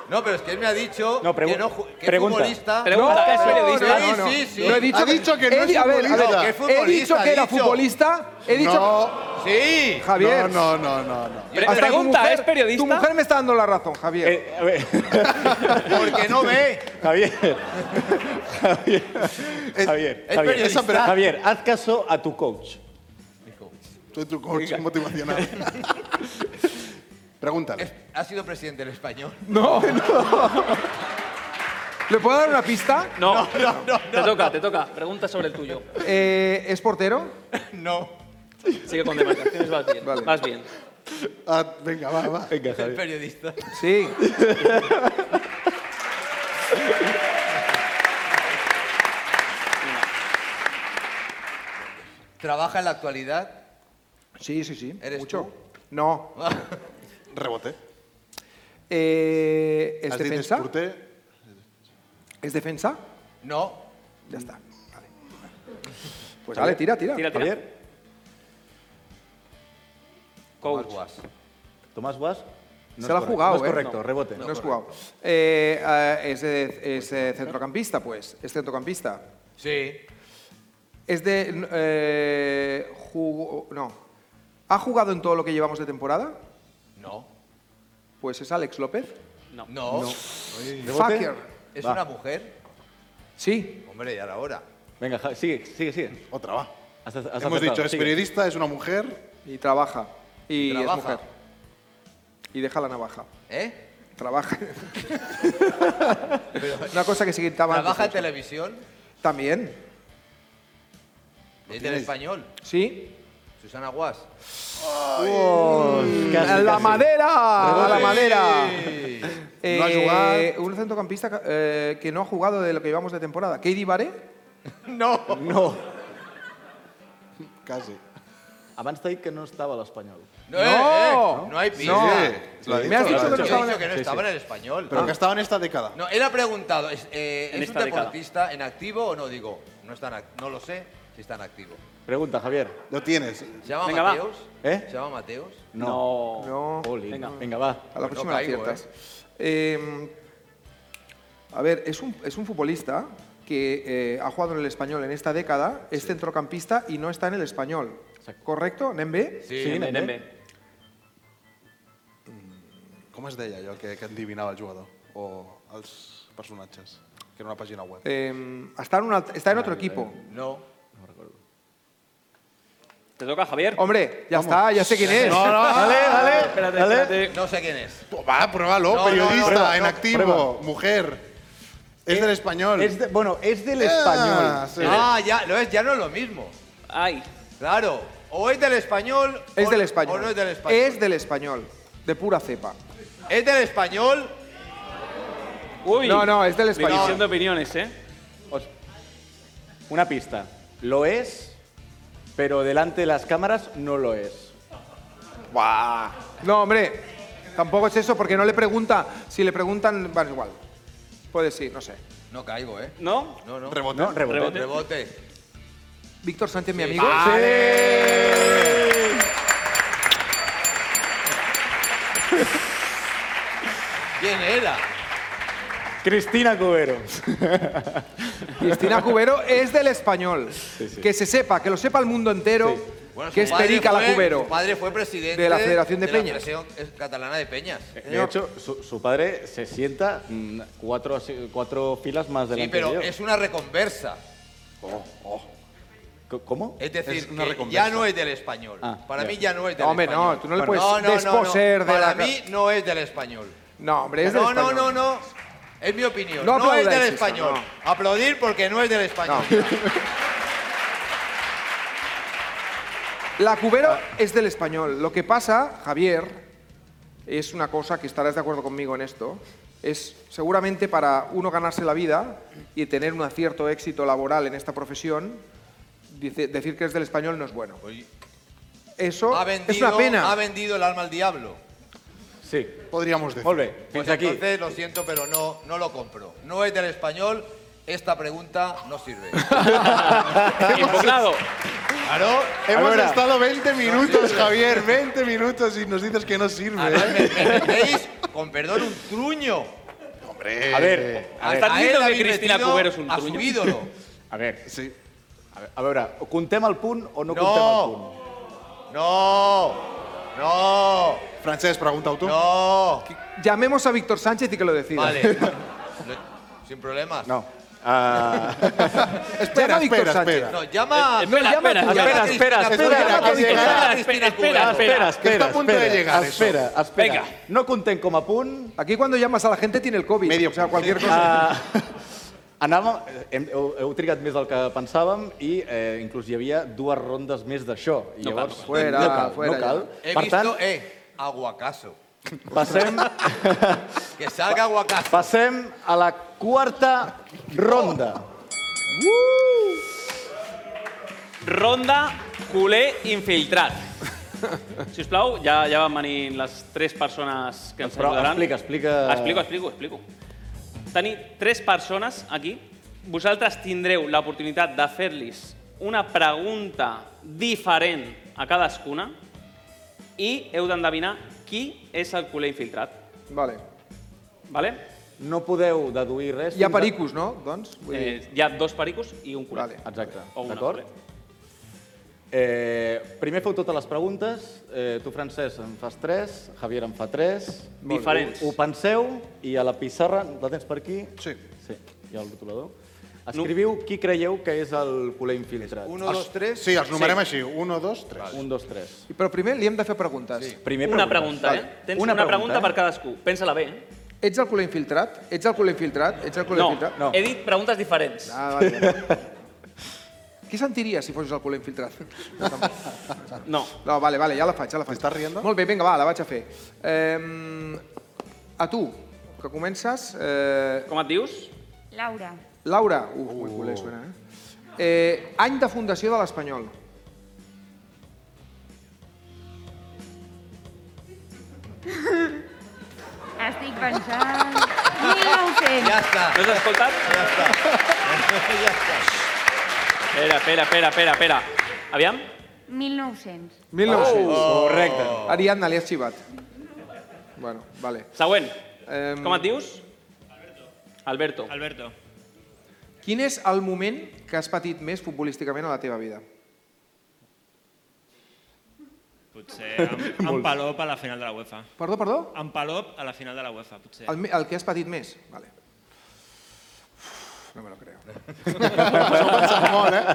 Speaker 7: No, pero es que él me ha dicho
Speaker 4: No, pregun-
Speaker 7: que no ju- que es
Speaker 4: pregunta.
Speaker 7: futbolista.
Speaker 4: Pregunta, ¿es periodista?
Speaker 7: Sí,
Speaker 4: No, no,
Speaker 7: sí, sí.
Speaker 5: No he dicho
Speaker 7: Ha dicho que no
Speaker 5: he di-
Speaker 7: es
Speaker 5: a ver, a ver,
Speaker 7: futbolista. No, que es
Speaker 5: he dicho
Speaker 7: futbolista,
Speaker 5: que
Speaker 7: ha
Speaker 5: era
Speaker 7: dicho.
Speaker 5: futbolista. He dicho.
Speaker 7: No. Sí.
Speaker 5: Javier.
Speaker 4: No, no, no, no. no.
Speaker 5: Hasta tu
Speaker 3: pregunta,
Speaker 5: mujer-
Speaker 3: ¿es periodista? Eh,
Speaker 5: Tu mujer me está dando la razón, Javier.
Speaker 7: Porque no ve.
Speaker 2: Javier, Javier, Javier,
Speaker 7: es
Speaker 2: Javier,
Speaker 7: periodista.
Speaker 2: Esa- Javier, haz caso a tu coach.
Speaker 4: Soy tu coach motivacional. Pregúntale.
Speaker 7: ¿Ha sido presidente del español?
Speaker 5: No, ¿Le puedo dar una pista?
Speaker 3: No, te toca, te toca. Pregunta sobre el tuyo.
Speaker 5: Eh, ¿Es portero?
Speaker 7: No.
Speaker 3: Sigue con demarcaciones, vas bien. Vas bien.
Speaker 4: Ah, venga, va, va.
Speaker 2: Venga,
Speaker 7: ¿Es periodista?
Speaker 5: Sí.
Speaker 7: ¿Trabaja en la actualidad?
Speaker 5: Sí, sí, sí.
Speaker 7: ¿Eres
Speaker 5: Mucho. No.
Speaker 4: Rebote.
Speaker 5: Eh, ¿Es
Speaker 4: Has dit
Speaker 5: defensa?
Speaker 4: Esporter.
Speaker 5: ¿Es defensa?
Speaker 7: No.
Speaker 5: Ya está. Vale. Pues dale, tira, tira.
Speaker 3: Tira, tira.
Speaker 2: Javier,
Speaker 3: Coach.
Speaker 2: Tomás Guas.
Speaker 5: Se la ha jugado,
Speaker 2: No es
Speaker 5: ¿eh?
Speaker 2: correcto, rebote.
Speaker 5: No, has jugado. Eh, ah, es, de- es, eh, centrocampista, pues. Es centrocampista.
Speaker 7: Sí.
Speaker 5: Es de. n- eh, jugó- no. ¿Ha jugado en todo lo que llevamos de temporada?
Speaker 7: No.
Speaker 5: Pues es Alex López.
Speaker 7: No.
Speaker 2: ¿Rebote?
Speaker 5: Fucker.
Speaker 7: ¿Es
Speaker 2: Va.
Speaker 7: una mujer?
Speaker 5: Sí.
Speaker 7: Hombre, ya era hora.
Speaker 2: Venga, Ja- sigue, sigue, sigue.
Speaker 4: Otra va.
Speaker 2: Has- has
Speaker 4: Hemos
Speaker 2: acertado,
Speaker 4: dicho, es
Speaker 2: sigue.
Speaker 4: periodista, es una mujer.
Speaker 5: Y trabaja. Y
Speaker 7: Trabaja.
Speaker 5: es mujer. Y deja la navaja.
Speaker 7: ¿Eh?
Speaker 5: Trabaja. Una cosa que se quitaba antes,
Speaker 7: ¿Trabaja en
Speaker 5: ¿no?
Speaker 7: televisión?
Speaker 5: También.
Speaker 7: ¿Es del español?
Speaker 5: Sí.
Speaker 7: Susana Guas.
Speaker 2: Uy, casi,
Speaker 5: ¡A la
Speaker 2: casi.
Speaker 5: madera! ¡A la
Speaker 7: Sí.
Speaker 5: madera! Eh,
Speaker 4: No ha jugado.
Speaker 5: Un centrocampista ca- eh, que no ha jugado de lo que llevamos de temporada. ¿Katie Baré?
Speaker 7: No.
Speaker 2: No.
Speaker 4: Casi.
Speaker 2: Abans t'ha dit que no estava a l'Espanyol.
Speaker 7: No, eh, eh,
Speaker 5: No.
Speaker 7: no hay pista.
Speaker 5: No.
Speaker 4: Sí, lo ha
Speaker 5: Me has
Speaker 4: dicho, lo ha
Speaker 5: dicho que no
Speaker 7: Yo he
Speaker 5: estaba
Speaker 7: dicho
Speaker 5: en
Speaker 7: que no
Speaker 4: Sí,
Speaker 7: estaba
Speaker 4: sí.
Speaker 7: en el Ah. español.
Speaker 2: Ah.
Speaker 4: Pero que ha estado en esta década.
Speaker 7: No, él ha preguntado, ¿es, eh,
Speaker 3: En
Speaker 7: ¿es un
Speaker 3: esta década.
Speaker 7: deportista en activo o no? Digo, no, está en ac- no lo sé si está en activo.
Speaker 2: Pregunta, Javier.
Speaker 4: Lo tienes.
Speaker 7: ¿Se llama
Speaker 3: Venga, va.
Speaker 7: Mateos?
Speaker 2: ¿Eh?
Speaker 7: ¿Se llama Mateos?
Speaker 2: No. Oh,
Speaker 5: No.
Speaker 2: Jolín.
Speaker 3: Venga.
Speaker 2: Venga, va.
Speaker 5: A la próxima
Speaker 7: caigo,
Speaker 5: la aciertas. Eh, a ver, es un, es un futbolista que eh, ha jugado en el español en esta década, es centrocampista y no está en el español. ¿Correcto, Nembe?
Speaker 2: Sí, nen,
Speaker 3: Nen, nen,
Speaker 4: Com es deia allò que, que endivinava el jugador? O els personatges? Que era una pàgina web.
Speaker 5: Eh, está, en una- está en otro equipo.
Speaker 7: No.
Speaker 3: Te toca, Javier.
Speaker 5: Hombre, ya está, ya sé quién es.
Speaker 2: Vale, vale,
Speaker 3: Espérate,
Speaker 2: vale.
Speaker 3: espérate.
Speaker 7: No sé quién es.
Speaker 4: Pues Va, pruébalo.
Speaker 7: No,
Speaker 4: periodista,
Speaker 7: no, no, no,
Speaker 4: en
Speaker 7: no,
Speaker 4: activo, mujer. Es del español.
Speaker 2: És de, bueno, és de l'Espanyol.
Speaker 4: Ah, sí.
Speaker 7: Ah, ya, no es, ya no es lo mismo.
Speaker 3: Ay.
Speaker 7: Claro. O es del español.
Speaker 5: Es
Speaker 7: o-
Speaker 5: del español.
Speaker 7: O no es del español.
Speaker 5: Es del español, de pura cepa.
Speaker 7: ¿Es del español.
Speaker 3: Uy.
Speaker 5: No, no, es del español.
Speaker 3: División de opiniones, ¿eh?
Speaker 2: Os- Una pista. Lo es, pero delante de las cámaras no lo es.
Speaker 5: No, hombre, tampoco es eso porque no le pregunta. Si le preguntan, bueno, igual. Puede sí, no sé.
Speaker 7: No caigo, ¿eh?
Speaker 3: ¿No?
Speaker 7: No, no.
Speaker 4: Rebote.
Speaker 2: No, rebote.
Speaker 3: Rebote.
Speaker 7: Rebote.
Speaker 5: Víctor Sánchez, mi amigo.
Speaker 7: Vale. ¿Quién era?
Speaker 2: Cristina Cubero.
Speaker 5: Cristina Cubero es del español.
Speaker 2: sí.
Speaker 5: Que se sepa, que lo sepa el mundo entero,
Speaker 7: Bueno, su
Speaker 5: que es
Speaker 7: padre
Speaker 5: Perica la
Speaker 7: fue-
Speaker 5: Cubero.
Speaker 7: Su padre fue presidente
Speaker 5: de la Federación de
Speaker 7: la
Speaker 5: Peñas.
Speaker 7: Federación Catalana de Peñas.
Speaker 2: De hecho, su, su padre se sienta mm, cuatro, asi- cuatro filas más
Speaker 7: sí,
Speaker 2: delante
Speaker 7: pero
Speaker 2: de Oh, yo.
Speaker 7: es una reconversa.
Speaker 2: Co- ¿Cómo?
Speaker 7: Es decir,
Speaker 2: una
Speaker 7: que
Speaker 2: reconversa.
Speaker 7: ya no es del español.
Speaker 2: Ah,
Speaker 7: Para
Speaker 2: ya.
Speaker 7: mí ya no es del
Speaker 5: Hombre, no,
Speaker 7: español.
Speaker 5: tú no le
Speaker 7: Perdón.
Speaker 5: puedes desposer de
Speaker 7: Para
Speaker 5: la ca-
Speaker 7: mí no es del español.
Speaker 5: No, hombre, es
Speaker 7: no,
Speaker 5: del
Speaker 7: no,
Speaker 5: español.
Speaker 7: no, no. Es mi opinión.
Speaker 5: No
Speaker 7: No, es
Speaker 5: aplaudáis
Speaker 7: del
Speaker 5: esto,
Speaker 7: español. Aplaudir porque no es del español.
Speaker 5: La Cubero es del español. Lo que pasa, Javier, es una cosa que estarás de acuerdo conmigo en esto. Es seguramente para uno ganarse la vida y tener un cierto éxito laboral en esta profesión, dice- decir que es del español no es bueno. Eso
Speaker 7: Ha
Speaker 5: es
Speaker 7: vendido,
Speaker 5: una pena.
Speaker 7: ha vendido el alma al diablo.
Speaker 2: Sí.
Speaker 5: Podríamos decir.
Speaker 2: Molt bé,
Speaker 7: Pues
Speaker 2: fins aquí.
Speaker 7: entonces lo siento, pero no, no lo compro. No es del español. Esta pregunta no sirve.
Speaker 3: Impugnado.
Speaker 7: Claro.
Speaker 4: Hemos
Speaker 7: Ahora.
Speaker 4: estado 20 minutos,
Speaker 7: sirve.
Speaker 4: Javier, 20 minutos y nos dices que no sirve.
Speaker 7: Me metéis, con perdón, un truño. Eh,
Speaker 4: Hombre.
Speaker 2: A ver, a ver.
Speaker 7: Estás diciendo que Cristina Cubero es un a su truño. ídolo.
Speaker 2: A ver. Sí. A veure, a veure, o contem el punt o no,
Speaker 7: No.
Speaker 2: contem el punt?
Speaker 7: No, no.
Speaker 4: Francesc, pregunta-ho tu.
Speaker 7: No.
Speaker 5: Llamemos a Víctor Sánchez y que lo decida.
Speaker 7: Vale. Sin problemas.
Speaker 2: No. Ah.
Speaker 5: Llama a Víctor Sánchez.
Speaker 7: No, llama.
Speaker 5: Eh, espera, espera,
Speaker 7: llama
Speaker 5: espera,
Speaker 7: a Cristina
Speaker 5: espera,
Speaker 7: Cubero.
Speaker 5: espera,
Speaker 7: Llama a
Speaker 5: que
Speaker 7: Cristina
Speaker 5: llegará.
Speaker 7: Cubero. Cristina Cubero.
Speaker 2: espera, espera, espera,
Speaker 5: eso.
Speaker 2: espera. No contem com a punt.
Speaker 5: Aquí cuando llamas a la gente tiene el COVID. o sea, cualquier cosa.
Speaker 2: Ah, anàvem, hem, heu, heu trigat més del que pensàvem i eh, inclús hi havia dues rondes més d'això. I
Speaker 5: No cal,
Speaker 2: llavors, eh,
Speaker 5: no cal. Fuera,
Speaker 2: no cal,
Speaker 5: fuera
Speaker 2: no cal.
Speaker 7: He
Speaker 2: Per
Speaker 7: visto,
Speaker 2: tant,
Speaker 7: eh, aguacaso.
Speaker 2: passem,
Speaker 7: Que salga aguacaso.
Speaker 2: passem a la quarta ronda.
Speaker 5: Uh!
Speaker 3: Ronda culer infiltrat. Si us plau, ja, ja van venir les tres persones que ens
Speaker 2: Però
Speaker 3: saludaran.
Speaker 2: explica, explica-
Speaker 3: Explico, explico, explico. Tenir tres persones aquí. Vosaltres tindreu l'oportunitat de fer-los una pregunta diferent a cadascuna i heu d'endevinar qui és el culer infiltrat.
Speaker 5: Vale.
Speaker 3: Vale?
Speaker 2: No podeu deduir res.
Speaker 5: Hi ha
Speaker 2: fins a-
Speaker 5: pericos, no? Doncs, vull dir...
Speaker 3: Eh, hi ha dos pericos i un culer.
Speaker 2: Exacte,
Speaker 3: O una,
Speaker 2: d'acord?
Speaker 3: vale.
Speaker 2: Eh, primer feu totes les preguntes. Eh, tu, Francesc, en fas tres, Javier en fa tres.
Speaker 3: Molt bé. Diferents.
Speaker 2: Ho, ho penseu i a la pissarra, la tens per aquí? Sí. Sí, hi ha el rotulador. Escriviu qui creieu que és el culer infiltrat.
Speaker 7: Uno, dos, tres.
Speaker 4: Sí, els numerem així. Uno, dos, tres.
Speaker 2: Un, dos, tres.
Speaker 5: Però primer li hem de fer preguntes. Sí.
Speaker 2: Primer
Speaker 3: Una
Speaker 2: preguntes.
Speaker 3: pregunta,
Speaker 2: Vale.
Speaker 3: eh? Tens una, pregunta, per cadascú. Pensa-la bé, eh?
Speaker 5: Ets el culer infiltrat? Ets el culer infiltrat? Ets el culer
Speaker 3: No,
Speaker 5: infiltrat?
Speaker 3: he dit preguntes diferents.
Speaker 5: Ah, vale. Què sentiries si fossis el culer infiltrat? No, tampoc.
Speaker 3: No.
Speaker 5: No, vale, vale, ja la faig, ja la faig.
Speaker 4: Estàs rient?
Speaker 5: Molt bé, vinga, va, la vaig a fer. Eh, a tu, que comences... Eh,
Speaker 3: Com et dius?
Speaker 8: Laura.
Speaker 5: Laura. Uf, uh.
Speaker 9: Oh.
Speaker 5: culer suena, eh? eh? Any de fundació de l'Espanyol.
Speaker 8: Estic pensant... 1900.
Speaker 7: Ja està.
Speaker 3: No has escoltat?
Speaker 7: Ja està. Ja està.
Speaker 3: Espera, espera, espera, espera, espera. Aviam.
Speaker 8: 1900.
Speaker 5: 1900.
Speaker 3: Oh. Correcte.
Speaker 5: Ariadna, li has xivat. Bueno, vale.
Speaker 3: Següent.
Speaker 5: Eh,
Speaker 3: Com et dius? Alberto.
Speaker 9: Alberto.
Speaker 5: Quin és el moment que has patit més futbolísticament a la teva vida?
Speaker 9: Potser amb, amb
Speaker 5: Molt.
Speaker 9: Palop a la final de la UEFA.
Speaker 5: Perdó, perdó?
Speaker 9: Amb Palop a la final de la UEFA, potser.
Speaker 5: El, me- el que has patit més? Vale. No me lo creo.
Speaker 9: Això ho pensava molt,
Speaker 5: eh?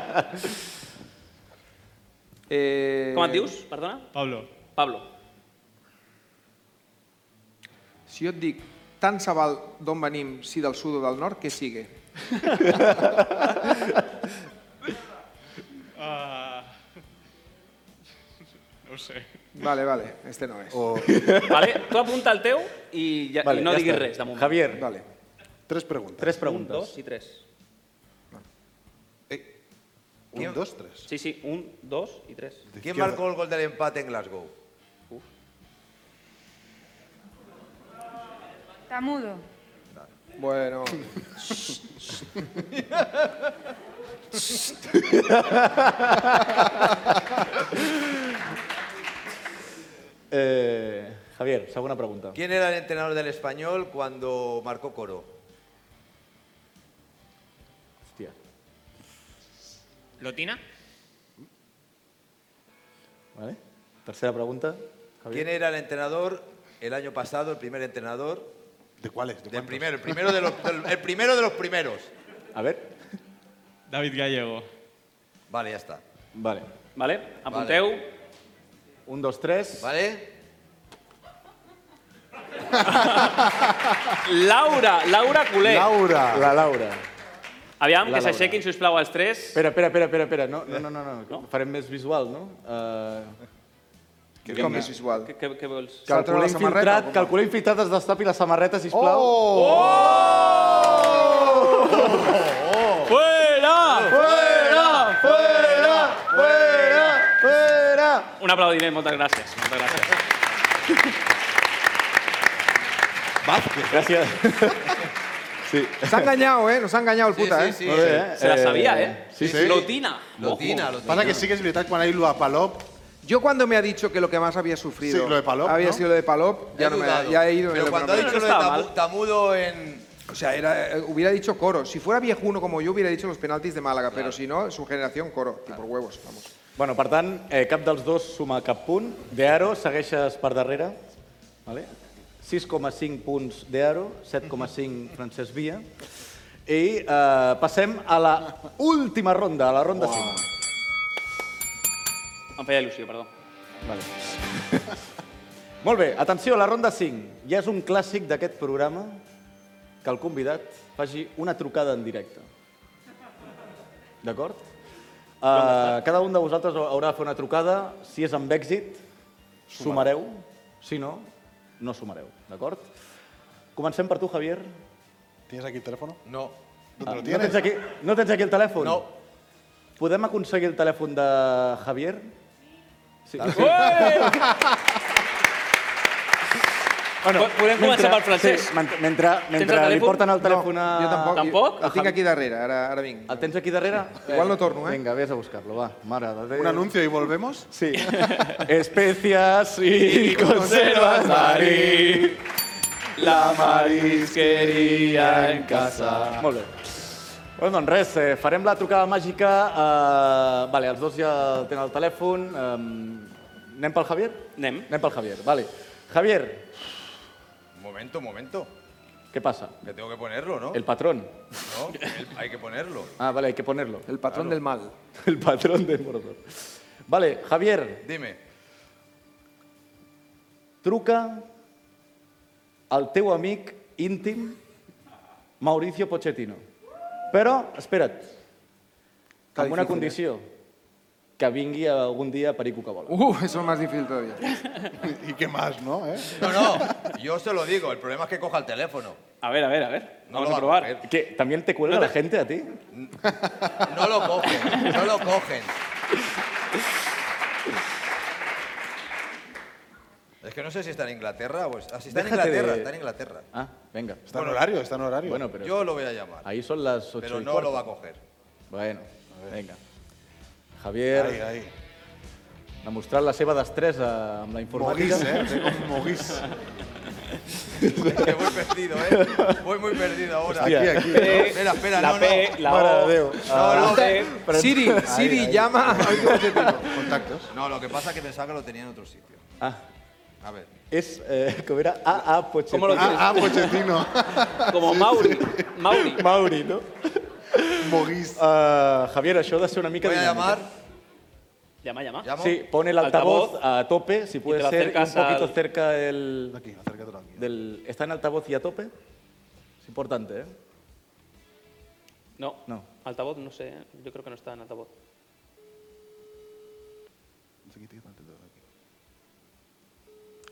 Speaker 3: Com et dius? Perdona?
Speaker 9: Pablo.
Speaker 3: Pablo.
Speaker 5: Si jo et dic tant se val d'on venim, si del sud o del nord, que sigue.
Speaker 9: Uh... No ho sé.
Speaker 5: Vale, vale, este no és.
Speaker 3: Vale? Tu apunta el teu i, ja,
Speaker 2: Vale,
Speaker 3: i no
Speaker 2: ja
Speaker 3: diguis
Speaker 2: està.
Speaker 3: res, de moment.
Speaker 2: Javier.
Speaker 5: Vale.
Speaker 4: Tres preguntes.
Speaker 2: Tres
Speaker 3: Un,
Speaker 2: preguntes.
Speaker 3: dos i tres.
Speaker 4: Un, dos, tres.
Speaker 3: Sí, sí, un, dos i tres.
Speaker 7: ¿Quién marcó el gol del empate en Glasgow?
Speaker 8: Tamudo.
Speaker 5: Bueno.
Speaker 2: Eh, Javier, segona pregunta.
Speaker 7: ¿Quién era el entrenador del español cuando marcó Coro?
Speaker 23: ¿Lotina?
Speaker 2: Vale. Tercera pregunta.
Speaker 7: ¿Quién era el entrenador el año pasado, el primer entrenador?
Speaker 4: ¿De cuáles?
Speaker 7: del primero, el primero de los, del- el primero de los primeros.
Speaker 2: A ver.
Speaker 23: David Gallego.
Speaker 7: Vale, ya está.
Speaker 2: Vale.
Speaker 3: Vale, apunteu.
Speaker 2: Un, dos, tres.
Speaker 7: Vale.
Speaker 3: Laura, Laura Culer.
Speaker 2: Laura. La Laura.
Speaker 3: Aviam,
Speaker 2: La
Speaker 3: que
Speaker 2: Laura.
Speaker 3: s'aixequin, sisplau, els tres.
Speaker 2: Espera, espera, espera, espera, espera. No, no, no, no, no. Farem més visual, no? Uh...
Speaker 3: Que- Com més visual? que- que- que vols? Salta
Speaker 2: Calcular
Speaker 3: la samarreta,
Speaker 2: infiltrat,
Speaker 3: home.
Speaker 2: calcular infiltrat, es destapi la samarreta, sisplau. Oh!
Speaker 3: Fuera!
Speaker 2: Fuera! Fuera! Fuera! Fuera!
Speaker 3: Un aplaudiment, moltes gràcies. Moltes gràcies.
Speaker 4: Vázquez.
Speaker 2: Gràcies. Sí.
Speaker 5: S'ha enganyat, eh? Nos ha enganyat el puta, eh?
Speaker 4: Molt bé, eh? Eh, Sí, sí.
Speaker 5: Lotina,
Speaker 4: Pasa que sí que es verdad que cuando hay lo a Palop...
Speaker 5: Yo cuando me ha dicho que lo que más había sufrido
Speaker 4: Sí, lo de Palop,
Speaker 5: había
Speaker 4: ¿no?
Speaker 5: sido lo de Palop, ya,
Speaker 4: He
Speaker 5: no me,
Speaker 4: dudado.
Speaker 5: ya he ido...
Speaker 4: Pero
Speaker 5: me lo
Speaker 4: cuando ha
Speaker 5: prometo.
Speaker 4: dicho lo de Tamu-
Speaker 7: Tamudo en...
Speaker 5: O sea, era, eh, hubiera dicho coro. Si fuera viejuno como yo, hubiera dicho los penaltis de Málaga, pero si no, su generación coro. Y por huevos, vamos.
Speaker 2: Bueno, per tant, eh, cap dels dos suma cap punt. De Aro, segueixes per darrere. Vale? 6,5 punts de Aro, 7,5 Francesc Via. I eh, passem a la última ronda, a la ronda 5.
Speaker 3: Em feia il·lusió, perdó.
Speaker 2: Vale. Molt bé, atenció, la ronda 5. Ja és un clàssic d'aquest programa que el convidat faci una trucada en directe. D'acord? Uh, cada un de vosaltres haurà de fer una trucada. Si és amb èxit, sumareu. Si no, no sumareu. D'acord? Comencem per tu, Javier. Ah,
Speaker 4: ¿Tienes aquí el teléfono?
Speaker 7: No.
Speaker 4: ¿Dónde lo
Speaker 2: no,
Speaker 4: tienes?
Speaker 2: tens aquí, no tens aquí el telèfon? No. Podem aconseguir el telèfon de Javier? Sí.
Speaker 3: Po- podem començar pel francès.
Speaker 2: Sí, men- mentre,
Speaker 5: Tens el
Speaker 2: mentre li
Speaker 5: telèfon?
Speaker 2: porten el telèfon a...
Speaker 5: jo tampoc. Tampoc? El tinc aquí darrere, ara, ara vinc.
Speaker 2: El tens aquí darrere?
Speaker 5: Igual no torno, eh?
Speaker 2: Vinga, vés a buscar-lo, va. Mare de Déu.
Speaker 4: ¿Un anuncio y volvemos?
Speaker 2: Eh, Sí. Especias y conservas marí. La marisqueria en casa. Molt bé. Bueno, doncs res, eh, farem la trucada màgica. Eh, vale, els dos ja tenen el telèfon. Eh, anem pel Javier?
Speaker 3: Anem.
Speaker 2: Anem pel Javier, vale. Javier,
Speaker 7: Un momento, un momento.
Speaker 2: què passa?
Speaker 7: Que tengo que ponerlo, ¿no?
Speaker 2: El patrón.
Speaker 7: No, el- hay que ponerlo.
Speaker 2: Ah, vale, hay que ponerlo. El
Speaker 7: patrón del
Speaker 2: mal. El patrón del mordor. Vale, Javier,
Speaker 7: Dime.
Speaker 2: truca al teu amic íntim Mauricio Pochettino. Però, espera't,
Speaker 5: Està
Speaker 2: amb una
Speaker 5: difícil,
Speaker 2: condició, que vingui algun dia a Perico que vola.
Speaker 5: Uh, eso es más difícil todavía.
Speaker 4: ¿Y qué más, no? Eh?
Speaker 7: No, no, yo se lo digo. El problema es que coja el teléfono.
Speaker 3: A ver, a ver, a ver.
Speaker 7: No
Speaker 3: Vamos
Speaker 7: lo
Speaker 3: a
Speaker 7: va a
Speaker 3: probar.
Speaker 2: ¿Qué? ¿También te cuelga la gente a ti?
Speaker 7: No lo cogen, no lo cogen. Es que no sé si está en Inglaterra o... es- Ah, si está en
Speaker 2: Déjate
Speaker 7: Inglaterra,
Speaker 2: de-
Speaker 7: está en Inglaterra.
Speaker 2: Ah, venga.
Speaker 4: Está en horario, está en horario.
Speaker 2: Bueno, pero...
Speaker 7: Yo lo voy a llamar,
Speaker 2: Ahí son las ocho
Speaker 7: pero
Speaker 2: y
Speaker 7: no
Speaker 2: cuarto.
Speaker 7: lo va a coger.
Speaker 2: Bueno, venga. Javier,
Speaker 7: Ai, ai.
Speaker 2: ha mostrat la seva destresa amb la informàtica.
Speaker 7: Moguís, eh? Té com moguís. Que voy perdido, ¿eh? Voy muy perdido ahora.
Speaker 2: Hostia. Aquí, aquí, ¿no?
Speaker 7: Espera, espera,
Speaker 2: La
Speaker 7: no,
Speaker 2: P,
Speaker 7: no.
Speaker 2: la Mare O. de Déu.
Speaker 7: No, no.
Speaker 2: Ah.
Speaker 7: Pe-
Speaker 2: Pero- Siri, Ahí, Siri, ahí. llama.
Speaker 7: Contactos. No, lo que pasa es que pensaba que lo tenía en otro sitio.
Speaker 2: Ah,
Speaker 7: A ver.
Speaker 2: es, eh, ¿cómo era? A.A. Pochettino.
Speaker 7: ¿Cómo lo tienes?
Speaker 4: A.A. Pochettino.
Speaker 3: Como Mauri. Mauri.
Speaker 2: Mauri, no?
Speaker 4: Moguís.
Speaker 2: Uh, Javier, això ha de ser una mica
Speaker 3: Voy a
Speaker 2: dinàmica.
Speaker 3: llamar. Llama, llama.
Speaker 2: Sí, pon el altavoz, a tope, si puede
Speaker 3: te lo
Speaker 2: ser un
Speaker 3: acercas
Speaker 2: poquito
Speaker 3: al-
Speaker 2: cerca del... Aquí, del... ¿Está en altavoz y a tope? Es importante, ¿eh?
Speaker 3: No.
Speaker 2: No.
Speaker 3: Altavoz, no sé. eh. Yo creo que no está en altavoz.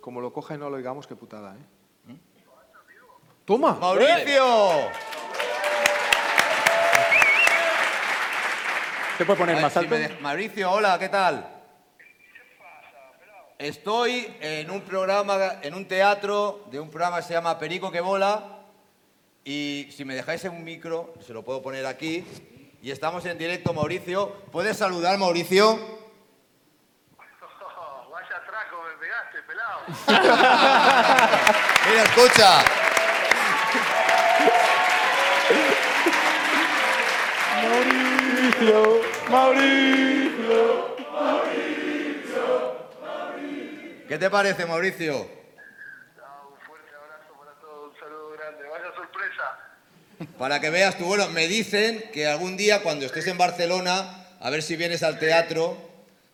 Speaker 5: Como lo coja y no lo oigamos, qué putada, ¿eh? ¡Toma!
Speaker 7: ¿Mm? ¡Mauricio!
Speaker 2: ¿Se puede poner
Speaker 7: A ver
Speaker 2: más
Speaker 7: si
Speaker 2: alto?
Speaker 7: me de- Mauricio, hola, ¿qué tal? Estoy en un programa, en un teatro de un programa que se llama Perico que Bola y si me dejáis en un micro, se lo puedo poner aquí y estamos en directo, Mauricio. ¿Puedes saludar, Mauricio?
Speaker 24: Vaya atraco me pegaste,
Speaker 4: pelado.
Speaker 25: Mira, escucha.
Speaker 2: Mauricio, Mauricio.
Speaker 7: ¿Qué te parece, Mauricio? Para que veas tú, bueno, me dicen que algún día cuando estés en Barcelona, a ver si vienes al teatro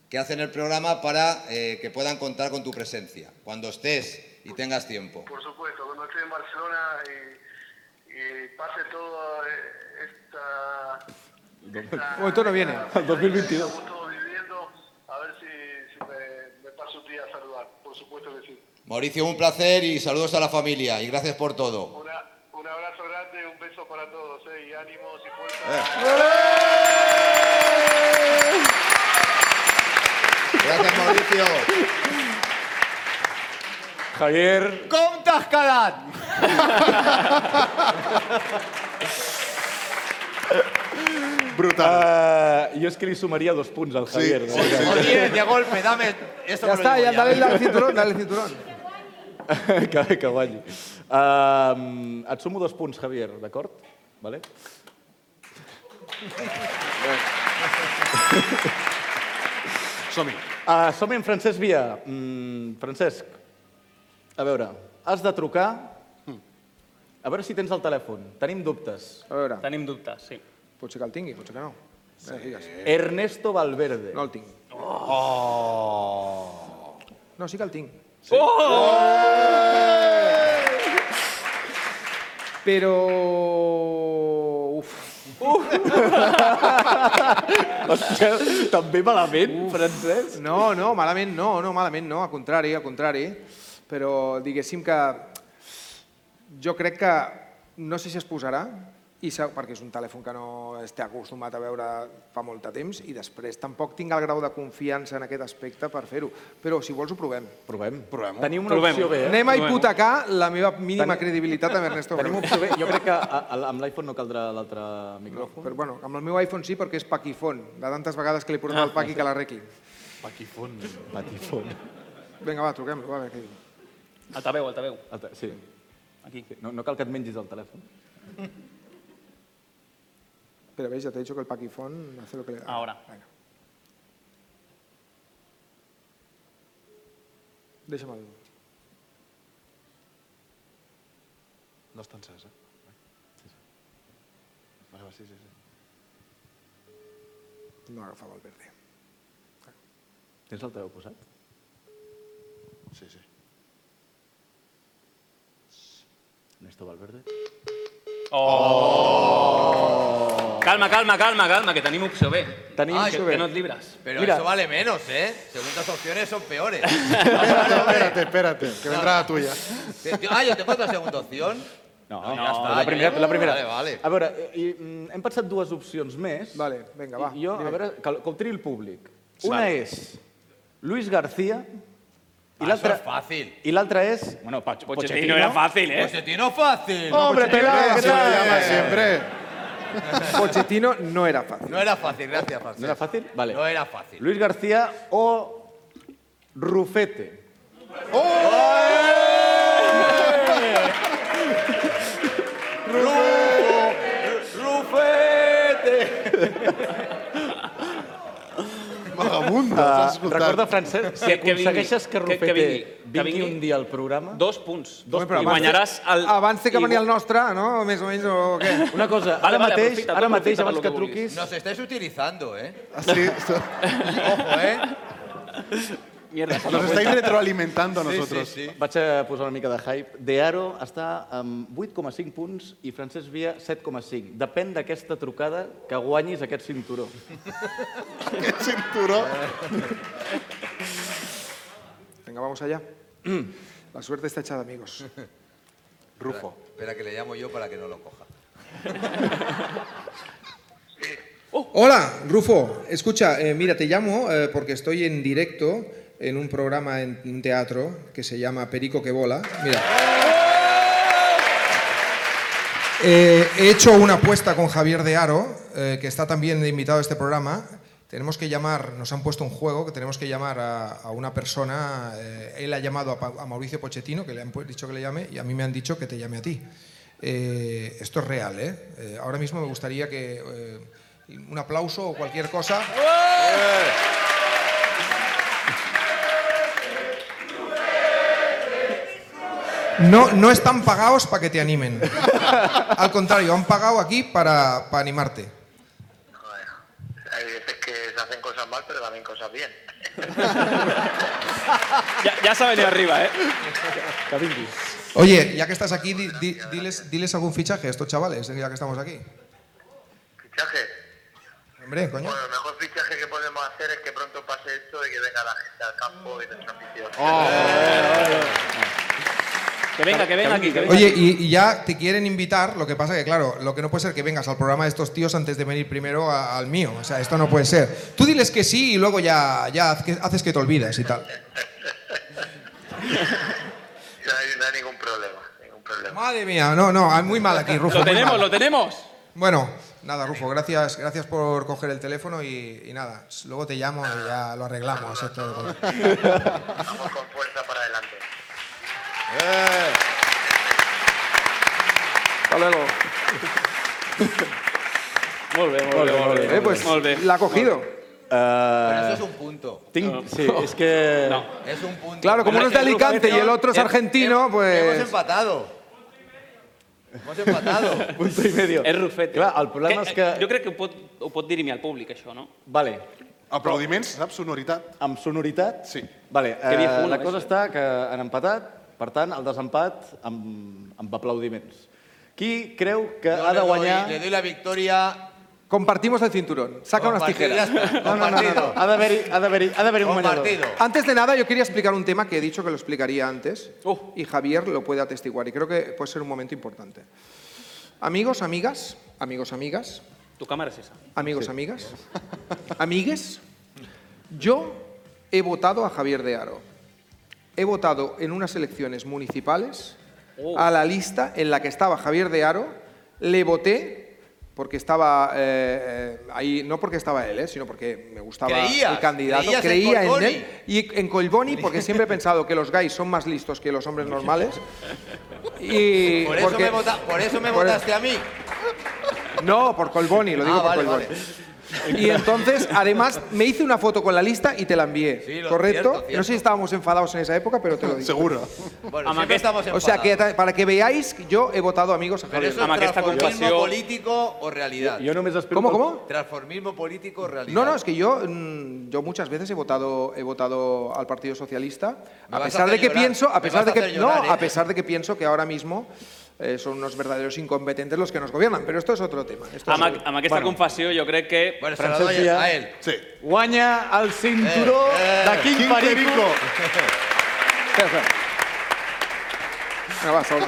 Speaker 7: que hacen el programa para eh, que puedan contar con tu presencia, cuando estés y tengas tiempo.
Speaker 4: Por supuesto, cuando esté en Barcelona y, y pase toda esta... esta-
Speaker 5: Oh, esto no viene.
Speaker 2: Al 2022.
Speaker 4: estamos todos viviendo, a ver si, si me, me paso un día a saludar, por supuesto que sí.
Speaker 7: Mauricio, un placer y saludos a la familia y gracias por todo.
Speaker 4: Una- un abrazo grande, un beso para todos, ¿eh? y ánimos y
Speaker 7: Gracias, Mauricio.
Speaker 2: Javier.
Speaker 7: Com t'has quedat?
Speaker 2: Brutal. Uh, jo és que li sumaria dos punts al Javier. Sí, sí,
Speaker 7: Oye, de golpe, dame. Esto
Speaker 5: Ya
Speaker 7: me lo
Speaker 5: está,
Speaker 7: llevo
Speaker 5: ya dale el cinturón, dale el cinturón.
Speaker 2: que, que guanyi. Uh, et sumo dos punts, Javier, d'acord? Vale?
Speaker 1: Som-hi.
Speaker 2: Uh, som en Francesc Via. Mm, Francesc, a veure, has de trucar... A veure si tens el telèfon. Tenim dubtes.
Speaker 5: Mm. A veure.
Speaker 3: Tenim dubtes, sí.
Speaker 5: Potser que el tingui, potser que no. Sí.
Speaker 2: Ernesto Valverde.
Speaker 5: No el tinc.
Speaker 2: Oh.
Speaker 5: No, sí que el tinc.
Speaker 3: Sí.
Speaker 5: Però... Uf.
Speaker 2: Hòstia, també malament, Uf. Francesc?
Speaker 5: No, no, malament no, no, malament no, al contrari, al contrari. Però diguéssim que jo crec que no sé si es posarà, i se- perquè és un telèfon que no estic acostumat a veure fa molt de temps, i després tampoc tinc el grau de confiança en aquest aspecte per fer-ho. Però si vols ho provem.
Speaker 2: Provem.
Speaker 1: Provem.
Speaker 2: Tenim una opció B, eh?
Speaker 5: Anem a
Speaker 2: Provem-ho.
Speaker 5: hipotecar la meva mínima
Speaker 2: Tenim-
Speaker 5: credibilitat amb Ernesto
Speaker 2: Tenim
Speaker 5: Valverde.
Speaker 2: opció B. Jo crec que a- a- amb l'iPhone no caldrà l'altre micròfon.
Speaker 5: Però bueno, amb el meu iPhone sí, perquè és paquifon, de tantes vegades que li he
Speaker 3: Ah,
Speaker 5: portat al paqui que l'arregli.
Speaker 2: Paquifon. Patifon.
Speaker 5: Vinga, va, truquem-lo, va, a veure què diu.
Speaker 3: Altaveu, altaveu.
Speaker 2: Alta, sí. Aquí. No, no cal que et mengis el telèfon.
Speaker 5: Pero veis, ya te he dicho que el paquifón hace lo que le da.
Speaker 3: Ahora.
Speaker 5: Venga. Deixa'm el...
Speaker 1: No està encès, eh? Vale, va, sí, sí, sí.
Speaker 5: No agafava el verde.
Speaker 2: Tens el teu posat?
Speaker 1: Sí, sí.
Speaker 2: Ernesto Valverde.
Speaker 3: Calma, calma, calma, calma, que tenim opció B.
Speaker 2: Tenim
Speaker 3: ah,
Speaker 2: opció
Speaker 3: que,
Speaker 2: B.
Speaker 3: que no et libres.
Speaker 7: Pero
Speaker 2: Mira.
Speaker 7: eso vale menos, ¿eh? Segundas opciones son peores.
Speaker 1: Espérate, espérate, que vendrá la tuya.
Speaker 7: Te- te- Ah, yo te paso la segunda opción.
Speaker 2: No,
Speaker 7: ya está,
Speaker 2: la
Speaker 7: ya
Speaker 2: primera.
Speaker 7: llego.
Speaker 2: La primera.
Speaker 7: Vale, vale.
Speaker 2: A veure, i, mm, hem passat dues opcions més.
Speaker 5: Vale, vinga, va.
Speaker 2: I jo,
Speaker 5: dime.
Speaker 2: a veure, que, que ho triï el públic. Una és Luis García i
Speaker 7: Eso
Speaker 2: l'altra...
Speaker 7: es fácil.
Speaker 2: I l'altra és... Bueno, Poch Pochettino.
Speaker 3: eh?
Speaker 7: Pochettino fácil.
Speaker 2: Hombre, pelado, ¿qué
Speaker 1: Siempre,
Speaker 2: tal?
Speaker 1: Siempre.
Speaker 5: Pochettino no era fácil.
Speaker 7: No era fácil, gracias, Francesc.
Speaker 2: ¿No era fácil? Vale.
Speaker 7: No era fácil.
Speaker 2: Luis García o Rufete.
Speaker 1: Vagabundo,
Speaker 2: Ah,
Speaker 1: has escoltat.
Speaker 2: recorda, Francesc, si
Speaker 3: Que- que vingui,
Speaker 2: aconsegueixes que
Speaker 3: que- que
Speaker 2: Rufete
Speaker 3: vingui,
Speaker 2: vingui,
Speaker 3: que vingui.
Speaker 2: un dia al programa...
Speaker 3: Dos punts.
Speaker 2: Dos
Speaker 5: Però
Speaker 2: punts.
Speaker 3: I guanyaràs el...
Speaker 5: Abans té que venir el nostre, no? Més o menys, o què?
Speaker 2: Una cosa,
Speaker 3: Vale,
Speaker 2: ara
Speaker 3: vale,
Speaker 2: mateix,
Speaker 3: aprofita, tu
Speaker 2: ara mateix,
Speaker 3: aprofita per
Speaker 2: abans
Speaker 3: lo
Speaker 2: que
Speaker 3: que
Speaker 2: truquis...
Speaker 7: Nos estáis utilizando, ¿eh?
Speaker 1: Así.
Speaker 7: Ojo, ¿eh?
Speaker 3: Mierda, se
Speaker 1: Nos
Speaker 3: lo
Speaker 1: estáis
Speaker 3: cuenta.
Speaker 1: retroalimentando a nosotros.
Speaker 2: Vaig a posar una mica de hype. De Aro està amb 8,5 punts i Francesc Via 7,5. Depèn d'aquesta trucada que guanyis aquest cinturó.
Speaker 1: Qué cinturón.
Speaker 5: Venga, vamos allá.
Speaker 2: Mm.
Speaker 5: La suerte está echada, amigos.
Speaker 1: Rufo.
Speaker 7: Espera que le llamo yo para que no lo coja.
Speaker 5: Hola, Rufo. Escucha, eh, mira, te llamo eh, porque estoy en directo en un programa en un teatro que se llama Perico que vola. Mira. Eh, he hecho una apuesta con Javier de Aro, eh, que está también de invitado a este programa.
Speaker 16: Tenemos que llamar, nos han puesto un juego que tenemos que llamar a, a una persona. eh, él ha llamado a, Pa- a Mauricio Pochettino, que le han pu- dicho que le llame, y a mí me han dicho que te llame a ti. Eh, esto es real, ¿eh? Eh, Ahora mismo me gustaría que eh, un aplauso o cualquier cosa. No, no están pagados para que te animen. Al contrario, han pagado aquí para, para animarte.
Speaker 10: Hay veces que se hacen cosas mal, pero también cosas bien.
Speaker 3: Ya, ya se ha venido arriba, ¿eh?
Speaker 16: Oye, ya que estás aquí, di- di- diles, diles algún fichaje a estos chavales, ya que estamos aquí.
Speaker 10: ¿Fichaje?
Speaker 16: Hombre, coño.
Speaker 10: Bueno, el mejor fichaje que podemos hacer es que pronto pase esto y que venga la gente al campo y nuestra afición.
Speaker 5: Oh.
Speaker 3: Que venga, que venga aquí, que venga.
Speaker 16: Oye, y, y ya te quieren invitar, lo que pasa que, claro, lo que no puede ser que vengas al programa de estos tíos antes de venir primero a- al mío. O sea, esto no puede ser. Tú diles que sí y luego ya, ya haz que- haces que te olvides y tal.
Speaker 10: No hay, no hay ningún problema, ningún problema.
Speaker 16: Madre mía, no, no, muy mal aquí, Rufo.
Speaker 10: Lo
Speaker 16: muy
Speaker 10: tenemos,
Speaker 16: mal.
Speaker 10: lo
Speaker 3: tenemos.
Speaker 16: Bueno, nada, Rufo, gracias, gracias por coger el teléfono y, y nada, luego te llamo y ya lo arreglamos. esto de color.
Speaker 10: Vamos con fuerza para adelante.
Speaker 5: Hasta luego.
Speaker 3: Molt bé, molt,
Speaker 5: Molt
Speaker 3: bé,
Speaker 5: bé,
Speaker 3: molt
Speaker 5: molt
Speaker 3: bé.
Speaker 5: bé. Eh, pues,
Speaker 3: molt bé.
Speaker 5: l'ha cogido.
Speaker 2: Eh,
Speaker 15: Pero eso es un punto.
Speaker 5: Tinc- sí, es que- No.
Speaker 15: Es un punto.
Speaker 5: Claro, como uno es de Alicante y el otro
Speaker 2: eh,
Speaker 5: es argentino,
Speaker 15: Hemos
Speaker 5: pues...
Speaker 15: empatado. Hemos empatado.
Speaker 5: Punto y medio.
Speaker 3: És Rufete.
Speaker 5: Clar, el problema
Speaker 3: que,
Speaker 5: és que-
Speaker 3: Jo crec que ho pot, ho pot dirimir al públic, això, no?
Speaker 2: Vale.
Speaker 4: Aplaudiments, saps? Sonoritat.
Speaker 2: Amb sonoritat?
Speaker 4: Sí.
Speaker 2: Vale,
Speaker 4: Que
Speaker 2: eh,
Speaker 4: viejuno,
Speaker 2: la cosa
Speaker 4: això.
Speaker 2: està que han empatat, per tant, el desempat amb, amb aplaudiments. Qui creu que ha
Speaker 15: Le
Speaker 2: de
Speaker 15: doy-
Speaker 2: guanyar...
Speaker 15: Le doy la victoria.
Speaker 5: Compartimos el cinturón. Saca unas
Speaker 15: Compartir,
Speaker 5: tijeras.
Speaker 15: ya está.
Speaker 5: No, no, no, no, no.
Speaker 15: Compartido. Ha de haber-
Speaker 2: ha de haber,
Speaker 15: un Compartido. ganador.
Speaker 5: Antes de nada, yo quería explicar un tema que he dicho que lo explicaría antes
Speaker 15: Uh.
Speaker 5: y Javier lo puede atestiguar y creo que puede ser un momento importante. Amigos, amigas, amigos, amigas,
Speaker 3: Tu càmera és esa.
Speaker 5: amigos, amigas, amigues, yo he votado a Javier de Aro. He votado en unas elecciones municipales
Speaker 15: Oh.
Speaker 5: a la lista en la que estaba Javier de Aro, le voté porque estaba eh, eh, ahí, no porque estaba él, eh, sino porque me gustaba
Speaker 15: Creías,
Speaker 5: el candidato,
Speaker 15: creías en
Speaker 5: creía en,
Speaker 15: Colboni.
Speaker 5: él y en Colboni porque siempre he pensado que los gays son más listos que los hombres normales. Y
Speaker 15: Por eso
Speaker 5: porque-
Speaker 15: me vota- por eso me
Speaker 5: por-
Speaker 15: votaste a mí.
Speaker 5: No, por Colboni, lo digo
Speaker 15: Ah,
Speaker 5: por
Speaker 15: vale,
Speaker 5: Colboni. Y entonces, además, me hice una foto con la lista y te la envié.
Speaker 15: Sí, lo-
Speaker 5: ¿Correcto?
Speaker 15: cierto, cierto.
Speaker 5: No sé si estábamos enfadados en esa época, pero te lo digo. Seguro.
Speaker 15: Bueno, siempre estamos
Speaker 5: O sea, que
Speaker 15: enfadados.
Speaker 5: ta- para que veáis, yo he votado amigos a
Speaker 15: Pero
Speaker 5: Javier.
Speaker 15: eso es transformismo político o realidad.
Speaker 5: Jo- jo només espero Com, que- com?
Speaker 15: Transformismo político o realidad.
Speaker 5: No, no, es que yo, mm, yo muchas veces he votado, he votado al Partido Socialista,
Speaker 15: Me
Speaker 5: a
Speaker 15: vas a
Speaker 5: pesar de
Speaker 15: hacer
Speaker 5: que
Speaker 15: llorar,
Speaker 5: pienso,
Speaker 15: me
Speaker 5: a pesar
Speaker 15: vas a
Speaker 5: de que
Speaker 15: hacer llorar,
Speaker 5: no,
Speaker 15: ¿eh?
Speaker 5: a pesar de que pienso que ahora mismo eh, son unos verdaderos incompetentes los que nos gobiernan, pero esto es otro tema. Esto
Speaker 3: Amb,
Speaker 5: es-
Speaker 3: aqu- amb aquesta
Speaker 5: Bueno.
Speaker 3: confessió jo crec que... Bueno,
Speaker 5: se la doy Francesc Villa. a
Speaker 15: ell.
Speaker 4: Sí.
Speaker 2: Guanya el cinturó
Speaker 3: Eh, eh,
Speaker 2: de Quim,
Speaker 4: Quim
Speaker 2: Perico.
Speaker 4: Perico.
Speaker 5: Espera, espera. Venga, Ah, va, solo.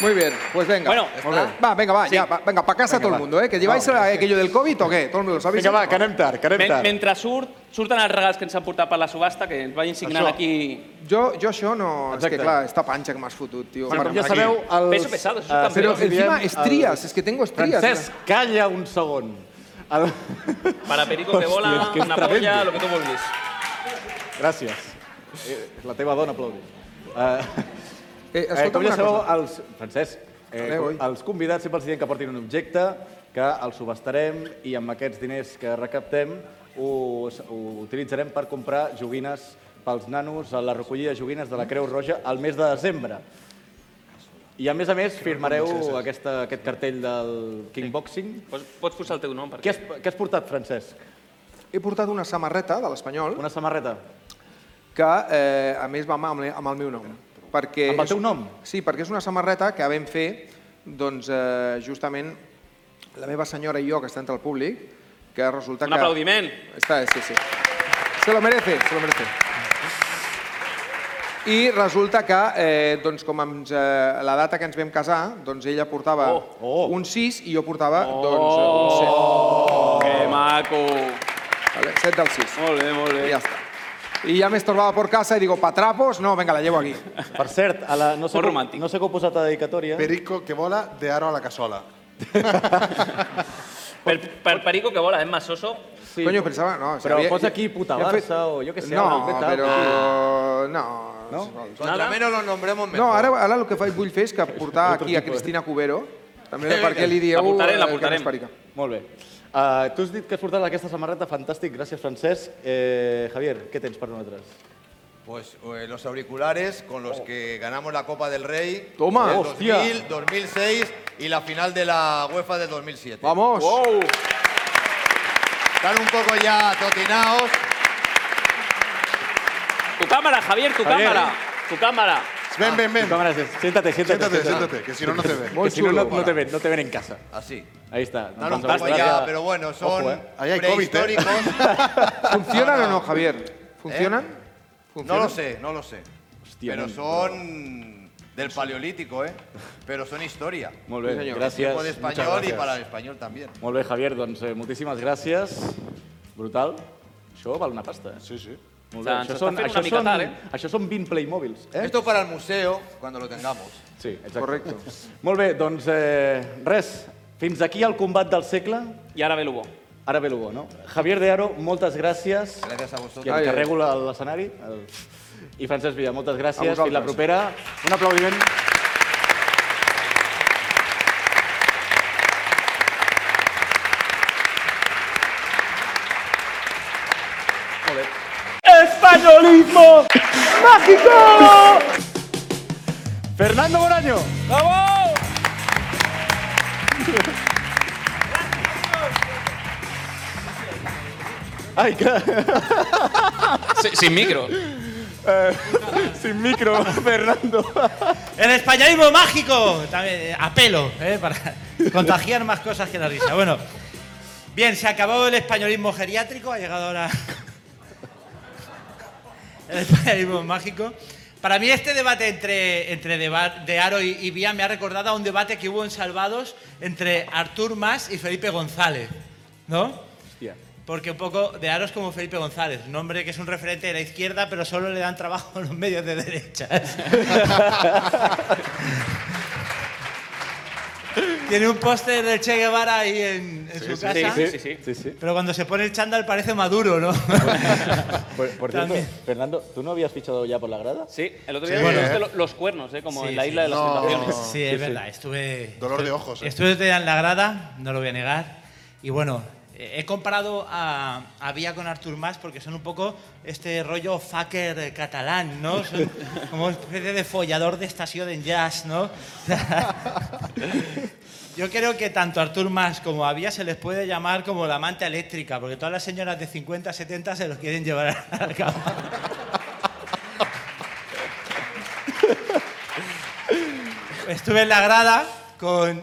Speaker 5: Muy bien, pues venga.
Speaker 2: Bueno,
Speaker 5: Molt
Speaker 2: ¿está?
Speaker 5: bé. va, venga, va, ya, va, venga, para casa
Speaker 2: Venga,
Speaker 5: todo
Speaker 2: va.
Speaker 5: el mundo, ¿eh? Que lleváis
Speaker 2: Va.
Speaker 5: aquello del COVID o qué? Todo el mundo lo sabéis.
Speaker 2: Vinga, va, que anem tard, que anem
Speaker 3: Men
Speaker 2: tard.
Speaker 3: mentre surt, surten els regals que ens han portat per la subhasta, que ens vagin signant
Speaker 5: Això.
Speaker 3: aquí...
Speaker 5: Jo, jo això no... És
Speaker 3: Exacte.
Speaker 5: que, clar, esta panxa que m'has fotut, tio.
Speaker 2: Bueno,
Speaker 5: Bueno,
Speaker 2: ja
Speaker 5: aquí.
Speaker 2: sabeu, els...
Speaker 5: Peso pesado, això també. Però
Speaker 2: els
Speaker 5: encima
Speaker 2: diem
Speaker 5: estries,
Speaker 2: els-
Speaker 5: és que tengo estries.
Speaker 2: eh, Francesc, calla un segon. El...
Speaker 3: Para perico que vola,
Speaker 2: Hòstia, és que és
Speaker 3: una
Speaker 2: tremendo.
Speaker 3: polla, lo que tu vulguis.
Speaker 2: Gràcies. Eh, La teva dona aplaudi. Uh, eh,
Speaker 5: eh,
Speaker 2: com
Speaker 5: escolta'm
Speaker 2: ja
Speaker 5: una
Speaker 2: sabeu,
Speaker 5: cosa.
Speaker 2: els, Francesc, eh,
Speaker 5: Adéu, oi?
Speaker 2: els convidats sempre els diem que portin un objecte, que el subestarem i amb aquests diners que recaptem ho, ho utilitzarem per comprar joguines pels nanos a la recollida de joguines de la Creu Roja al mes de desembre. I a més a més firmareu
Speaker 3: bones aquestes.
Speaker 2: aquesta, aquest cartell del kickboxing.
Speaker 3: Pots, Pues, pots posar el teu nom, perquè...
Speaker 2: Què has, què has portat, Francesc?
Speaker 5: He portat una samarreta de l'Espanyol.
Speaker 2: Una samarreta?
Speaker 5: Que, eh, a més, va amb, amb el meu nom. Perquè
Speaker 2: Amb el
Speaker 5: és-
Speaker 2: teu nom?
Speaker 5: Sí, perquè és una samarreta que vam fer, doncs, eh, justament, la meva senyora i jo, que està entre el públic, que resulta
Speaker 3: Un
Speaker 5: que...
Speaker 3: aplaudiment.
Speaker 5: Està, sí, sí. Se lo merece, se lo merece. I resulta que, eh, doncs, com ens, eh, la data que ens vam casar, doncs ella portava
Speaker 2: Oh,
Speaker 5: un 6 i jo portava doncs, un 7.
Speaker 2: Oh,
Speaker 3: Que Oh, maco.
Speaker 5: Vale, 7 del 6.
Speaker 3: Molt bé, molt bé.
Speaker 5: I ja està. y ya me estorbaba por casa y digo, patrapos, no, venga, la llevo aquí.
Speaker 2: Per cert, a la, no, sé com, no sé com he posat a dedicatòria.
Speaker 4: Perico que vola de aro a la cassola.
Speaker 3: Per, per Perico que vola, és massoso.
Speaker 5: Sí, Coño, pensaba, no.
Speaker 3: Però posa
Speaker 2: aquí puta
Speaker 5: ya
Speaker 2: Barça o yo qué sé,
Speaker 5: No,
Speaker 2: algo, vete a-
Speaker 5: pero... No. No?
Speaker 2: Contra Nada? menos
Speaker 5: los nombremos mejor. No, ara, ara el que faig vull fer és que portar aquí a Cristina Cubero, també perquè li dieu...
Speaker 2: Eh, La portarem, la
Speaker 5: eh, que
Speaker 2: portarem.
Speaker 5: no és perica.
Speaker 2: Molt bé. Uh, tu has dit que has portat aquesta samarreta, fantàstic, gràcies Francesc. Eh, Javier, què tens per nosaltres?
Speaker 6: Pues eh, los auriculares con los que ganamos la Copa del Rey.
Speaker 2: Toma,
Speaker 6: del
Speaker 2: hostia.
Speaker 6: 2000, 2006 y la final de la UEFA del 2007.
Speaker 5: Vamos. Wow.
Speaker 6: Están un poco ya totinaos.
Speaker 3: Tu càmera, Javier, tu
Speaker 6: Javier.
Speaker 3: càmera. Tu càmera.
Speaker 4: Ven, ven, ven.
Speaker 2: Cámara, sí. siéntate, siéntate,
Speaker 4: Siéntate, siéntate, que si no, no te ven.
Speaker 2: Que si no, no, no te ven, no te ven en casa.
Speaker 6: Así.
Speaker 2: Ahí está.
Speaker 6: Están un
Speaker 2: Entonces,
Speaker 6: poco ya,
Speaker 2: gracias.
Speaker 6: pero bueno, son
Speaker 2: Ojo, eh.
Speaker 5: Ahí hay COVID, ¿eh?
Speaker 6: prehistóricos.
Speaker 5: ¿Funcionan o no,
Speaker 2: Eh?
Speaker 5: Javier? ¿Funcionan?
Speaker 6: No
Speaker 5: ¿Funcionan?
Speaker 6: lo sé, no lo sé.
Speaker 5: Hostia,
Speaker 6: pero
Speaker 5: no,
Speaker 6: son del paleolítico, ¿eh? Pero son historia.
Speaker 2: Molt bé,
Speaker 6: Sí, señor.
Speaker 2: gràcies.
Speaker 6: Tipo de
Speaker 2: muchas
Speaker 6: español y
Speaker 2: gracias.
Speaker 6: para el español también.
Speaker 2: Molt bé, Javier, doncs eh, moltíssimes gràcies. Brutal. Això val una pasta, eh? Sí, sí. Molt bé.
Speaker 6: Se'ns
Speaker 2: Això
Speaker 6: està
Speaker 2: són,
Speaker 6: fent una
Speaker 2: això,
Speaker 6: mica
Speaker 2: són,
Speaker 6: tard, eh?
Speaker 2: això són 20 Playmobils, eh?
Speaker 6: Esto para el museo cuando lo tengamos.
Speaker 2: Sí, exacte. Correcte. Molt bé, doncs eh, res, fins aquí el combat del segle.
Speaker 3: I ara ve l'Ubo.
Speaker 2: Ara ve el bo, no? Javier de Aro, moltes gràcies.
Speaker 6: Gràcies a
Speaker 2: Qui
Speaker 6: vosaltres.
Speaker 2: encarrego la- l'escenari. El... I Francesc Villa, moltes
Speaker 6: A
Speaker 2: gràcies.
Speaker 6: vosaltres.
Speaker 2: Fins la propera. Un aplaudiment.
Speaker 13: ¡Españolismo mágico!
Speaker 2: Fernando Moraño.
Speaker 13: ¡Vamos!
Speaker 2: Ai, que...
Speaker 3: Sin, sin micro.
Speaker 2: Eh, sin micro, Fernando.
Speaker 11: El españolismo mágico, también eh, a pelo, ¿eh? para contagiar más cosas que la risa. Bueno, bien, se acabó el españolismo geriátrico, ha llegado ahora el españolismo mágico. Para mí este debate entre, entre Deba- de Aro y, y Vía me ha recordado a un debate que hubo en Salvados entre Artur Mas y Felipe González, ¿no?
Speaker 2: Hostia.
Speaker 11: Porque un poco de Aro es como Felipe González, un hombre que es un referente de la izquierda, pero solo le dan trabajo a los medios de derecha. Tiene un póster del Che Guevara ahí en, en su casa.
Speaker 2: sí, sí, sí.
Speaker 11: Pero cuando se pone el chándal parece maduro, ¿no?
Speaker 2: Por, por cierto,
Speaker 11: También.
Speaker 2: Fernando, ¿tú no habías fichado ya por la grada?
Speaker 3: Sí, el otro día me dijiste lo- los cuernos, ¿eh? como en la isla de las tentaciones.
Speaker 11: Sí, es verdad. Estuve.
Speaker 4: Dolor de
Speaker 11: estuve-
Speaker 4: ojos, eh.
Speaker 11: Estuve otro día en la grada, no lo voy a negar. Y bueno, eh, he comparado a, a Vía con Artur Mas porque son un poco este rollo fucker eh, catalán, ¿no? Son como una especie de follador de estación en jazz, ¿no? Yo creo que tanto a Artur Mas como a Vía se les puede llamar como la manta eléctrica, porque todas las señoras de 50, 70 se los quieren llevar a la cama. Estuve en la grada con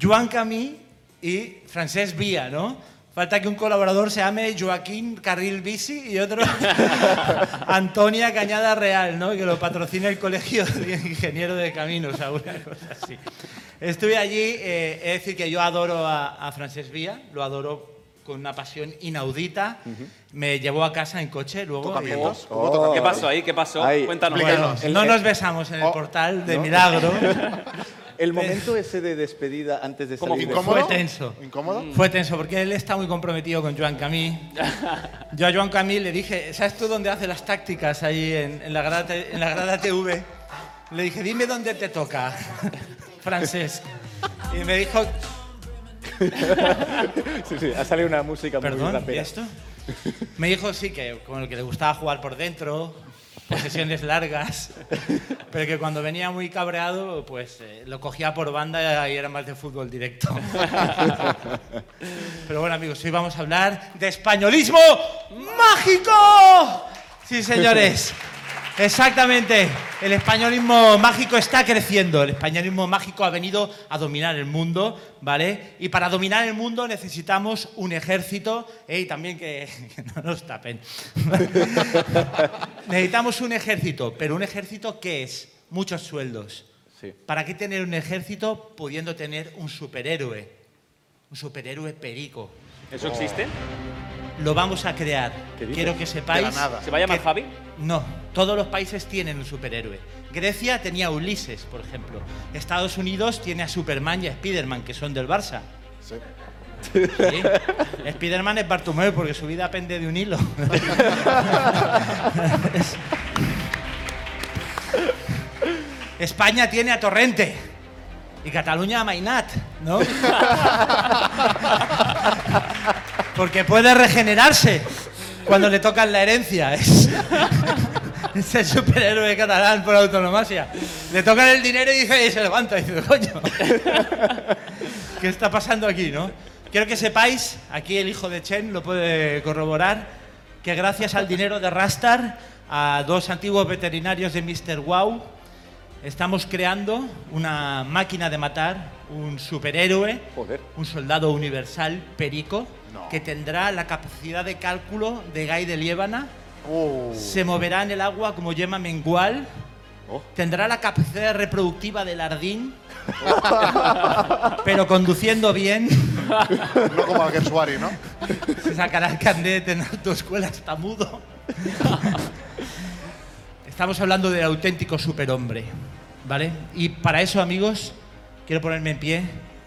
Speaker 11: Joan Camí y Francesc Vía, ¿no? Falta que un colaborador se llame Joaquín Carril Bici y otro Antonia Cañada Real, ¿no? Que lo patrocina el Colegio de Ingenieros de Caminos, alguna cosa así. Estuve allí, eh, he de decir que yo adoro a, a Francesc Vía, lo adoro con una pasión inaudita. Me llevó a casa en coche luego.
Speaker 3: También.
Speaker 11: eh,
Speaker 3: ¿Qué pasó ahí? ¿Qué pasó? Cuéntanos.
Speaker 11: Bueno, no nos besamos en el portal de milagro.
Speaker 2: El momento ese de despedida antes de
Speaker 11: ¿Cómo
Speaker 2: salir...
Speaker 11: fue? Fue tenso. Fue tenso, porque él está muy comprometido con Joan Camí. Yo a Joan Camí le dije, ¿sabes tú dónde hace las tácticas ahí en, en la grada, te- en la grada TV? Le dije, dime dónde te toca, francés. Y me dijo,
Speaker 2: sí, sí, ha salido una música muy
Speaker 11: perdón, ¿y
Speaker 2: rapera.
Speaker 11: esto? Me dijo, sí, que como el que le gustaba jugar por dentro, posesiones largas, pero que cuando venía muy cabreado, pues eh, lo cogía por banda y era más de fútbol directo. Pero bueno, amigos, hoy vamos a hablar de españolismo mágico. Sí, señores. Exactamente. El españolismo mágico está creciendo. El españolismo mágico ha venido a dominar el mundo, ¿vale? Y para dominar el mundo necesitamos un ejército ¿eh? y también que, que no nos tapen. necesitamos un ejército, pero un ejército que es muchos sueldos. ¿Para qué tener un ejército pudiendo tener un superhéroe? Un superhéroe perico.
Speaker 3: ¿Eso existe?
Speaker 11: lo vamos a crear.
Speaker 3: dices?
Speaker 11: Quiero que
Speaker 3: De la
Speaker 11: sepáis.
Speaker 3: nada. ¿Se va a llamar
Speaker 11: que-
Speaker 3: Javi?
Speaker 11: No, todos los países tienen un superhéroe. Grecia tenía a Ulises, por ejemplo. Estados Unidos tiene a Superman y a Spiderman, que son del Barça.
Speaker 7: Sí.
Speaker 11: Sí. Spiderman es Bartomeu porque su vida pende de un hilo. España tiene a Torrente y Cataluña a Mainat, ¿no? Porque puede regenerarse cuando le tocan la herencia. Es, es el superhéroe catalán por autonomasia. Le tocan el dinero y dice y se levanta y dice, coño. ¿Qué está pasando aquí, no? Quiero que sepáis, aquí el hijo de Chen lo puede corroborar, que gracias al dinero de Rastar, a dos antiguos veterinarios de Mr. Wow, estamos creando una máquina de matar, un superhéroe, un soldado universal, Perico, que tendrá la capacidad de cálculo de Guy de Liébana, se moverá en el agua como yema mengual, Oh. tendrá la capacidad reproductiva del ardín, pero conduciendo bien. No como Gersuari, ¿no? Se sacará el candete en autoescuela, está mudo. Estamos hablando del auténtico superhombre, ¿vale? Y para eso, amigos, quiero ponerme en pie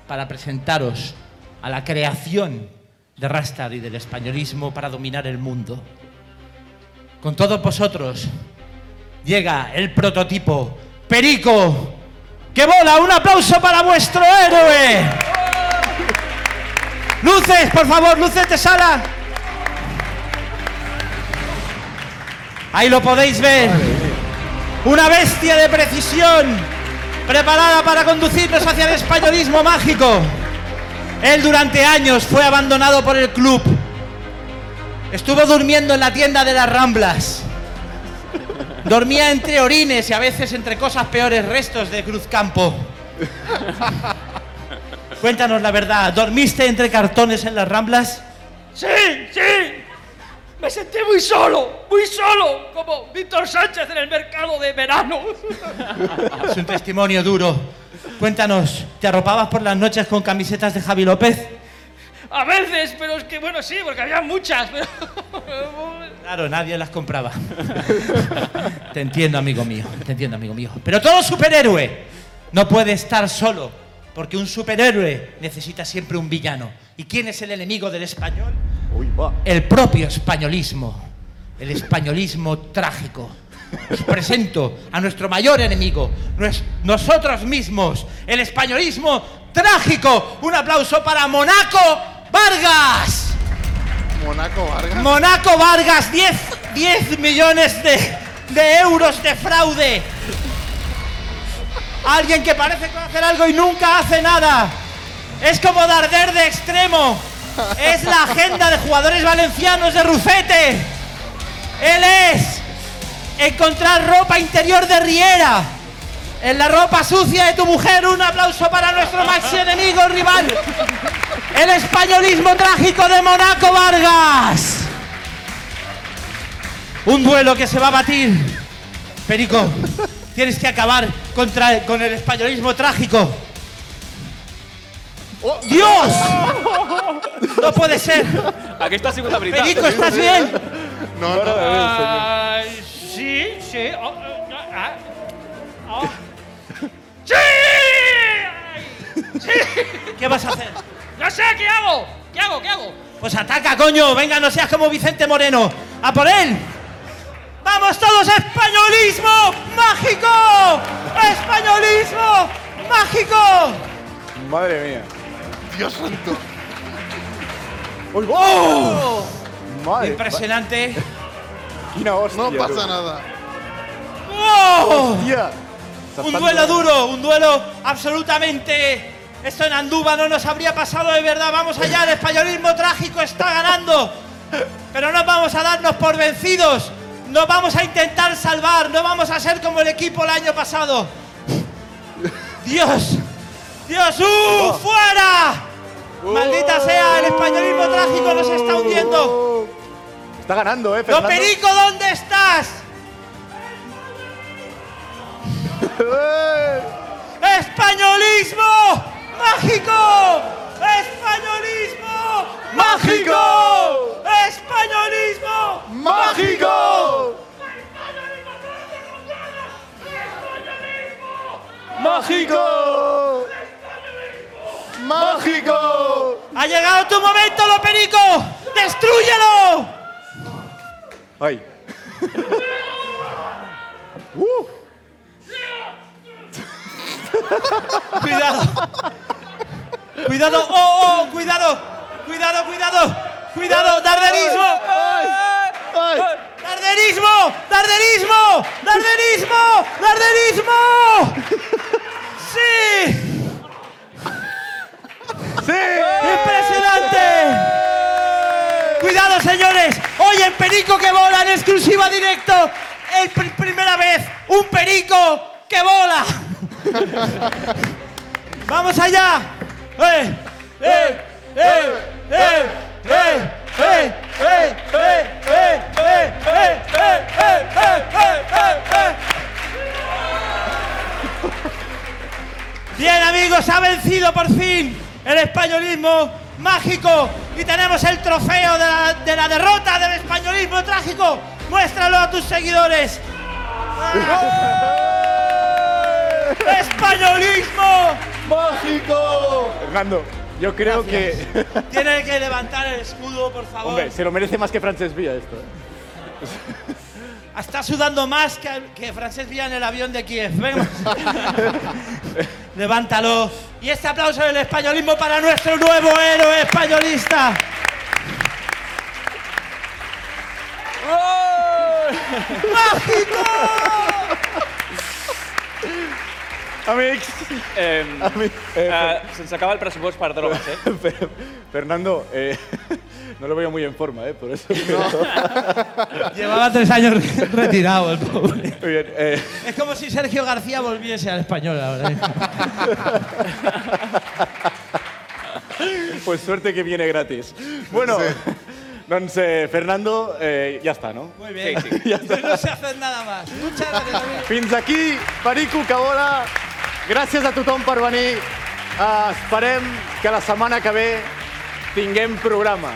Speaker 11: para presentaros a la creación de Rastar y del españolismo para dominar el mundo. Con todos vosotros llega el prototipo Perico, que vola. Un aplauso para vuestro héroe. Luces, por favor, luces de sala. Ahí lo podéis ver. Una bestia de precisión preparada para conducirnos hacia el españolismo mágico. Él durante años fue abandonado por el club. Estuvo durmiendo en la tienda de las Ramblas. Dormía entre orines y a veces entre cosas peores, restos de Cruzcampo. Cuéntanos la verdad, ¿dormiste entre cartones en las Ramblas?
Speaker 1: ¡Sí! ¡Sí! Me sentí muy solo, muy solo, como Víctor Sánchez en el mercado de verano.
Speaker 11: Es un testimonio duro. Cuéntanos, ¿te arropabas por las noches con camisetas de Javi López?
Speaker 1: A veces, pero es que bueno, sí, porque había muchas, pero.
Speaker 11: Claro, nadie las compraba. te entiendo, amigo mío, te entiendo, amigo mío. Pero todo superhéroe no puede estar solo, porque un superhéroe necesita siempre un villano. ¿Y quién es el enemigo del español? El propio españolismo, el españolismo trágico. Os presento a nuestro mayor enemigo, nues- nosotros mismos, el españolismo trágico. Un aplauso para Monaco Vargas.
Speaker 7: Monaco Vargas.
Speaker 11: Monaco Vargas, 10, 10 millones de, de euros de fraude. Alguien que parece conocer algo y nunca hace nada. Es como Darder de extremo. Es la agenda de jugadores valencianos de Rufete. Él es encontrar ropa interior de Riera. En la ropa sucia de tu mujer, un aplauso para nuestro maxi enemigo rival. El españolismo trágico de Monaco Vargas. Un duelo que se va a batir. Perico, tienes que acabar contra, con el españolismo trágico. Oh, ¡Dios! ¡No puede ser!
Speaker 3: Aquí está sigut la veritat.
Speaker 11: Perico, ¿estás bien?
Speaker 7: No,
Speaker 11: no.
Speaker 2: eh,
Speaker 1: Ah, sí, sí. oh, oh, ah, oh. ¡Sí! Ay, ¡Sí!
Speaker 11: ¿Qué vas a hacer?
Speaker 1: No sé, ¿qué hago? ¿Qué hago? ¿Qué hago?
Speaker 11: Pues ataca, coño. Venga, no seas como Vicente Moreno. ¡A por él! ¡Vamos todos, españolismo mágico! ¡Españolismo mágico!
Speaker 7: Madre mía. Dios santo.
Speaker 11: ¡Oh! Impresionante.
Speaker 7: No pasa nada.
Speaker 11: ¡Oh!
Speaker 7: Hostia.
Speaker 11: Un duelo duro, un duelo absolutamente. Esto en Andúba no nos habría pasado de verdad. Vamos allá, el españolismo trágico está ganando. Pero no vamos a darnos por vencidos. No vamos a intentar salvar. No vamos a ser como el equipo el año pasado. Dios, Dios, ¡uh! ¡Fuera!
Speaker 2: Oh.
Speaker 11: Maldita sea, el españolismo trágico nos está hundiendo.
Speaker 2: Está ganando, ¿eh,
Speaker 11: ¡No,
Speaker 2: Fernando?
Speaker 11: Perico, ¿dónde estás? ¡Españolismo mágico! ¡Españolismo mágico! ¡Españolismo
Speaker 2: ¡Mágico! ¡Mágico!
Speaker 1: ¡Ha llegado tu momento, Loperico! ¡Destrúyelo!
Speaker 2: ¡Ay! ¡Uh!
Speaker 1: ¡Cuidado! ¡Cuidado! ¡Oh, oh! ¡Cuidado! ¡Cuidado, cuidado! ¡Cuidado! ¡Darderismo! ¡Darderismo! ¡Darderismo! ¡Darderismo! ¡Darderismo! ¡Sí!
Speaker 2: ¡Sí!
Speaker 1: ¡Impresionante! ¡Cuidado, señores! Hoy en Perico que vola, en exclusiva directo, el pr- primera vez, un perico que vola. ¡Vamos allá! ¡Eh! ¡Eh! ¡Eh! ¡Eh! ¡Eh! ¡Eh! ¡Eh! ¡Eh! ¡Eh! ¡Eh! ¡Eh! ¡Eh! ¡Eh! ¡Eh! ¡Eh! Bien, amigos, ha vencido por fin el españolismo mágico y tenemos el trofeo de la, de la derrota del españolismo trágico. Muéstralo a tus seguidores. ¡Españolismo!
Speaker 2: ¡Mágico! Hernando, yo creo que.
Speaker 1: Tiene que levantar el escudo, por favor.
Speaker 2: Hombre, se lo merece más que Francesc Villa esto. ¿eh?
Speaker 1: Está sudando más que, que Francesc Villa en el avión de Kiev. Venga. Levántalo. Y este aplauso del españolismo para nuestro nuevo héroe españolista. ¡Mágico!
Speaker 2: Amics!
Speaker 3: Eh,
Speaker 2: Amic-
Speaker 3: eh, se'ns acaba el pressupost per drogues, eh?
Speaker 2: Fer- Fernando, eh, no lo veo muy en forma, ¿eh? Por eso.
Speaker 1: Llevaba tres años retirado el pobre.
Speaker 2: Muy bien. eh,
Speaker 1: Es como si Sergio García volviese al español ahora.
Speaker 2: pues suerte que viene gratis. Bueno, entonces, Fernando, eh, ya está, ¿no?
Speaker 1: Muy bien.
Speaker 2: Sí, sí. Ya está.
Speaker 1: No se hace nada más. Muchas gracias, amigo.
Speaker 2: Fins aquí, Perico Cabola. Gràcies a tothom per venir. Uh, esperem que la setmana que ve tinguem programa.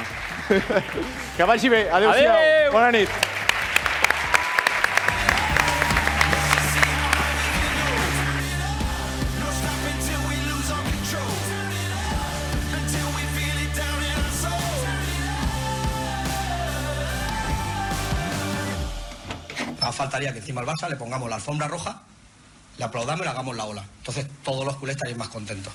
Speaker 2: que vagi bé. Adéu-siau.
Speaker 1: Adéu.
Speaker 2: Bona nit.
Speaker 15: Ah, faltaría que encima al Barça le pongamos la alfombra roja, le aplaudamos y le hagamos la ola. Entonces todos los culés estarían más contentos.